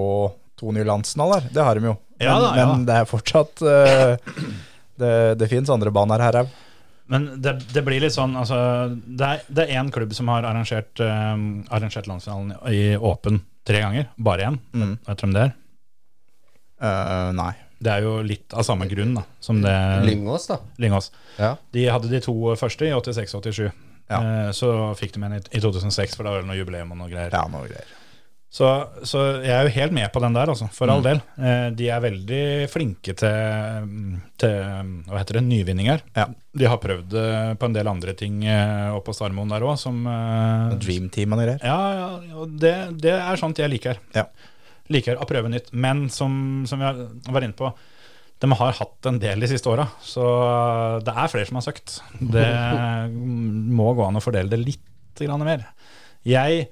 Speaker 4: to nye landsfinaler. Det har de jo. Men,
Speaker 3: Ja da, ja da.
Speaker 4: men det er fortsatt eh, Det, det fins andre baner her òg.
Speaker 3: Men det, det blir litt sånn altså, Det er- det er én klubb som har arrangert, eh, arrangert landsfinalen i i åpen tre ganger. Bare én.
Speaker 4: Mm.
Speaker 3: Vet du hvem det er?
Speaker 4: Eh, nei.
Speaker 3: Det er jo litt av samme grunn da, som det
Speaker 5: Lyngås, da.
Speaker 3: Lyngås.
Speaker 5: Ja.
Speaker 3: De hadde de to første i 86-87.
Speaker 4: Ja.
Speaker 3: Eh, Så fikk de en i i 2006, for da var det noe jubileum og noe greier.
Speaker 4: Ja, noe greier.
Speaker 3: Så, så jeg er jo helt med på den der, altså, for all
Speaker 4: Mm.
Speaker 3: del. Eh, De er veldig flinke til, til hva heter det, nyvinninger.
Speaker 4: Ja.
Speaker 3: De har prøvd det på en del andre ting eh, oppe på Starmoen der òg, som eh,
Speaker 4: Dream Team og noe greier.
Speaker 3: Ja, ja og det, det er sånt jeg liker.
Speaker 4: Ja.
Speaker 3: Liker å prøve nytt. Men som, som jeg var inne på, de har hatt en del de siste åra. Så det er flere som har søkt. Det må gå an å fordele det litt grann mer. Jeg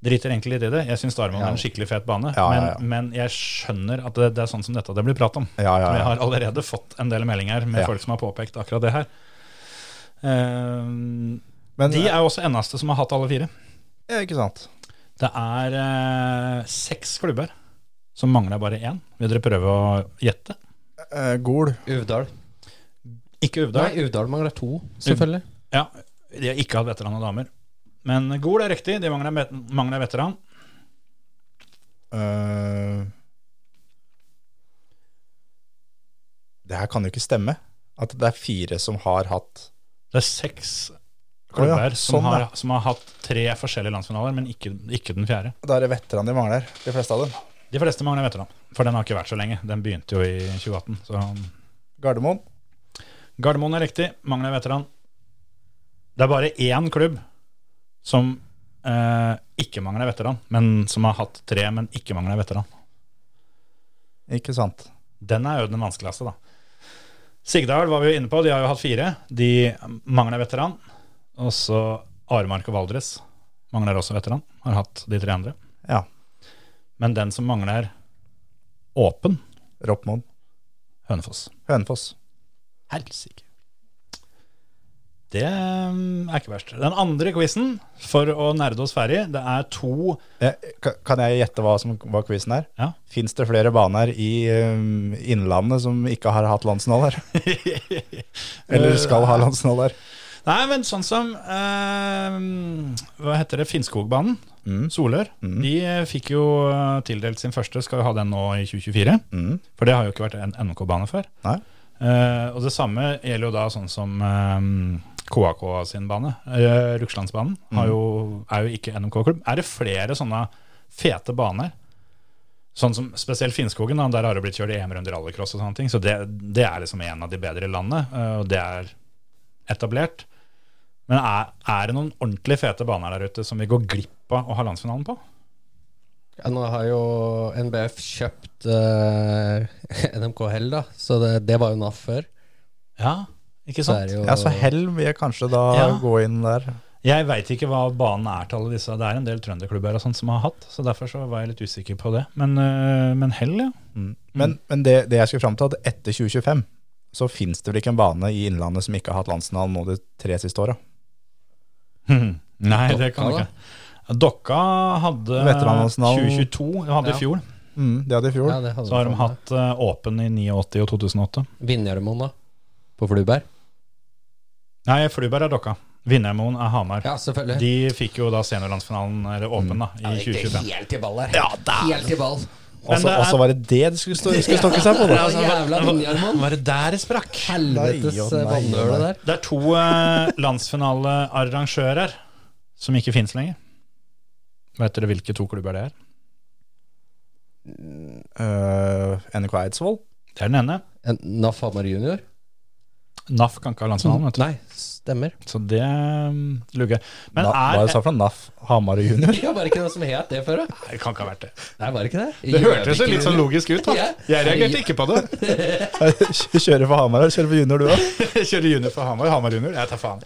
Speaker 3: driter egentlig litt i det. Jeg syns Darmon er en skikkelig fet bane.
Speaker 4: Ja, ja, ja.
Speaker 3: Men, men jeg skjønner at det, det er sånn som dette det blir prat om.
Speaker 4: Ja, ja,
Speaker 3: Vi
Speaker 4: ja.
Speaker 3: har allerede fått en del meldinger med
Speaker 4: Ja.
Speaker 3: folk som har påpekt akkurat det her. Eh,
Speaker 4: Men, eh,
Speaker 3: de er jo også eneste som har hatt alle fire.
Speaker 4: ja, ikke sant.
Speaker 3: Det er eh, seks klubber som mangler bare én. Vil dere prøve å gjette?
Speaker 4: Eh, Gol.
Speaker 5: Uvdal.
Speaker 3: Ikke
Speaker 5: Nei,
Speaker 3: Uvdal.
Speaker 5: Uvdal mangler to, selvfølgelig.
Speaker 3: Ja, de har ikke hatt veteran og damer. Men Gol er riktig, de mangler, en vet- mangler en veteran.
Speaker 4: Eh, det her kan jo ikke stemme. At det er fire som har hatt
Speaker 3: Det er seks
Speaker 4: Å ja,
Speaker 3: klubber som,
Speaker 4: sånn,
Speaker 3: har,
Speaker 4: ja.
Speaker 3: som har hatt tre forskjellige landsfinaler, men ikke, ikke den fjerde.
Speaker 4: Da er det veteraner de mangler, de fleste av dem.
Speaker 3: De fleste mangler en veteran, for den har ikke vært så lenge. Den begynte jo i 2018. Så
Speaker 4: Gardermoen.
Speaker 3: Gardermoen er riktig, mangler en veteran. Det er bare én klubb som eh, ikke mangler en veteran, men som har hatt tre, men ikke mangler en veteran.
Speaker 4: Ikke sant.
Speaker 3: Den er jo den vanskeligste, da. Sigdal var vi jo inne på, de har jo hatt fire. De mangler veteran. Og så Aremark og Valdres mangler også veteran. Har hatt de tre andre.
Speaker 4: Ja.
Speaker 3: Men den som mangler åpen,
Speaker 4: Roppmoen.
Speaker 3: Hønefoss.
Speaker 4: Hønefoss.
Speaker 3: Helsike. Det mm, er ikke verst. Den andre quizen, for å nerde oss ferdig, det er to
Speaker 4: Eh, ka- Kan jeg gjette hva som var quizen her?
Speaker 3: Ja.
Speaker 4: Fins det flere baner i um, Innlandet som ikke har hatt landsnåler? Eller skal ha landsnåler?
Speaker 3: Nei, men sånn som eh, Hva heter det? Finnskogbanen.
Speaker 4: Mm.
Speaker 3: Solør. De eh, fikk jo eh, tildelt sin første, skal jo ha den nå i 2024.
Speaker 4: Mm.
Speaker 3: For det har jo ikke vært en NK-bane før.
Speaker 4: Nei.
Speaker 3: Eh, og det samme gjelder jo da sånn som eh, KAK sin bane. Eh, Rugslandsbanen
Speaker 5: Mm.
Speaker 3: har jo, er jo ikke NMK-klubb. Er det flere sånne fete baner? Sånn som Spesielt Finnskogen, da, der har det blitt kjørt EM-runder i rallycross. og sånne ting, Så det, det er liksom en av de bedre i landet, eh, og det er etablert. Men er, er det noen ordentlig fete baner der ute som vi går glipp av å ha landsfinalen på?
Speaker 5: Ja, nå har jo NBF kjøpt eh, NMK Hell, da, så det, det var jo NAF før.
Speaker 3: Ja, ikke
Speaker 5: Så er
Speaker 3: sant?
Speaker 5: det jo,
Speaker 4: Ja, så Hell vil jeg kanskje da
Speaker 3: Ja.
Speaker 4: gå inn der.
Speaker 3: Jeg veit ikke hva banen er til alle disse. Det er en del trønderklubber og sånt som har hatt, så derfor så var jeg litt usikker på det. Men, øh, men hell, ja.
Speaker 4: Men, men det, det jeg skulle fram til, at etter 2025 så fins det vel ikke en bane i Innlandet som ikke har hatt landsfinalen nå de tre siste åra.
Speaker 3: Nei, det kan
Speaker 5: Dokka,
Speaker 3: du ikke. Dokka hadde
Speaker 4: Veteranlandsfinalen.
Speaker 3: 2022, de hadde
Speaker 5: Ja.
Speaker 3: i fjor.
Speaker 4: Mm, det hadde i fjor.
Speaker 5: ja, det hadde
Speaker 3: Så har de
Speaker 5: vi.
Speaker 3: hatt øh, åpen i 89 og 2008.
Speaker 5: Vinjermoen, da. På Fluberg.
Speaker 3: Nei, Fluberg er Dokka. Vinnermoen er Hamar.
Speaker 5: Ja, selvfølgelig.
Speaker 3: De fikk jo da seniorlandsfinalen eller åpen da, i 2025.
Speaker 5: helt i ball her. Ja, helt i ball.
Speaker 4: Og så
Speaker 3: det er-
Speaker 4: og så var det det de skulle, stå, skulle stokke seg på!
Speaker 5: Ja,
Speaker 4: Da.
Speaker 5: jævla Vinjermoen.
Speaker 3: Var det der det sprakk?
Speaker 5: Helvetes
Speaker 4: Nei, og
Speaker 5: eh,
Speaker 4: nei, og
Speaker 5: vannøle
Speaker 4: nei.
Speaker 5: der.
Speaker 3: Det er to eh, landsfinalearrangører som ikke fins lenger. Vet dere hvilke to klubber det er?
Speaker 4: Uh, NRK Eidsvoll.
Speaker 3: Det er den ene.
Speaker 5: En- NAF Hamar junior?
Speaker 3: NAF kan ikke ha landsfinalen, vet du.
Speaker 5: Nei, stemmer.
Speaker 3: Så det um, lugger. Men
Speaker 4: Na, hva
Speaker 3: er
Speaker 4: sa du for noe? NAF Hamar junior?
Speaker 5: Ja, var det ikke det som het det før, da?
Speaker 3: Nei, Det kan ikke ha vært det.
Speaker 5: Nei, var det ikke det?
Speaker 3: Det hørtes jo litt sånn logisk ut. da
Speaker 5: Ja.
Speaker 3: Jeg reagerte ikke på det.
Speaker 4: Kjører for Hamar eller kjører for junior, du òg?
Speaker 3: Kjøre junior for Hamar, Hamar junior. Jeg tar faen.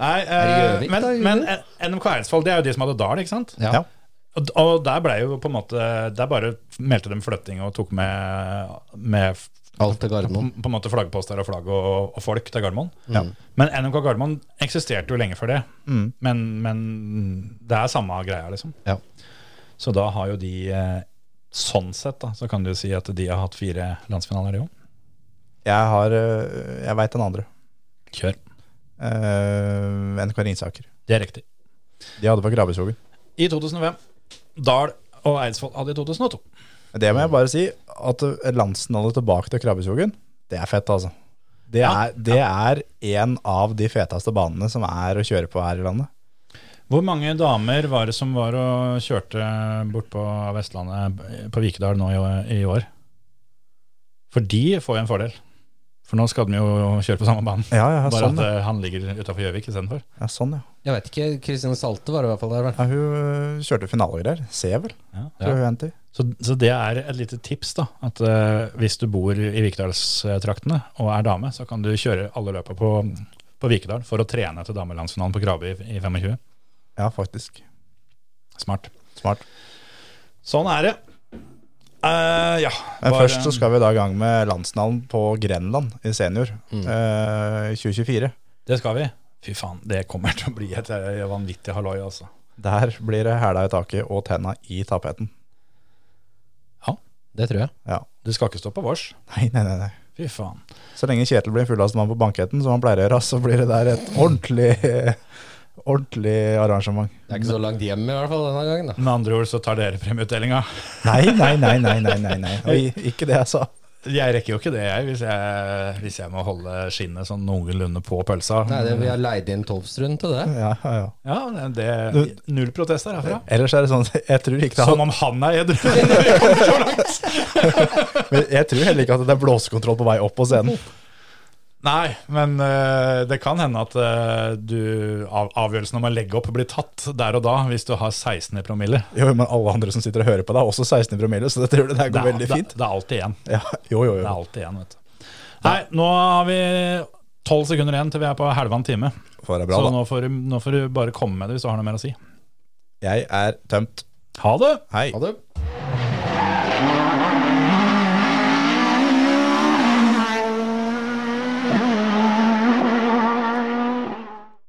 Speaker 3: Nei, eh,
Speaker 5: Er det Gjøvik
Speaker 3: men,
Speaker 5: da, junior?
Speaker 3: men eh, NMK Eidsvoll, det er jo de som hadde Dal, ikke sant?
Speaker 5: Ja.
Speaker 3: Og, og der ble jo på en måte Der bare meldte de flytting og tok med, med
Speaker 5: Alt til
Speaker 3: på,
Speaker 5: Gardermoen.
Speaker 3: på en måte flaggposter og flagg og, og folk til Gardermoen.
Speaker 4: Ja.
Speaker 3: Men NMK Gardermoen eksisterte jo lenge før det. Men, men det er samme greia, liksom.
Speaker 5: Ja.
Speaker 3: Så da har jo de eh, Sånn sett da, så kan du si at de har hatt fire landsfinaler i år.
Speaker 4: Jeg har øh, Jeg veit den andre.
Speaker 3: Kjør.
Speaker 4: Uh, NRK Ringsaker.
Speaker 3: Det er riktig.
Speaker 4: De hadde på Krabbeskogen.
Speaker 3: I 2005. Dal og Eidsvoll hadde i 2002.
Speaker 4: Det må jeg bare si, at landsfinale tilbake til Krabbeskogen, det er fett, altså. Det
Speaker 3: Ja,
Speaker 4: er, det er en av de feteste banene som er å kjøre på her i landet.
Speaker 3: Hvor mange damer var det som var og kjørte bort på Vestlandet eh, på Vikedal nå i, i år? For de får jo en fordel. For nå skal de jo kjøre på samme banen.
Speaker 4: Ja, ja,
Speaker 3: Bare
Speaker 4: sånn,
Speaker 3: at
Speaker 4: ja.
Speaker 3: eh, han ligger utafor Gjøvik istedenfor.
Speaker 4: ja. Sånn, ja.
Speaker 5: Jeg vet ikke. Kristine Salte var i hvert fall der.
Speaker 4: ja hun øh, kjørte finalegreier. Se vel,
Speaker 3: Ja.
Speaker 4: tror jeg hun endte i.
Speaker 3: Så, så det er et lite tips, da. At eh, hvis du bor i Vikedalstraktene og er dame, så kan du kjøre alle løpa på, på Vikedal for å trene til damelandsfinalen på Krabe i, i 25.
Speaker 4: Ja, faktisk.
Speaker 3: Smart.
Speaker 4: Smart.
Speaker 3: Sånn er det. Eh, ja.
Speaker 4: Men
Speaker 3: bare-
Speaker 4: først så skal vi da i gang med landsfinalen på Grenland i senior øh, i 2024.
Speaker 3: Det skal vi. Fy faen, det kommer til å bli et eh, vanvittig halloi, altså.
Speaker 4: Der blir det hæla i taket og tenna i tapeten.
Speaker 5: Det tror jeg.
Speaker 4: Ja.
Speaker 3: Du skal ikke stå på vårs.
Speaker 4: Nei, nei, nei. nei.
Speaker 3: Fy faen.
Speaker 4: Så lenge Kjetil blir fullast mann på banketten, som han pleier å gjøre, så blir det der et ordentlig Ordentlig arrangement.
Speaker 5: Det er ikke så langt hjem i hvert fall denne gangen. da
Speaker 3: Med andre ord så tar dere premieutdelinga.
Speaker 4: Nei, nei, nei, nei, nei, nei, nei. Oi, ikke det jeg sa.
Speaker 3: Jeg rekker jo ikke det, jeg, hvis jeg, hvis jeg må holde skinnet sånn noenlunde på pølsa.
Speaker 5: Nei, det, Vi har leid inn Tolvstrund til det.
Speaker 4: Ja, ja, ja.
Speaker 3: Ja, det, Null protester herfra.
Speaker 4: Ellers er det sånn, jeg tror, ikke det
Speaker 3: Som
Speaker 4: har,
Speaker 3: om han er edru!
Speaker 4: men jeg tror heller ikke at det er blåsekontroll på vei opp på scenen.
Speaker 3: Nei, men eh, det kan hende at eh, du, av, avgjørelsen om å legge opp blir tatt der og da, hvis du har 16 i promille.
Speaker 4: Jo, men alle andre som sitter og hører på deg, har også 16 i promille, så det tror jeg det her
Speaker 3: Det
Speaker 4: går
Speaker 3: er,
Speaker 4: veldig
Speaker 3: det,
Speaker 4: fint.
Speaker 3: det er alltid igjen.
Speaker 4: Ja, jo,
Speaker 3: Det
Speaker 4: jo,
Speaker 3: er
Speaker 4: jo.
Speaker 3: alltid igjen, vet du. Nei, nå har vi 12 sekunder igjen til vi er på halvannen time.
Speaker 4: For det
Speaker 3: Så
Speaker 4: er bra, da.
Speaker 3: nå får, du- nå får du bare komme med det hvis du har noe mer å si.
Speaker 4: Jeg er tømt.
Speaker 3: Ha det!
Speaker 4: Hei.
Speaker 5: Ha det.